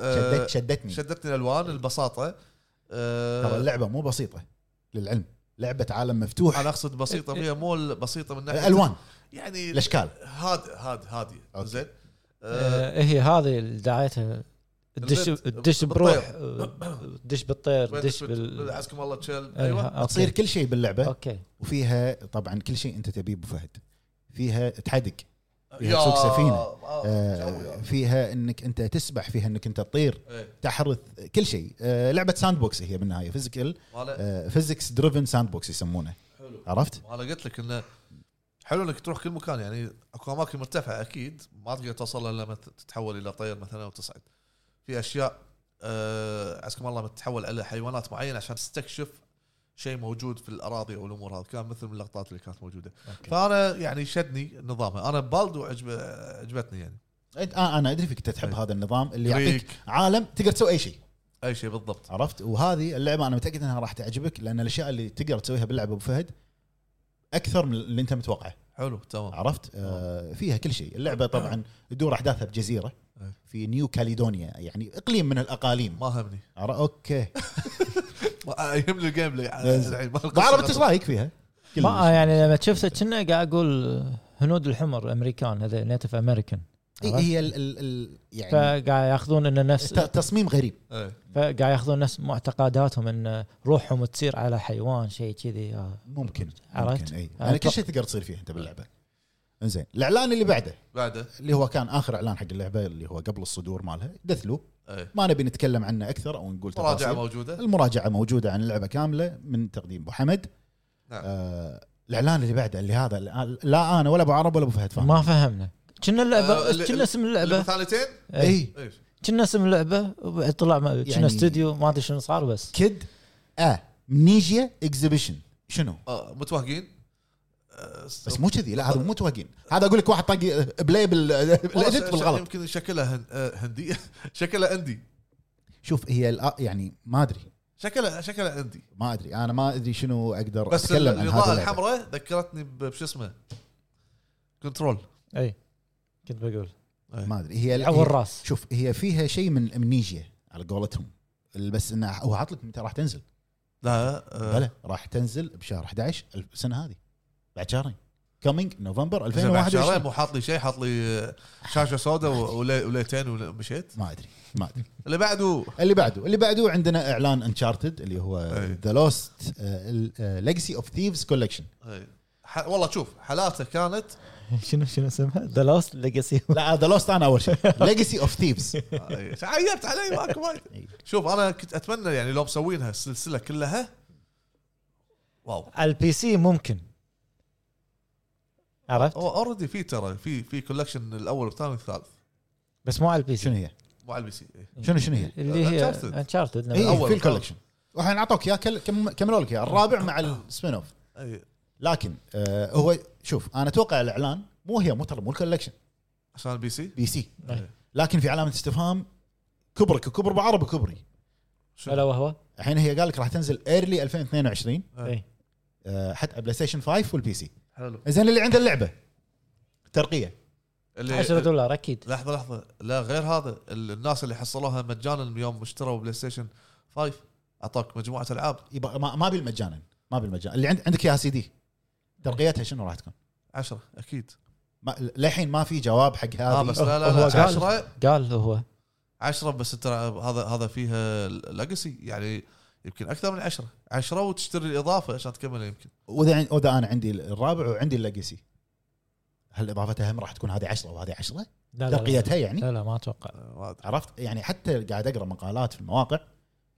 Speaker 2: آه،
Speaker 1: شدت شدتني
Speaker 2: شدتني الالوان البساطه
Speaker 1: ترى
Speaker 2: آه
Speaker 1: اللعبه مو بسيطه للعلم لعبه عالم مفتوح آه،
Speaker 2: انا اقصد بسيطه
Speaker 1: إيه.
Speaker 2: هي مو بسيطه من ناحيه
Speaker 1: الالوان
Speaker 2: يعني
Speaker 1: الاشكال
Speaker 2: هاد هاد هاديه
Speaker 1: أوكي.
Speaker 2: زين آه،
Speaker 3: آه، هي هذه اللي دعايتها الدش
Speaker 2: البيت.
Speaker 3: الدش بروح الدش بالطير
Speaker 2: وين
Speaker 3: الدش
Speaker 2: تفوت؟
Speaker 3: آه، بال أيوة.
Speaker 2: عزكم الله تشل
Speaker 3: أيها،
Speaker 2: ايوه
Speaker 3: أوكي.
Speaker 1: تصير كل شيء باللعبه
Speaker 3: اوكي
Speaker 1: وفيها طبعا كل شيء انت تبيه ابو فهد فيها تحدق
Speaker 2: آه،
Speaker 1: فيها
Speaker 2: يا-
Speaker 1: تسوق سفينة.
Speaker 2: أيوة. آه،
Speaker 1: آه،
Speaker 2: جوي.
Speaker 1: فيها انك انت تسبح فيها انك انت تطير
Speaker 2: إيه،
Speaker 1: تحرث كل شيء آه، لعبه ساند بوكس هي آه، بالنهايه فيزيكال
Speaker 2: وأنا-
Speaker 1: فيزكس دريفن ساند بوكس يسمونه
Speaker 2: حلو
Speaker 1: عرفت؟
Speaker 2: وانا قلت لك انه حلو انك تروح كل مكان يعني اكو اماكن مرتفعه اكيد ما تقدر توصل إلا لما تتحول الى طير مثلا وتصعد في اشياء آه عزكم الله تتحول الى حيوانات معينه عشان تستكشف شيء موجود في الاراضي او الامور هذه كان مثل من اللقطات اللي كانت موجوده
Speaker 3: أوكي.
Speaker 2: فانا يعني شدني نظامها انا بالدو عجب عجبتني يعني
Speaker 1: آه، انا ادري فيك انت تحب
Speaker 2: إيه.
Speaker 1: هذا النظام اللي يعطيك
Speaker 2: ريك،
Speaker 1: عالم تقدر تسوي اي شيء
Speaker 2: اي شيء بالضبط
Speaker 1: عرفت وهذه اللعبه انا متاكد انها راح تعجبك لان الاشياء اللي تقدر تسويها باللعبه ابو فهد اكثر من اللي انت متوقعه
Speaker 2: حلو تمام
Speaker 3: آه.
Speaker 1: عرفت آه فيها كل شيء اللعبه طبعا تدور احداثها بجزيره
Speaker 2: أي.
Speaker 1: في نيو كاليدونيا يعني اقليم من الاقاليم
Speaker 2: ما همني
Speaker 1: عر- اوكي
Speaker 2: ما- يهمني الجيم بلاي يعني
Speaker 1: زين.
Speaker 2: الحين، ما القصة.
Speaker 1: بعرف ايش رايك فيها؟
Speaker 3: ما يعني لما شفته كنا قاعد اقول هنود الحمر امريكان هذا نيتف امريكان
Speaker 2: إيه،
Speaker 1: إي- هي ال ال ال يعني
Speaker 3: فقاعد ياخذون انه نفس
Speaker 1: ت- تصميم غريب
Speaker 2: إيه.
Speaker 3: فقاعد ياخذون نفس معتقداتهم ان روحهم تصير على حيوان شيء كذي آه.
Speaker 1: ممكن
Speaker 3: عرفت؟
Speaker 1: ممكن اي
Speaker 3: آه،
Speaker 1: يعني كل
Speaker 3: أتوقع.
Speaker 1: شيء تقدر تصير فيه انت باللعبه انزين الاعلان اللي بعده
Speaker 2: بعده
Speaker 1: اللي هو كان اخر اعلان حق اللعبه اللي هو قبل الصدور مالها دث لوب
Speaker 2: إيه.
Speaker 1: ما نبي نتكلم عنه اكثر او نقول
Speaker 2: مراجعه
Speaker 1: تفاصيل
Speaker 2: موجوده
Speaker 1: المراجعه موجوده عن اللعبه كامله من تقديم ابو حمد
Speaker 2: نعم.
Speaker 1: آه الاعلان اللي بعده اللي هذا اللي- لا انا ولا ابو عرب ولا ابو فهد فاهم
Speaker 3: ما فهمنا
Speaker 2: آه،
Speaker 3: كنا اللعبه
Speaker 2: اللي-
Speaker 3: كنا اسم اللعبه
Speaker 2: المثالتين
Speaker 3: اي
Speaker 1: اي
Speaker 2: إيه.
Speaker 3: كنا اسم اللعبه وبعد طلع ما- كنا
Speaker 1: يعني-
Speaker 3: استوديو ما ادري شنو صار بس
Speaker 1: كيد اه نيجيا اكزيبيشن شنو
Speaker 2: آه، متوهقين
Speaker 1: بس مو كذي لا هذا مو متوهقين هذا اقول لك واحد طاق بلاي بال- الاديت بالغلط
Speaker 2: آه، يمكن شكلها هن- آه، هندي شكلها اندي
Speaker 1: شوف هي الآ- يعني ما ادري
Speaker 2: شكلها شكلها اندي
Speaker 1: ما ادري انا ما ادري شنو اقدر
Speaker 2: بس
Speaker 1: اتكلم عن هذا
Speaker 2: الاضاءه
Speaker 1: اللعبة.
Speaker 2: الحمراء ذكرتني ب- بشو اسمه كنترول
Speaker 3: اي إيه. كنت بقول
Speaker 1: ما ادري هي
Speaker 3: عور
Speaker 1: هي-
Speaker 3: الراس
Speaker 1: شوف هي فيها شيء من الامنيجيا على قولتهم بس انه هو عاط لك متى راح تنزل
Speaker 2: لا آه،
Speaker 1: بلى راح تنزل بشهر 11 السنه هذه بعد شهرين كومينج نوفمبر
Speaker 2: زين بعد شهرين
Speaker 1: 2021
Speaker 2: مو حاط لي شيء حاط لي آه، شاشه سوداء و- ولي- وليتين ومشيت
Speaker 1: ما ادري ما ادري
Speaker 2: اللي بعده
Speaker 1: اللي بعده اللي بعده عندنا اعلان انشارتد اللي هو آه،
Speaker 2: أي.
Speaker 1: ذا لوست ليجسي اوف ثيفز كولكشن
Speaker 2: إيه. ح- والله شوف حالاته كانت
Speaker 3: شنو شنو اسمها ذا لاست ليجاسي
Speaker 1: لا آه، ذا لوست انا اول شيء ليجسي اوف ثيفز
Speaker 2: آه، عيبت علي ماكو
Speaker 1: إي.
Speaker 2: وايد شوف انا كنت اتمنى يعني لو مسوينها السلسله كلها واو
Speaker 3: على البي سي ممكن عرفت
Speaker 2: هو اوريدي في ترى في في كولكشن الاول والثاني والثالث
Speaker 3: بس مو على البي
Speaker 1: شنو
Speaker 3: سي
Speaker 1: هي؟
Speaker 2: مو على إيه. البي سي إي.
Speaker 1: شنو شنو هي؟ إيه،
Speaker 3: اللي هي
Speaker 2: Uncharted. إيه.
Speaker 3: انشارتد
Speaker 1: اي
Speaker 2: الأول
Speaker 1: في
Speaker 2: والثالث.
Speaker 1: الكولكشن واحنا اعطوك اياه كل- كم- كملوا لك اياه الرابع مع السبين اوف
Speaker 2: اي
Speaker 1: لكن آه هو شوف انا اتوقع الاعلان مو هي مو ترى مو الكولكشن
Speaker 2: عشان البي سي
Speaker 1: بي سي
Speaker 3: أي.
Speaker 1: لكن في علامه استفهام كبرك وكبر بعرب وكبري
Speaker 2: شنو؟
Speaker 3: الا وهو
Speaker 1: الحين هي قال لك راح تنزل ايرلي 2022
Speaker 3: اي
Speaker 1: آه حتى بلاي ستيشن 5 والبي سي
Speaker 2: حلو
Speaker 1: زين اللي عنده اللعبه ترقيه
Speaker 2: اللي
Speaker 3: 10 إيه. دولار اكيد
Speaker 2: لحظه لحظه لا غير هذا ال- الناس اللي حصلوها مجانا يوم اشتروا بلاي ستيشن 5 اعطاك مجموعه العاب
Speaker 1: يبقى ما ما بالمجانا ما بالمجانا اللي عند عندك اياها سي دي ترقيتها شنو راح تكون؟
Speaker 2: 10 اكيد
Speaker 1: ما للحين ما في جواب حق
Speaker 2: اه
Speaker 1: هذه
Speaker 2: بس لا لا
Speaker 3: هو
Speaker 2: لا
Speaker 3: قال.
Speaker 2: 10
Speaker 3: قال هو
Speaker 2: 10 بس ترى هذا هذا فيها ليجسي يعني يمكن اكثر من 10 10 وتشتري الاضافه عشان تكمل يمكن
Speaker 1: واذا واذا انا عندي الرابع وعندي الليجسي هل اضافتها هم راح تكون هذه 10 وهذه 10
Speaker 3: لا لا لا,
Speaker 1: ترقيتها يعني
Speaker 3: لا, لا ما اتوقع
Speaker 2: آه، ما أدري.
Speaker 1: عرفت يعني حتى قاعد اقرا مقالات في المواقع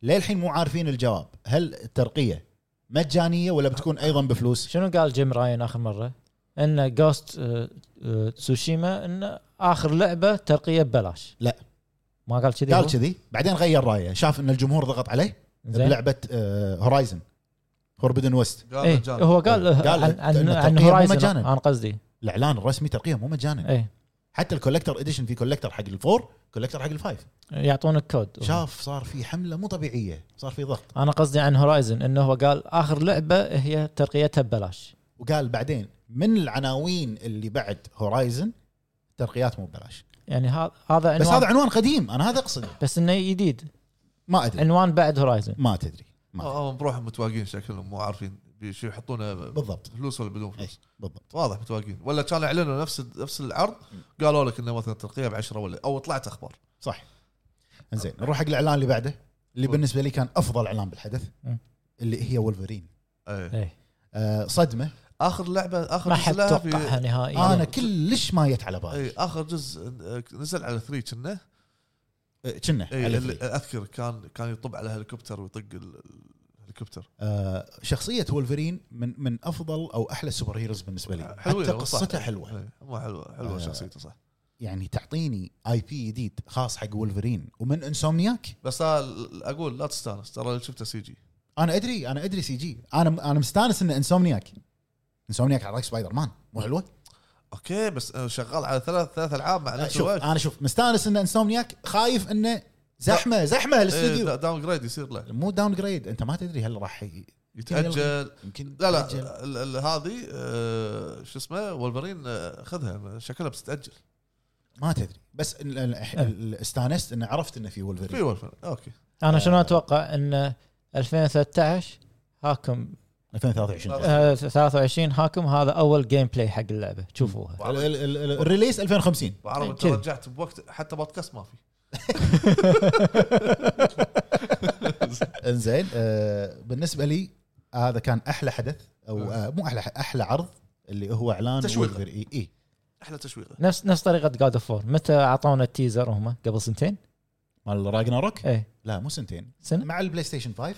Speaker 1: للحين مو عارفين الجواب هل الترقيه مجانيه ولا بتكون ايضا بفلوس
Speaker 3: شنو قال جيم راين اخر مره؟ ان جوست آه، تسوشيما ان اخر لعبه ترقيه ببلاش
Speaker 1: لا.
Speaker 3: ما قال كذي
Speaker 1: قال
Speaker 3: هو؟
Speaker 1: كذي بعدين غير رايه شاف ان الجمهور ضغط عليه آه،
Speaker 3: زين.
Speaker 1: بلعبه هورايزن فوربدن ويست
Speaker 2: قال
Speaker 3: ايه
Speaker 2: مجانا.
Speaker 3: هو قال
Speaker 1: قال
Speaker 3: عن عن,
Speaker 1: إن
Speaker 3: عن
Speaker 1: الترقية مو
Speaker 3: هورايزن
Speaker 1: مجانا.
Speaker 3: انا قصدي إيه.
Speaker 1: الاعلان الرسمي ترقيه مو مجانا
Speaker 3: اي
Speaker 1: حتى الكولكتر اديشن في كولكتر حق الفور كولكتر حق الفايف
Speaker 3: يعطونك كود
Speaker 1: شاف صار في حمله مو طبيعيه صار في ضغط
Speaker 3: انا قصدي عن هورايزن انه هو قال اخر لعبه هي ترقيتها ببلاش
Speaker 1: وقال بعدين من العناوين اللي بعد هورايزن ترقيات مو ببلاش
Speaker 3: يعني هذا هذا
Speaker 1: بس هذا
Speaker 3: عنوان
Speaker 1: عنوان قديم انا هذا اقصده
Speaker 3: بس انه جديد
Speaker 1: ما ادري
Speaker 3: عنوان بعد هورايزن
Speaker 1: ما تدري ما أدري.
Speaker 2: آه، هم بروحهم متواقين شكلهم مو عارفين بيش يحطونه
Speaker 1: بالضبط
Speaker 2: فلوس ولا بدون
Speaker 1: اي
Speaker 2: فلوس
Speaker 1: بالضبط
Speaker 2: واضح متواقين ولا كان اعلنوا نفس نفس العرض قالوا لك انه مثلا ترقيه ب 10 ولا او طلعت اخبار
Speaker 1: صح انزين نروح حق الاعلان اللي بعده اللي بالنسبه لي كان افضل اعلان بالحدث
Speaker 3: مم.
Speaker 1: اللي هي ولفرين
Speaker 2: ايه.
Speaker 3: اي
Speaker 1: آه صدمه
Speaker 2: اخر لعبه اخر
Speaker 3: إيه. ما حد
Speaker 2: نزلها في-
Speaker 3: توقعها نهائيا
Speaker 1: انا كلش ما جت على بالي
Speaker 2: اي اخر إيه، جزء آه، نزل على 3 كنا
Speaker 1: آه، كنا
Speaker 2: اي
Speaker 1: على
Speaker 2: اللي
Speaker 1: ثري.
Speaker 2: اذكر كان كان يطب على هليكوبتر ويطق ال- الهليكوبتر
Speaker 1: آه شخصيه ولفرين من من افضل او احلى السوبر هيروز بالنسبه لي
Speaker 2: حلوة،
Speaker 1: حتى
Speaker 2: صح.
Speaker 1: قصته حلوه
Speaker 2: إيه، مو حلوه حلوه
Speaker 1: آه.
Speaker 2: شخصيته صح
Speaker 1: يعني تعطيني اي بي جديد خاص حق ولفرين ومن انسومنياك
Speaker 2: بس أنا ال- اقول لا تستانس ترى اللي شفته سي جي
Speaker 1: انا ادري انا ادري سي جي انا انا مستانس ان انسومنياك انسومنياك على سبايدر مان مو حلوه؟
Speaker 2: اوكي بس آه، شغال على ثلاث ثلاث العاب مع
Speaker 1: أنا
Speaker 2: نفس
Speaker 1: شوف
Speaker 2: الوقت
Speaker 1: انا شوف مستانس ان انسومنياك خايف انه زحمه
Speaker 2: إيه،
Speaker 1: زحمه الاستوديو
Speaker 2: داون جريد يصير له
Speaker 1: مو داون جريد انت ما تدري هل راح ي-
Speaker 2: يتاجل
Speaker 1: يمكن
Speaker 2: لا لا
Speaker 1: يتأجل.
Speaker 2: ال- ال- هذه آه، شو اسمه ولفرين آه، خذها شكلها بتتاجل
Speaker 1: ما تدري بس ال- ال- ال- استانست ان عرفت انه في
Speaker 2: في
Speaker 1: ولفرين
Speaker 2: ولفرين اوكي
Speaker 3: انا
Speaker 2: آه.
Speaker 3: شنو اتوقع ان 2013 هاكم
Speaker 2: طيب.
Speaker 1: 2023
Speaker 3: آه، 23 هاكم هذا اول جيم بلاي حق اللعبه شوفوها
Speaker 1: ال- ال- ال- ال- الريليس 2050
Speaker 2: وعرب انت
Speaker 3: كذي.
Speaker 2: رجعت بوقت حتى بودكاست ما في
Speaker 1: انزين آه، بالنسبه لي هذا كان احلى حدث او آه، مو احلى احلى عرض اللي هو اعلان
Speaker 2: تشويق.
Speaker 1: Wolverine. إيه. اي إي.
Speaker 2: احلى تشويقه
Speaker 3: نفس نفس طريقه جاد اوف فور متى اعطونا التيزر هم قبل سنتين؟
Speaker 1: مال راجناروك
Speaker 3: ايه
Speaker 1: لا مو سنتين
Speaker 3: سنه؟
Speaker 1: مع البلاي ستيشن 5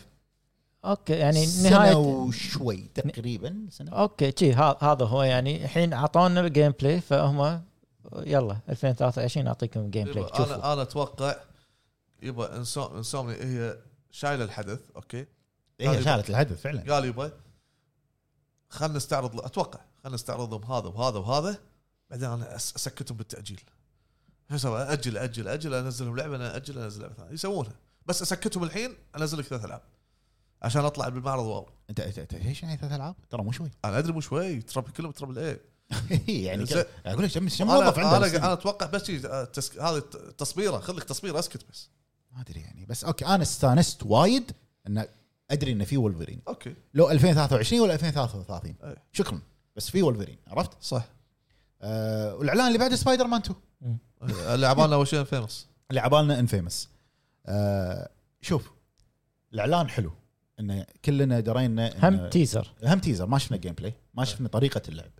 Speaker 3: اوكي يعني آه.
Speaker 1: سنه
Speaker 3: نهايه
Speaker 1: وشوي تقريبا سنه
Speaker 3: اوكي شي ها- هذا هو يعني الحين اعطونا الجيم بلاي فهم يلا 2023 اعطيكم جيم بلاي
Speaker 2: يبا
Speaker 3: شوفوا
Speaker 2: انا انا اتوقع يبا انسو- انسومني هي شايله الحدث اوكي طيب.
Speaker 1: هي شالت الحدث فعلا
Speaker 2: قال يبا خلنا نستعرض اتوقع خلنا نستعرضهم هذا وهذا وهذا بعدين انا أس- اسكتهم بالتاجيل شو اسوي اجل اجل اجل انزلهم لعبه انا اجل انزل لعبه ثانيه يسوونها بس اسكتهم الحين انزل لك ثلاث العاب عشان اطلع بالمعرض واو
Speaker 1: انت أنت- أنت ايش يعني ثلاث العاب ترى مو شوي
Speaker 2: انا ادري مو شوي ترى كلهم ترى ايه
Speaker 1: يعني
Speaker 2: زين.
Speaker 1: كذا اقول لك كم كم موظف
Speaker 2: انا
Speaker 1: عنده
Speaker 2: انا انا
Speaker 1: بالسنة؟
Speaker 2: اتوقع بس شي- آه، تسك... هذه ت- تصبيره خذ لك تصبيره اسكت بس
Speaker 1: ما ادري يعني بس اوكي انا استانست وايد ان ادري انه في ولفرين
Speaker 2: اوكي
Speaker 1: لو 2023 ولا 2033
Speaker 2: أي.
Speaker 1: شكرا بس في ولفرين عرفت؟
Speaker 2: صح
Speaker 1: آه والاعلان اللي بعده سبايدر مان 2
Speaker 2: اللي عبالنا اول شيء فيمس
Speaker 1: اللي عبالنا انفيمس آه شوف الاعلان حلو انه كلنا درينا إنه-
Speaker 3: هم تيزر
Speaker 1: هم تيزر ما شفنا جيم بلاي ما شفنا طريقه اللعب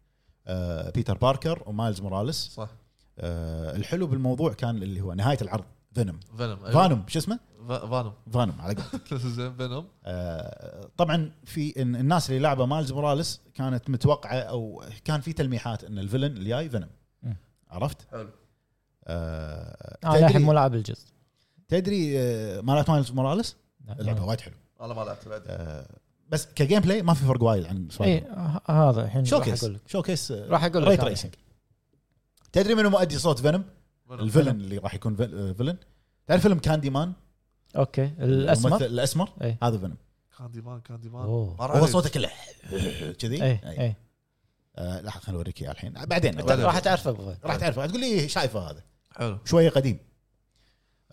Speaker 1: آه بيتر باركر ومايلز موراليس
Speaker 2: صح
Speaker 1: آه الحلو بالموضوع كان اللي هو نهايه العرض فينوم
Speaker 2: فينوم
Speaker 1: فانوم شو اسمه؟
Speaker 2: ف- فانوم
Speaker 1: فانوم على قولتك
Speaker 2: زين فينوم
Speaker 1: آه، طبعا في إن- الناس اللي لعبه مالز موراليس كانت متوقعه او كان في تلميحات ان الفيلن الجاي فينوم
Speaker 3: مم.
Speaker 1: عرفت؟
Speaker 2: حلو.
Speaker 1: آه
Speaker 3: انا للحين مو
Speaker 1: تدري
Speaker 3: لاعب الجزء
Speaker 1: تدري آه، مالت مايلز موراليس
Speaker 3: لا،
Speaker 1: اللعبه وايد حلو
Speaker 2: انا ما لعبت بعد
Speaker 1: آه بس كجيم بلاي ما في فرق وايد عن
Speaker 3: اي
Speaker 1: سبايدر
Speaker 3: ه- هذا الحين إيه. راح
Speaker 1: شوكيس
Speaker 3: اقول لك
Speaker 1: شوكيس آه،
Speaker 3: راح اقول
Speaker 1: ريت
Speaker 3: لك هذا.
Speaker 1: ريسنج تدري منو مؤدي صوت فينوم؟
Speaker 2: فينوم.
Speaker 1: الفيلن اللي راح يكون فيل- آه، فيلن تعرف فيلم كاندي مان
Speaker 3: اوكي
Speaker 1: الممثل
Speaker 3: الاسمر
Speaker 1: الاسمر
Speaker 3: إي.
Speaker 1: هذا فينوم
Speaker 2: كاندي مان كاندي مان
Speaker 3: أوه. إيه،
Speaker 2: مر
Speaker 1: هو
Speaker 2: علي.
Speaker 1: صوته كله كذي إيه.
Speaker 3: اي
Speaker 1: إي.
Speaker 3: اي
Speaker 1: آه، لحظه خليني اوريك اياه الحين بعدين
Speaker 2: بعدين.
Speaker 1: راح
Speaker 3: راح تعرفه ابو فهد.
Speaker 1: راح تعرف راح تقول لي شايفه هذا
Speaker 2: حلو
Speaker 1: شويه قديم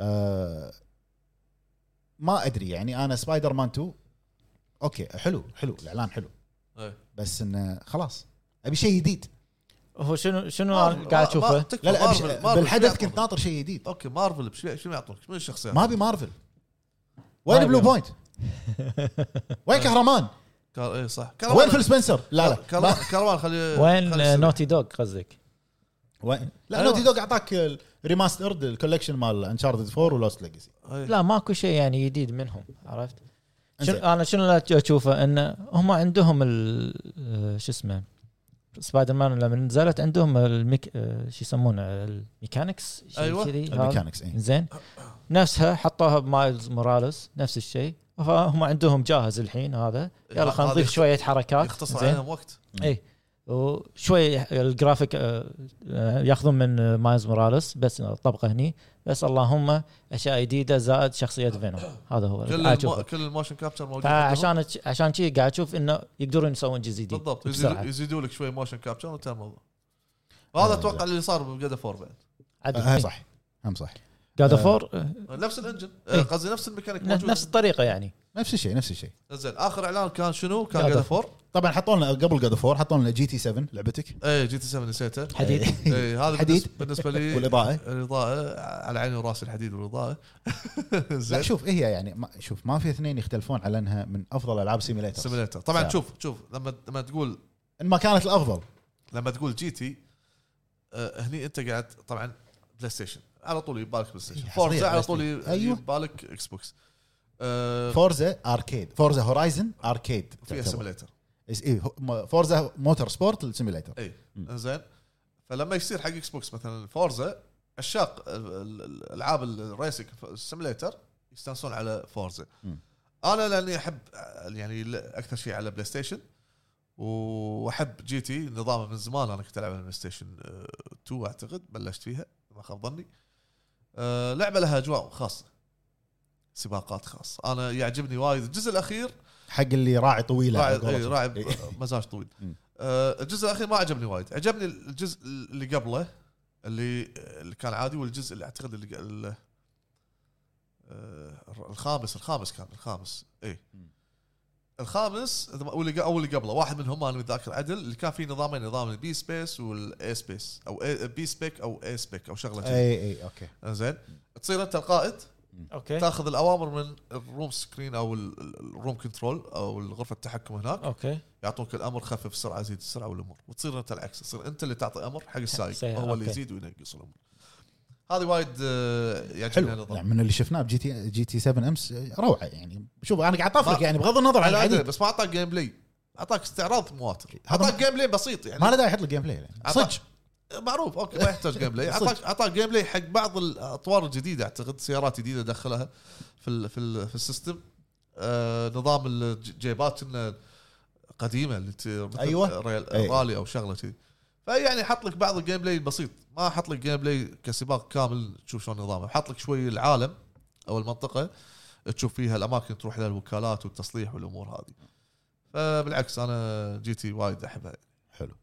Speaker 1: آه ما ادري يعني انا سبايدر مان 2 اوكي حلو حلو الاعلان حلو
Speaker 2: إيه.
Speaker 1: بس انه خلاص ابي شيء جديد
Speaker 3: هو شنو شنو
Speaker 2: مارفل.
Speaker 3: قاعد
Speaker 2: ما- ما-
Speaker 3: اشوفه
Speaker 2: تكفى
Speaker 1: لا لا أبي
Speaker 2: مارفل-
Speaker 1: شيء-
Speaker 2: مارفل شو
Speaker 1: بالحدث
Speaker 2: يعطونك؟
Speaker 1: كنت ناطر شيء جديد
Speaker 2: اوكي مارفل بشو شنو يعطونك؟ من الشخصيات؟
Speaker 1: ما ابي مارفل
Speaker 3: ما
Speaker 1: وين
Speaker 3: أبي
Speaker 1: بلو
Speaker 3: مارفل.
Speaker 1: بوينت؟ وين كهرمان؟
Speaker 2: كار... اي صح
Speaker 1: وين فيل سبنسر؟ لا
Speaker 2: كار-
Speaker 1: لا ما-
Speaker 2: كار- كروان خلي
Speaker 3: وين
Speaker 2: خلي
Speaker 3: آه، نوتي دوغ قصدك
Speaker 1: وين لا
Speaker 2: أيوة.
Speaker 1: نوتي دوغ اعطاك الريماسترد الكولكشن مال انشارتد 4 ولوست ليجسي
Speaker 2: لا
Speaker 3: لا ماكو شيء يعني جديد منهم عرفت شنو انا شنو اللي اشوفه ان هم عندهم ال آه، شو اسمه سبايدر مان لما نزلت عندهم الميك آه، شو يسمونه الميكانكس شيء
Speaker 2: أيوة.
Speaker 3: كذي هذا.
Speaker 1: الميكانكس إيه. اي
Speaker 3: زين نفسها حطوها بمايلز موراليس نفس الشيء فهم عندهم جاهز الحين هذا يلا خلينا نضيف شويه حركات
Speaker 2: يختصر
Speaker 3: زين
Speaker 2: عليهم وقت
Speaker 3: اي إيه. وشوي الجرافيك آه، آه، ياخذون من آه، مايلز موراليس بس طبقه هني بس اللهم اشياء جديده زائد شخصيه فينوم هذا هو اللي
Speaker 2: كل
Speaker 3: قاعد
Speaker 2: المو...
Speaker 3: أشوفه.
Speaker 2: كل الموشن كابتشر موجود عندهم.
Speaker 3: فعشان عشان شي قاعد اشوف انه يقدرون يسوون جزء جديد
Speaker 2: بالضبط يزيدوا-
Speaker 3: بسرعه
Speaker 2: يزيدوا لك شوي موشن كابتشر وانتهى الموضوع هذا
Speaker 3: آه،
Speaker 2: اتوقع اللي صار بجاد فور بعد
Speaker 3: إيه.
Speaker 1: هم صح هم صح
Speaker 3: جاد
Speaker 1: آه.
Speaker 3: فور
Speaker 2: نفس الانجن
Speaker 3: إيه.
Speaker 2: قصدي نفس الميكانيك موجود
Speaker 3: نفس الطريقه يعني
Speaker 1: نفس الشيء نفس الشيء
Speaker 2: زين اخر اعلان كان شنو؟ كان
Speaker 3: God
Speaker 2: جاد
Speaker 3: of
Speaker 2: فور
Speaker 1: طبعا حطوا لنا قبل جاد فور حطوا لنا جي تي 7 لعبتك
Speaker 2: اي إيه، جي تي 7 نسيته
Speaker 1: إيه.
Speaker 3: حديد
Speaker 2: اي هذا
Speaker 1: حديد.
Speaker 2: بالنسبة- بالنسبه لي
Speaker 1: والاضاءه
Speaker 2: الاضاءه على عيني وراسي الحديد والاضاءه
Speaker 1: لا
Speaker 2: زين
Speaker 1: شوف هي إيه يعني ما شوف ما في اثنين يختلفون على انها من افضل العاب سيميليتر
Speaker 2: سيميليتر طبعا
Speaker 1: ساعة.
Speaker 2: شوف شوف لما لما تقول
Speaker 1: ان ما كانت الافضل
Speaker 2: لما تقول جي تي آه، هني انت قاعد طبعا بلاي ستيشن على طول يبالك بلاي ستيشن
Speaker 1: إيه، حصرية
Speaker 2: فورزا على
Speaker 1: بلاي
Speaker 2: طول
Speaker 1: ستيشن.
Speaker 2: ي-
Speaker 1: أيوة.
Speaker 2: يبالك اكس بوكس آه،
Speaker 1: فورزا اركيد فورزا هورايزن اركيد
Speaker 2: فيها سيميليتر
Speaker 1: إيه، فورزا موتور سبورت السيميليتر
Speaker 2: اي
Speaker 1: مم.
Speaker 2: زين إيه. فلما يصير حق اكس بوكس مثلا فورزا عشاق ال- ال- الالعاب الريسنج سيميليتر يستانسون على فورزا
Speaker 1: مم.
Speaker 2: انا لاني احب آه، يعني ل- اكثر شيء على بلاي ستيشن واحب جي تي نظامه من زمان انا كنت العب على بلاي ستيشن 2 اعتقد بلشت فيها ما خاب ظني آه، لعبه لها اجواء خاصه سباقات خاصه انا يعجبني وايد الجزء الاخير
Speaker 1: حق اللي راعي طويله
Speaker 2: راعي
Speaker 1: على قولتهم.
Speaker 2: إيه، راعي
Speaker 1: إيه.
Speaker 2: مزاج طويل
Speaker 1: مم.
Speaker 2: آه، الجزء الاخير ما عجبني وايد عجبني الجزء اللي قبله اللي اللي كان عادي والجزء اللي اعتقد اللي ال- آه، الخامس الخامس كان الخامس اي
Speaker 1: مم.
Speaker 2: الخامس إذا ما- واللي ق- او اللي قبله واحد منهم انا متذاكر عدل اللي كان فيه نظامين نظام البي سبيس والاي سبيس او بي سبيك او اي سبيك او شغله كذي.
Speaker 1: اي اي اوكي
Speaker 2: زين تصير انت القائد
Speaker 3: اوكي
Speaker 2: تاخذ الاوامر من الروم سكرين او ال- ال- الروم كنترول او الغرفه التحكم هناك
Speaker 3: اوكي
Speaker 2: يعطوك الامر خفف السرعه زيد السرعه والامور وتصير انت العكس تصير انت اللي تعطي امر حق السايق
Speaker 3: سيارة،
Speaker 2: هو اللي
Speaker 3: أوكي.
Speaker 2: يزيد وينقص الامور هذه وايد آه، يعجبني
Speaker 1: حلو
Speaker 2: النظام
Speaker 1: يعني من اللي شفناه بجي تي جي تي 7 امس آه، روعه يعني شوف انا قاعد افرق
Speaker 2: ما-
Speaker 1: يعني بغض النظر عن
Speaker 2: على أدري،
Speaker 1: العديد
Speaker 2: بس ما اعطاك جيم بلاي اعطاك استعراض مواتر
Speaker 1: هذا
Speaker 2: اعطاك جيم بلاي بسيط يعني
Speaker 1: ما له داعي يحط لك جيم بلاي يعني.
Speaker 2: أعطاك- معروف اوكي ما يحتاج جيم بلاي
Speaker 1: صدق.
Speaker 2: اعطاك اعطاك جيم بلاي حق بعض الاطوار الجديده اعتقد سيارات جديده دخلها في ال في, ال في السيستم آه نظام الجيبات إنه قديمه اللي ت- مثل
Speaker 1: أيوة.
Speaker 2: ريال
Speaker 1: أيوة.
Speaker 2: رالي او شغله كذي فيعني حط لك بعض الجيم بلاي البسيط ما حط لك جيم بلاي كسباق كامل تشوف شلون نظامه حط لك شوي العالم او المنطقه تشوف فيها الاماكن تروح لها الوكالات والتصليح والامور هذه فبالعكس انا جيتي وايد احبها
Speaker 1: حلو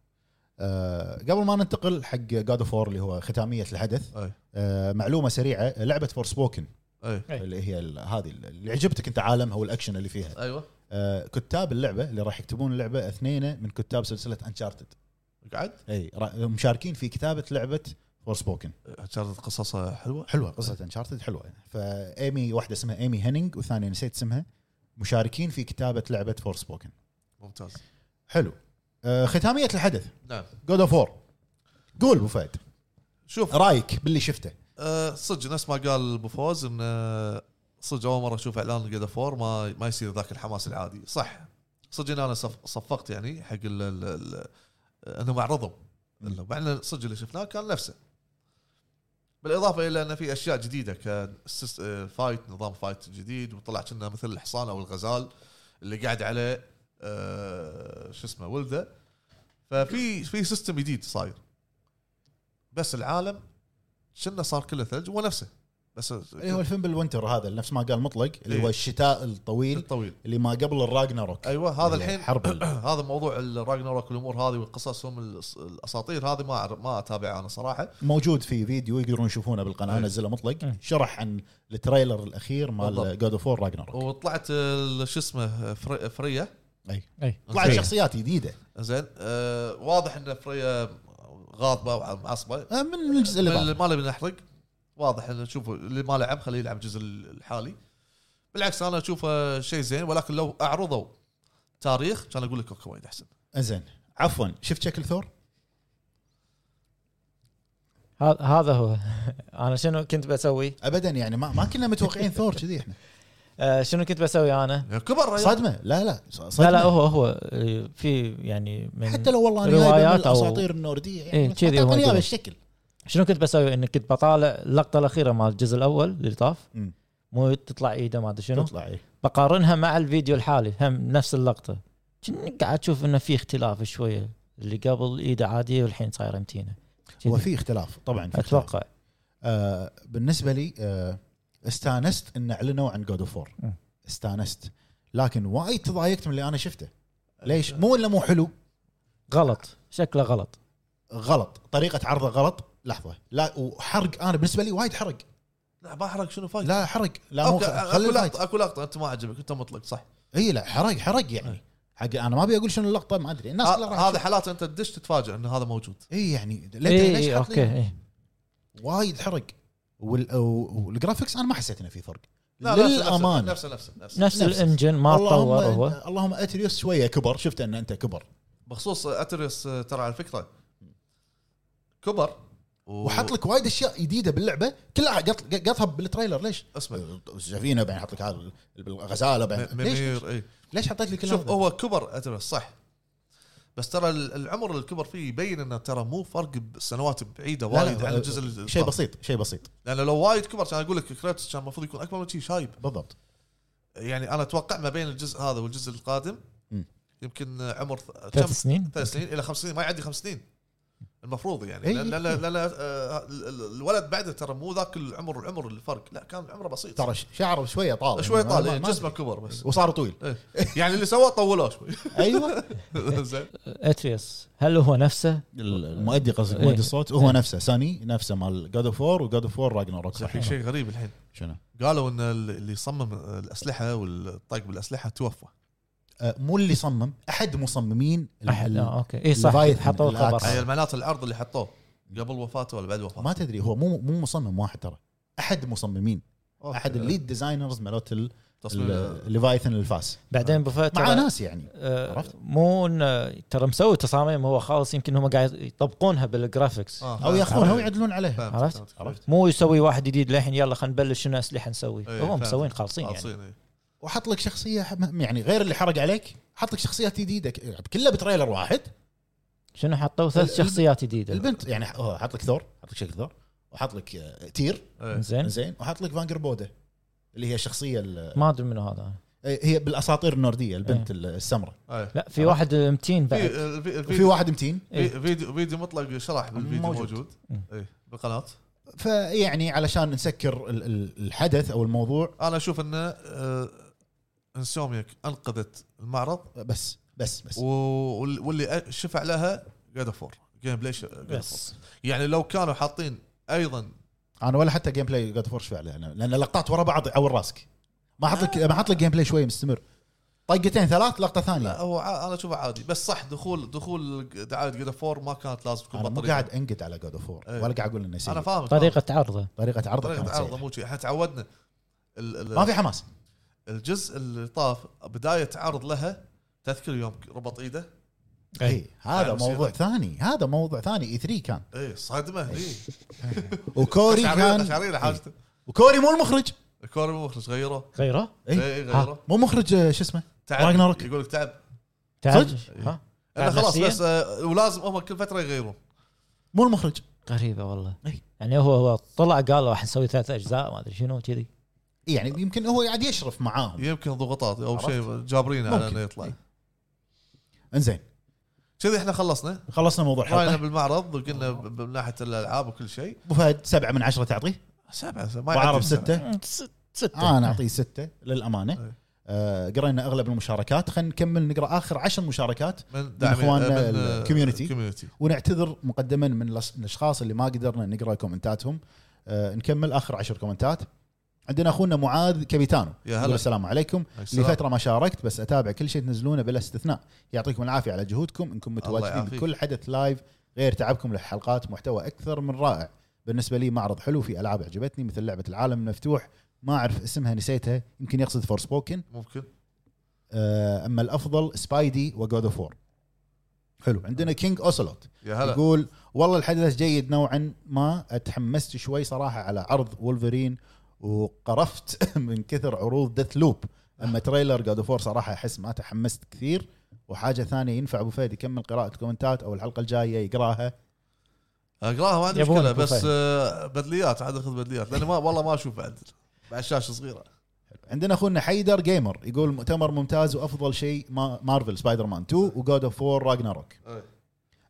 Speaker 1: آه قبل ما ننتقل حق جاد اوف اللي هو ختاميه الحدث
Speaker 2: اي
Speaker 1: آه معلومه سريعه لعبه فور سبوكن
Speaker 2: اي
Speaker 3: أي.
Speaker 1: اللي هي ال- هذه اللي عجبتك انت عالمها والاكشن اللي فيها
Speaker 2: ايوه
Speaker 1: آه كتاب اللعبه اللي راح يكتبون اللعبه اثنين من كتاب سلسله انشارتد
Speaker 2: قعد
Speaker 1: اي را- مشاركين في كتابه لعبه فور سبوكن
Speaker 2: كانت قصصها حلوه
Speaker 1: حلوه قصه انشارتد حلوه فايمي واحده اسمها ايمي هيننج والثانيه نسيت اسمها مشاركين في كتابه لعبه فور سبوكن
Speaker 2: ممتاز
Speaker 1: حلو آه ختاميه الحدث
Speaker 2: نعم
Speaker 1: جود اوف وور قول ابو فهد
Speaker 2: شوف
Speaker 1: رايك باللي شفته
Speaker 2: آه صدق نفس ما قال ابو فوز ان آه، صدق اول مره اشوف اعلان جاد فور ما ما يصير ذاك الحماس العادي صح صدق ان انا صف- صفقت يعني حق ال ال ال انهم اعرضوا إنه مع ان صدق اللي شفناه كان نفسه بالاضافه الى ان في اشياء جديده كفايت نظام آه، فايت جديد وطلع كنا مثل الحصان او الغزال اللي قاعد عليه آه، شو اسمه ولده ففي في سيستم جديد صاير بس العالم شنه صار كله ثلج هو نفسه بس
Speaker 1: اللي إيه، هو الفيلم بالوينتر هذا اللي نفس ما قال مطلق اللي
Speaker 2: إيه.
Speaker 1: هو الشتاء الطويل
Speaker 2: الطويل
Speaker 1: اللي ما قبل الراجناروك
Speaker 2: ايوه هذا الحين
Speaker 1: حرب ال-
Speaker 2: هذا موضوع الراجناروك والامور هذه وقصصهم الأس- الاساطير هذه ما أعرف- ما اتابعها انا صراحه
Speaker 1: موجود في فيديو يقدرون يشوفونه بالقناه
Speaker 2: إيه.
Speaker 1: نزله مطلق
Speaker 3: إيه.
Speaker 1: شرح عن التريلر الاخير مال
Speaker 2: بالضبط.
Speaker 1: جود اوف وور راجناروك
Speaker 2: وطلعت ال- شو اسمه فري فريا
Speaker 3: اي
Speaker 1: طلعت
Speaker 2: زين.
Speaker 1: شخصيات جديده
Speaker 2: زين آه واضح ان فريا غاضبه ومعصبه
Speaker 1: آه، من الجزء اللي بعده
Speaker 2: اللي ما نبي نحرق واضح انه شوفوا اللي ما لعب خليه يلعب الجزء الحالي بالعكس انا اشوفه شيء زين ولكن لو اعرضوا تاريخ كان اقول لك اوكي وايد احسن
Speaker 1: زين عفوا شفت شكل ثور؟
Speaker 3: هذا- هذا هو انا شنو كنت بسوي؟
Speaker 1: ابدا يعني ما, ما كنا متوقعين ثور كذي احنا
Speaker 3: آه، شنو كنت بسوي انا؟
Speaker 2: يعني كبر رجال.
Speaker 1: صدمه لا لا ص- صدمه
Speaker 3: لا لا هو هو آه، في يعني من
Speaker 1: حتى لو والله انا جايبه من
Speaker 3: روايات أو-
Speaker 1: الاساطير النورديه يعني
Speaker 3: إيه،
Speaker 1: بس
Speaker 3: كذي
Speaker 1: أعطاني
Speaker 3: هو
Speaker 1: إياه
Speaker 3: يقول.
Speaker 1: بالشكل
Speaker 3: شنو كنت بسوي؟ اني كنت بطالع اللقطه الاخيره مال الجزء الاول اللي طاف
Speaker 1: مم.
Speaker 3: مو تطلع ايده ما ادري شنو
Speaker 1: تطلع إيه.
Speaker 3: بقارنها مع الفيديو الحالي هم نفس اللقطه كأنك قاعد تشوف انه في اختلاف شويه اللي قبل ايده عاديه والحين صايره متينه
Speaker 1: هو في اختلاف طبعا في اختلاف.
Speaker 3: اتوقع
Speaker 1: آه بالنسبه لي آه استانست ان اعلنوا عن جود اوف
Speaker 3: م.
Speaker 1: استانست لكن وايد تضايقت من اللي انا شفته
Speaker 2: أه،
Speaker 1: ليش مو الا مو حلو
Speaker 3: غلط شكله غلط
Speaker 1: غلط طريقه عرضه غلط لحظه لا وحرق انا بالنسبه لي وايد حرق
Speaker 2: لا ما احرق شنو فايت
Speaker 1: لا حرق لا مو
Speaker 2: اوكي
Speaker 1: خ-
Speaker 2: اكو
Speaker 1: خلي الفايت
Speaker 2: لقطه اكو لقطه انت ما عجبك انت مطلق صح
Speaker 1: اي لا حرق حرق
Speaker 2: أه.
Speaker 1: يعني حق انا ما ابي اقول شنو اللقطه ما ادري الناس كلها
Speaker 2: ه-
Speaker 1: راح
Speaker 2: هذا حالات انت تدش تتفاجئ ان هذا موجود
Speaker 1: اي يعني ليت-
Speaker 3: اي
Speaker 1: ليش
Speaker 3: إي،
Speaker 1: حاط
Speaker 3: اوكي
Speaker 1: لي
Speaker 3: إي.
Speaker 1: وايد حرق وال- و- والجرافكس انا ما حسيت انه في فرق
Speaker 2: لا، نفسه-
Speaker 1: للامانه
Speaker 2: نفسه نفسه نفسه, نفسه.
Speaker 3: نفس
Speaker 1: نفس.
Speaker 3: الانجن ما تطور
Speaker 1: اللهم
Speaker 3: هو
Speaker 1: اللهم اتريوس شويه كبر شفت انه انت كبر
Speaker 2: بخصوص اتريس ترى على فكره كبر و-
Speaker 1: وحط لك وايد اشياء جديده باللعبه كلها قط- قطها بالتريلر ليش؟
Speaker 2: اسمه
Speaker 1: السفينه بعدين حط لك هذا الغزاله بعدين
Speaker 2: م-
Speaker 1: ليش
Speaker 2: ممير اي
Speaker 1: ليش حطيت لي كل
Speaker 2: شوف
Speaker 1: هذا؟
Speaker 2: هو كبر اتريس صح بس ترى ال- العمر اللي كبر فيه يبين انه ترى مو فرق بسنوات بعيده
Speaker 1: لا، لا،
Speaker 2: وايد يعني عن الجزء اللي
Speaker 1: شيء
Speaker 2: طاف.
Speaker 1: بسيط شيء بسيط
Speaker 2: لانه لو وايد كبر كان اقول لك كريتوس كان المفروض يكون اكبر من شي شايب
Speaker 1: بالضبط
Speaker 2: يعني انا اتوقع ما بين الجزء هذا والجزء القادم
Speaker 1: مم.
Speaker 2: يمكن عمر ث-
Speaker 3: ثلاث سنين
Speaker 2: ثلاث سنين الى خمس سنين ما يعدي خمس سنين المفروض يعني
Speaker 1: إي.
Speaker 2: لان لان لأن، آه، ال- ال- الولد بعده ترى مو ذاك العمر العمر الفرق لا كان عمره بسيط
Speaker 1: ترى ش- شعره شويه طال
Speaker 2: شوي
Speaker 1: يعني
Speaker 2: طال
Speaker 1: ما-
Speaker 2: إيه،
Speaker 1: ما-
Speaker 2: جسمه كبر بس
Speaker 1: وصار طويل
Speaker 2: يعني اللي سواه طولوه شوي
Speaker 1: ايوه
Speaker 2: زين
Speaker 3: اتريوس هل هو نفسه؟
Speaker 1: المؤدي قصدك مؤدي الصوت هو نفسه ساني نفسه مال جاد اوف وور وجاد اوف وور راجناروك
Speaker 2: في شيء غريب الحين
Speaker 1: شنو؟
Speaker 2: قالوا ان ال- اللي صمم الاسلحه والطق بالاسلحه توفى
Speaker 1: آه، مو اللي صمم احد مصممين ال-
Speaker 3: احد
Speaker 1: ال-
Speaker 3: آه، اوكي اي صح
Speaker 1: ليفايثن،
Speaker 3: حطوا الخبر
Speaker 1: الأكس.
Speaker 2: هي معناته العرض اللي حطوه قبل وفاته ولا بعد وفاته
Speaker 1: ما تدري هو مو مو مصمم واحد ترى احد مصممين
Speaker 2: أوكي.
Speaker 1: احد الليد ديزاينرز مالت ال-
Speaker 2: تصميم
Speaker 1: ال- ليفايثن الفاس
Speaker 3: بعدين بوفيه
Speaker 1: مع
Speaker 3: ترى
Speaker 1: ناس يعني
Speaker 3: آه،
Speaker 1: عرفت؟
Speaker 3: مو إنه- ترى مسوي تصاميم هو خالص يمكن هم قاعد يطبقونها بالجرافكس
Speaker 2: آه،
Speaker 1: او
Speaker 2: فهمت.
Speaker 1: ياخذونها ويعدلون عليها
Speaker 2: فهمت،
Speaker 3: عرفت؟
Speaker 2: فهمت.
Speaker 1: عرفت.
Speaker 3: مو يسوي واحد جديد للحين يلا خلينا نبلش شنو اسلحه نسوي
Speaker 2: إيه،
Speaker 3: هو
Speaker 2: فهمت.
Speaker 3: مسوين خالصين يعني
Speaker 2: خالصين، إيه.
Speaker 1: وحط لك شخصيه ح- يعني غير اللي حرق عليك حط لك شخصيات جديده ك- كلها بتريلر واحد
Speaker 3: شنو حطوا
Speaker 1: ال-
Speaker 3: ثلاث
Speaker 1: الب-
Speaker 3: شخصيات جديده
Speaker 1: البنت يعني ح- هو حط لك ثور حط لك شكل ثور وحط لك آه، تير
Speaker 2: إيه.
Speaker 3: زين
Speaker 1: زين وحط لك فانجر بودا اللي هي الشخصيه ال- آه،
Speaker 3: ما ادري منو هذا
Speaker 1: هي بالاساطير النورديه البنت السمراء
Speaker 2: إيه.
Speaker 3: لا في واحد متين
Speaker 2: في
Speaker 3: بعد
Speaker 2: الفي-
Speaker 1: وفي
Speaker 2: الفيديو
Speaker 1: واحد متين
Speaker 3: إيه.
Speaker 2: في- فيديو فيديو مطلق شرح بالفيديو
Speaker 1: موجود. إيه.
Speaker 2: موجود إيه،
Speaker 3: مم.
Speaker 2: اي بالقناه
Speaker 1: فيعني علشان نسكر ال- ال- الحدث او الموضوع
Speaker 2: انا اشوف انه آه، انسوميك انقذت المعرض
Speaker 1: بس بس بس
Speaker 2: و- وال- واللي أ- شفع لها جاد فور جيم بلاي
Speaker 3: بس
Speaker 2: يعني لو كانوا حاطين ايضا
Speaker 1: انا ولا حتى جيم بلاي جاد فورش فعلا أنا- لان يعني لقطات ورا بعض عور راسك ما حط
Speaker 2: آه.
Speaker 1: لك ما حط لك جيم بلاي شوي مستمر طقتين ثلاث لقطه
Speaker 2: لا
Speaker 1: ثانيه
Speaker 2: هو ع- انا اشوفه عادي بس صح دخول دخول دعايه جاد فور ما كانت لازم تكون
Speaker 1: انا مو
Speaker 2: بالطريقه
Speaker 1: قاعد انقد على جاد اوف وور
Speaker 2: إيه.
Speaker 1: ولا قاعد اقول انه
Speaker 2: انا
Speaker 1: سيء
Speaker 2: فاهم
Speaker 3: طريقه عرضه
Speaker 1: طريقه عرضه كانت
Speaker 2: طريقه
Speaker 1: سيئة.
Speaker 2: عرضه مو شيء احنا تعودنا ال- ال-
Speaker 1: ما في حماس
Speaker 2: الجزء اللي طاف بدايه عرض لها تذكر يوم ربط ايده
Speaker 1: اي إيه. هذا
Speaker 2: يعني
Speaker 1: موضوع ثاني هذا موضوع ثاني اي 3 كان
Speaker 2: ايه صدمه ايه
Speaker 1: وكوري
Speaker 2: اشعرينا
Speaker 1: كان
Speaker 2: اشعرينا حاجته
Speaker 1: وكوري مو المخرج
Speaker 2: كوري مو مخرج غيره
Speaker 3: غيره
Speaker 1: إيه.
Speaker 2: ايه
Speaker 1: ها،
Speaker 2: غيره
Speaker 1: مو مخرج آه، شو اسمه
Speaker 2: تعب
Speaker 1: راجناروك.
Speaker 2: يقول لك تعب
Speaker 3: تعال
Speaker 1: صدق؟
Speaker 3: ها
Speaker 2: انا
Speaker 3: تعب
Speaker 2: خلاص
Speaker 3: نفسياً؟
Speaker 2: بس آه، ولازم هم كل فتره يغيرون
Speaker 1: مو المخرج
Speaker 3: غريبه والله
Speaker 1: إيه.
Speaker 3: يعني هو هو طلع قال راح نسوي ثلاث اجزاء ما ادري شنو كذي
Speaker 1: إي، يعني يمكن هو قاعد يشرف معاهم
Speaker 2: يمكن ضغوطات او
Speaker 1: عرفت.
Speaker 2: شيء جابرينه
Speaker 1: ممكن.
Speaker 2: على انه يطلع
Speaker 1: إيه. انزين
Speaker 2: كذي احنا خلصنا
Speaker 1: خلصنا موضوع
Speaker 2: راينا
Speaker 1: الحلقه
Speaker 2: بالمعرض وقلنا ب- ب- من ناحيه الالعاب وكل شيء
Speaker 1: ابو فهد سبعه من عشره تعطيه
Speaker 2: سبعه سبعة. ما
Speaker 1: ابو عرب
Speaker 2: يعدي سبعة.
Speaker 1: سته
Speaker 3: ست- ستة
Speaker 1: آه انا اعطيه سته للامانه
Speaker 2: أي.
Speaker 1: آه قرينا اغلب المشاركات خلينا نكمل نقرا اخر عشر مشاركات
Speaker 2: من
Speaker 1: إخواننا
Speaker 2: من، آه،
Speaker 1: الكوميونتي.
Speaker 2: الكوميونتي
Speaker 1: ونعتذر مقدما من الأص- الاشخاص اللي ما قدرنا نقرا كومنتاتهم آه نكمل اخر عشر كومنتات عندنا اخونا معاذ كابيتانو
Speaker 2: يا
Speaker 1: يقول
Speaker 2: هلا
Speaker 1: السلام عليكم
Speaker 2: السلام.
Speaker 1: لفتره ما شاركت بس اتابع كل شيء تنزلونه بلا استثناء يعطيكم العافيه على جهودكم انكم متواجدين
Speaker 2: يعافيك.
Speaker 1: بكل حدث لايف غير تعبكم لحلقات محتوى اكثر من رائع بالنسبه لي معرض حلو في العاب عجبتني مثل لعبه العالم المفتوح ما اعرف اسمها نسيتها يمكن يقصد فور سبوكن
Speaker 2: ممكن
Speaker 1: اما الافضل سبايدي وجود اوف وور حلو عندنا كينج اوسلوت
Speaker 2: يا هلا
Speaker 1: يقول والله الحدث جيد نوعا ما اتحمست شوي صراحه على عرض وولفرين وقرفت من كثر عروض ديث لوب اما تريلر جاد اوف صراحه احس ما تحمست كثير وحاجه ثانيه ينفع ابو فهد يكمل قراءه كومنتات او الحلقه الجايه يقراها
Speaker 2: اقراها آه، ما عندي
Speaker 3: يبون
Speaker 2: مشكله
Speaker 3: أبو
Speaker 2: بس
Speaker 3: فهد.
Speaker 2: آه، بدليات عاد اخذ بدليات لاني ما والله ما اشوف بعد بعد شاشه صغيره
Speaker 1: عندنا اخونا حيدر جيمر يقول مؤتمر ممتاز وافضل شيء ما مارفل سبايدر مان 2 وجود اوف 4 راجناروك
Speaker 2: إيه.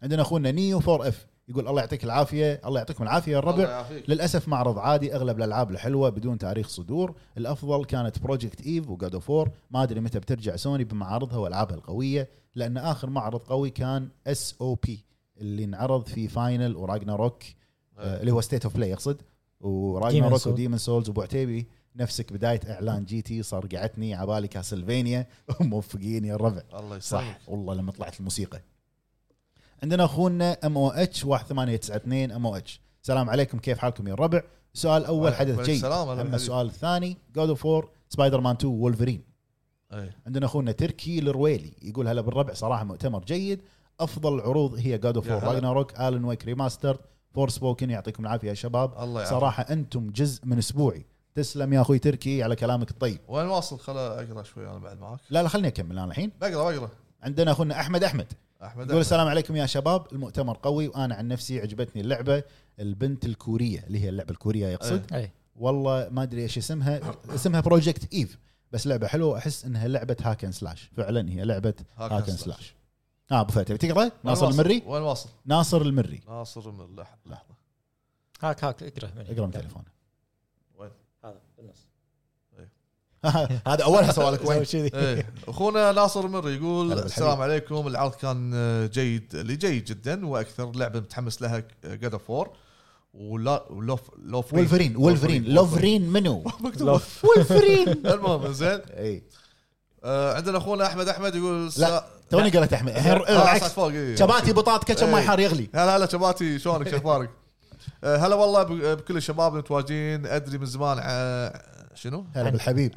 Speaker 1: عندنا اخونا نيو 4 اف يقول الله يعطيك العافيه الله يعطيكم العافيه يا
Speaker 2: الله
Speaker 1: الربع
Speaker 2: يعافيك.
Speaker 1: للاسف معرض عادي اغلب الالعاب الحلوه بدون تاريخ صدور الافضل كانت بروجكت ايف وجاد اوف وور ما ادري متى بترجع سوني بمعارضها والعابها القويه لان اخر معرض قوي كان اس او بي اللي انعرض في فاينل وراجنا روك آه، اللي هو ستيت اوف بلاي يقصد وراجنا
Speaker 3: Demon's
Speaker 1: روك
Speaker 3: Souls.
Speaker 1: وديمن سولز وابو عتيبي نفسك بدايه اعلان جي تي صار قعدتني عبالي كاسلفينيا موفقين يا الربع
Speaker 2: الله
Speaker 1: صح
Speaker 2: يسلمك
Speaker 1: والله لما طلعت الموسيقى عندنا اخونا ام او اتش 1892 ام او اتش السلام عليكم كيف حالكم يا الربع السؤال الاول
Speaker 2: وعليكم
Speaker 1: حدث جيد
Speaker 2: السلام، أهلا
Speaker 1: اما
Speaker 2: بالحبيب.
Speaker 1: السؤال الثاني جود اوف 4 سبايدر مان 2 وولفرين
Speaker 2: إيه.
Speaker 1: عندنا اخونا تركي الرويلي يقول هلا بالربع صراحه مؤتمر جيد افضل العروض هي جاد اوف
Speaker 2: يا
Speaker 1: 4
Speaker 2: هلا.
Speaker 1: راجناروك الن ويك ريماستر فور سبوكن يعطيكم العافيه يا شباب
Speaker 2: الله يعافيك
Speaker 1: صراحه انتم جزء من اسبوعي تسلم يا اخوي تركي على كلامك الطيب
Speaker 2: وين واصل خل اقرا شوي انا بعد معاك
Speaker 1: لا لا خليني اكمل انا الحين
Speaker 2: بقرا بقرا
Speaker 1: عندنا اخونا احمد احمد
Speaker 2: احمد
Speaker 1: يقول
Speaker 2: أحمد.
Speaker 1: السلام عليكم يا شباب المؤتمر قوي وانا عن نفسي عجبتني اللعبه البنت الكوريه اللي هي اللعبه الكوريه يقصد
Speaker 2: إيه.
Speaker 3: اي
Speaker 1: والله ما ادري ايش اسمها اسمها بروجكت ايف بس لعبه حلوه واحس انها لعبه هاكن سلاش فعلا هي لعبه
Speaker 2: هاك
Speaker 1: هاكن
Speaker 2: أند سلاش.
Speaker 1: سلاش اه ابو فتح تقرا ناصر
Speaker 2: وين واصل؟
Speaker 1: المري
Speaker 2: وين واصل؟
Speaker 1: ناصر المري
Speaker 2: ناصر من لح- لحظه
Speaker 3: هاك هاك اقرا مني.
Speaker 1: اقرا من تليفونه
Speaker 2: وين؟
Speaker 3: هذا بالنص
Speaker 1: هذا اولها سؤالك وين إيه.
Speaker 3: سوي كذي إيه.
Speaker 2: ايه اخونا ناصر مر يقول
Speaker 1: هلا بالحبيب.
Speaker 2: السلام عليكم العرض كان آه، جيد اللي جيد جدا واكثر لعبه متحمس لها جاد اوف وور ولوف لوفرين
Speaker 1: ولفرين ولفرين لوفرين منو
Speaker 2: مكتوب
Speaker 1: ولفرين
Speaker 2: المهم زين
Speaker 3: إيه.
Speaker 1: اي
Speaker 2: آه، عندنا اخونا احمد احمد يقول
Speaker 1: لا توني قريت احمد
Speaker 3: آه،
Speaker 2: العكس
Speaker 1: العكس
Speaker 2: فوق إيه.
Speaker 1: شباتي بطاط كاتشب
Speaker 3: إيه.
Speaker 1: ماي حار يغلي
Speaker 2: هلا هلا شباتي شلونك شو اخبارك؟ آه، هلا والله ب- بكل الشباب متواجدين ادري من زمان ع- شنو؟
Speaker 1: هلا بالحبيب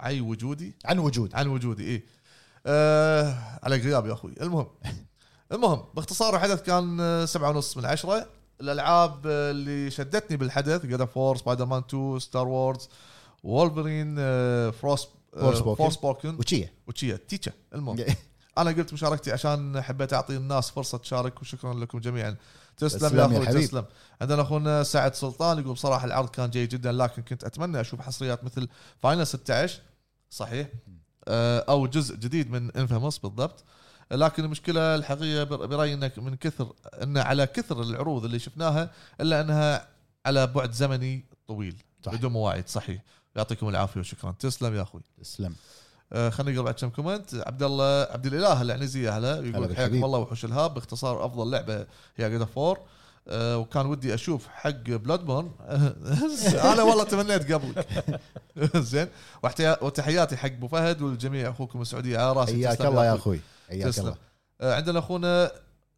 Speaker 2: عي وجودي
Speaker 1: عن وجود
Speaker 2: عن وجودي ايه آه على غياب يا اخوي المهم المهم باختصار الحدث كان آه، سبعة ونص من عشرة الالعاب آه، اللي شدتني بالحدث جاد فور سبايدر مان 2 ستار وورز وولفرين آه، فروست
Speaker 1: Forspoken.
Speaker 2: فورس بوكن
Speaker 1: وشيه
Speaker 2: وتشيا تيتشا المهم انا قلت مشاركتي عشان حبيت اعطي الناس فرصه تشارك وشكرا لكم جميعا تسلم
Speaker 1: تسلم
Speaker 2: يا
Speaker 1: يا
Speaker 2: اخوي
Speaker 1: حبيب.
Speaker 2: تسلم عندنا اخونا سعد سلطان يقول بصراحه العرض كان جيد جدا لكن كنت اتمنى اشوف حصريات مثل فاينل 16 صحيح آه، او جزء جديد من انفاموس بالضبط لكن المشكله الحقيقه بر- برايي انك من كثر ان على كثر العروض اللي شفناها الا انها على بعد زمني طويل
Speaker 1: صح.
Speaker 2: بدون مواعيد صحيح يعطيكم العافيه وشكرا تسلم يا اخوي
Speaker 1: تسلم
Speaker 2: آه، خلينا نقرا بعد كم كومنت عبد الله عبد الاله العنزي هلا يقول
Speaker 1: بالحبيب.
Speaker 2: حياكم الله وحوش الهاب باختصار افضل لعبه هي جاد فور آه، وكان ودي اشوف حق بلاد بورن انا والله تمنيت قبلك زين واحتيا- وتحياتي حق ابو فهد والجميع اخوكم السعوديه على راسي
Speaker 1: حياك
Speaker 2: تسلم
Speaker 1: الله يا اخوي حياك
Speaker 2: تسلم
Speaker 1: الله
Speaker 2: آه، عندنا اخونا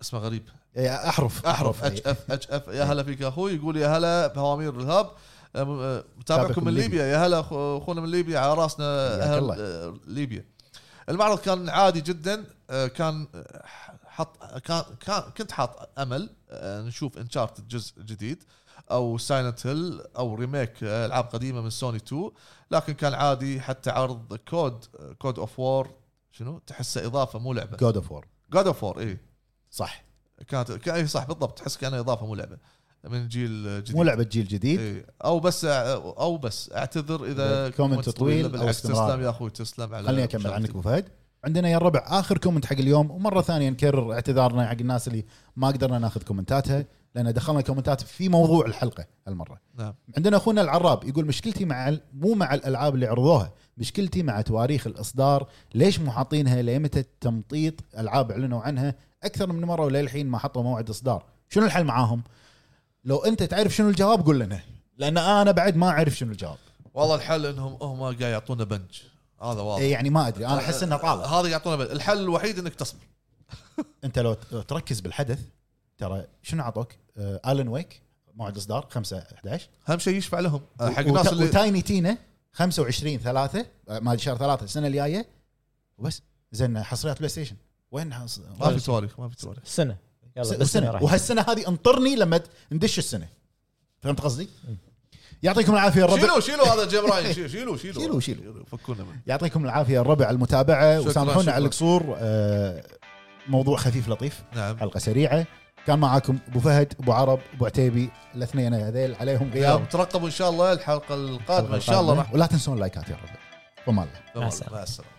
Speaker 2: اسمه غريب
Speaker 1: إيه، احرف
Speaker 2: احرف
Speaker 1: إيه.
Speaker 2: اتش اف اتش اف يا هلا فيك يا اخوي يقول يا هلا بهوامير الهاب أم- أه، متابعكم من ليبيا يا هلا أخو- اخونا من ليبيا على راسنا
Speaker 1: حياك
Speaker 2: أهل
Speaker 1: الله.
Speaker 2: أه، ليبيا المعرض كان عادي جدا أه، كان أه، حط كان كان كنت حاط امل أه، نشوف انشارتد جزء جديد او سايلنت هيل او ريميك أه، العاب قديمه من سوني 2 لكن كان عادي حتى عرض أه، كود كود اوف وور شنو تحسه اضافه مو لعبه
Speaker 1: جود اوف وور
Speaker 2: جود اوف وور اي
Speaker 1: صح
Speaker 2: كانت ك- اي صح بالضبط تحس كانها اضافه مو لعبه من جيل جديد
Speaker 1: مو لعبه جيل جديد
Speaker 2: إيه. او بس او بس اعتذر اذا
Speaker 1: كومنت طويل أو
Speaker 2: بالعكس
Speaker 1: استمرار.
Speaker 2: تسلم يا اخوي تسلم على
Speaker 1: خليني اكمل عنك
Speaker 2: مشاركتك.
Speaker 1: ابو فهد عندنا يا الربع اخر كومنت حق اليوم ومره ثانيه نكرر اعتذارنا حق الناس اللي ما قدرنا ناخذ كومنتاتها لان دخلنا كومنتات في موضوع الحلقه هالمره
Speaker 2: نعم
Speaker 1: عندنا اخونا العراب يقول مشكلتي مع ال- مو مع الالعاب اللي عرضوها مشكلتي مع تواريخ الاصدار ليش مو حاطينها لمتى التمطيط العاب اعلنوا عنها اكثر من مره وللحين ما حطوا موعد اصدار شنو الحل معاهم لو انت تعرف شنو الجواب قول لنا لان انا بعد ما اعرف شنو الجواب
Speaker 2: والله الحل انهم هم قاعد يعطونا بنج هذا واضح
Speaker 1: إيه يعني ما ادري انا احس انها طالع
Speaker 2: هذا يعطونا بنج الحل الوحيد انك تصبر
Speaker 1: انت لو ت- تركز بالحدث ترى شنو عطوك آه الن ويك موعد اصدار 5 11
Speaker 2: اهم شيء يشفع لهم آه، حق
Speaker 1: حق
Speaker 2: الناس اللي
Speaker 1: وتايني تينا 25 3 آه، مال شهر 3 السنه الجايه وبس زين حصريات بلاي ستيشن وين حص...
Speaker 2: ما في تواريخ ما في تواريخ
Speaker 3: السنه
Speaker 1: س-
Speaker 3: يلا بالسنه
Speaker 1: السنه
Speaker 3: راح
Speaker 1: وهالسنه هذه انطرني لما ت- ندش السنه فهمت قصدي؟ يعطيكم العافيه يا الربع
Speaker 2: شيلوا شيلوا هذا جبراين شيلوا شيلوا
Speaker 1: شيلوا- شيلوا.
Speaker 2: فكونا منه
Speaker 1: يعطيكم العافيه يا الربع على المتابعه
Speaker 2: شكراً-
Speaker 1: وسامحونا
Speaker 2: شكراً.
Speaker 1: على القصور آه، موضوع خفيف لطيف
Speaker 2: نعم
Speaker 1: حلقه سريعه كان معاكم ابو فهد ابو عرب ابو عتيبي الاثنين هذيل عليهم
Speaker 2: يا
Speaker 1: غياب
Speaker 2: ترقبوا ان شاء الله الحلقه القادمه ان شاء الله راح
Speaker 1: ولا تنسون اللايكات يا رب فما الله
Speaker 3: مع السلامة.
Speaker 2: مع السلامه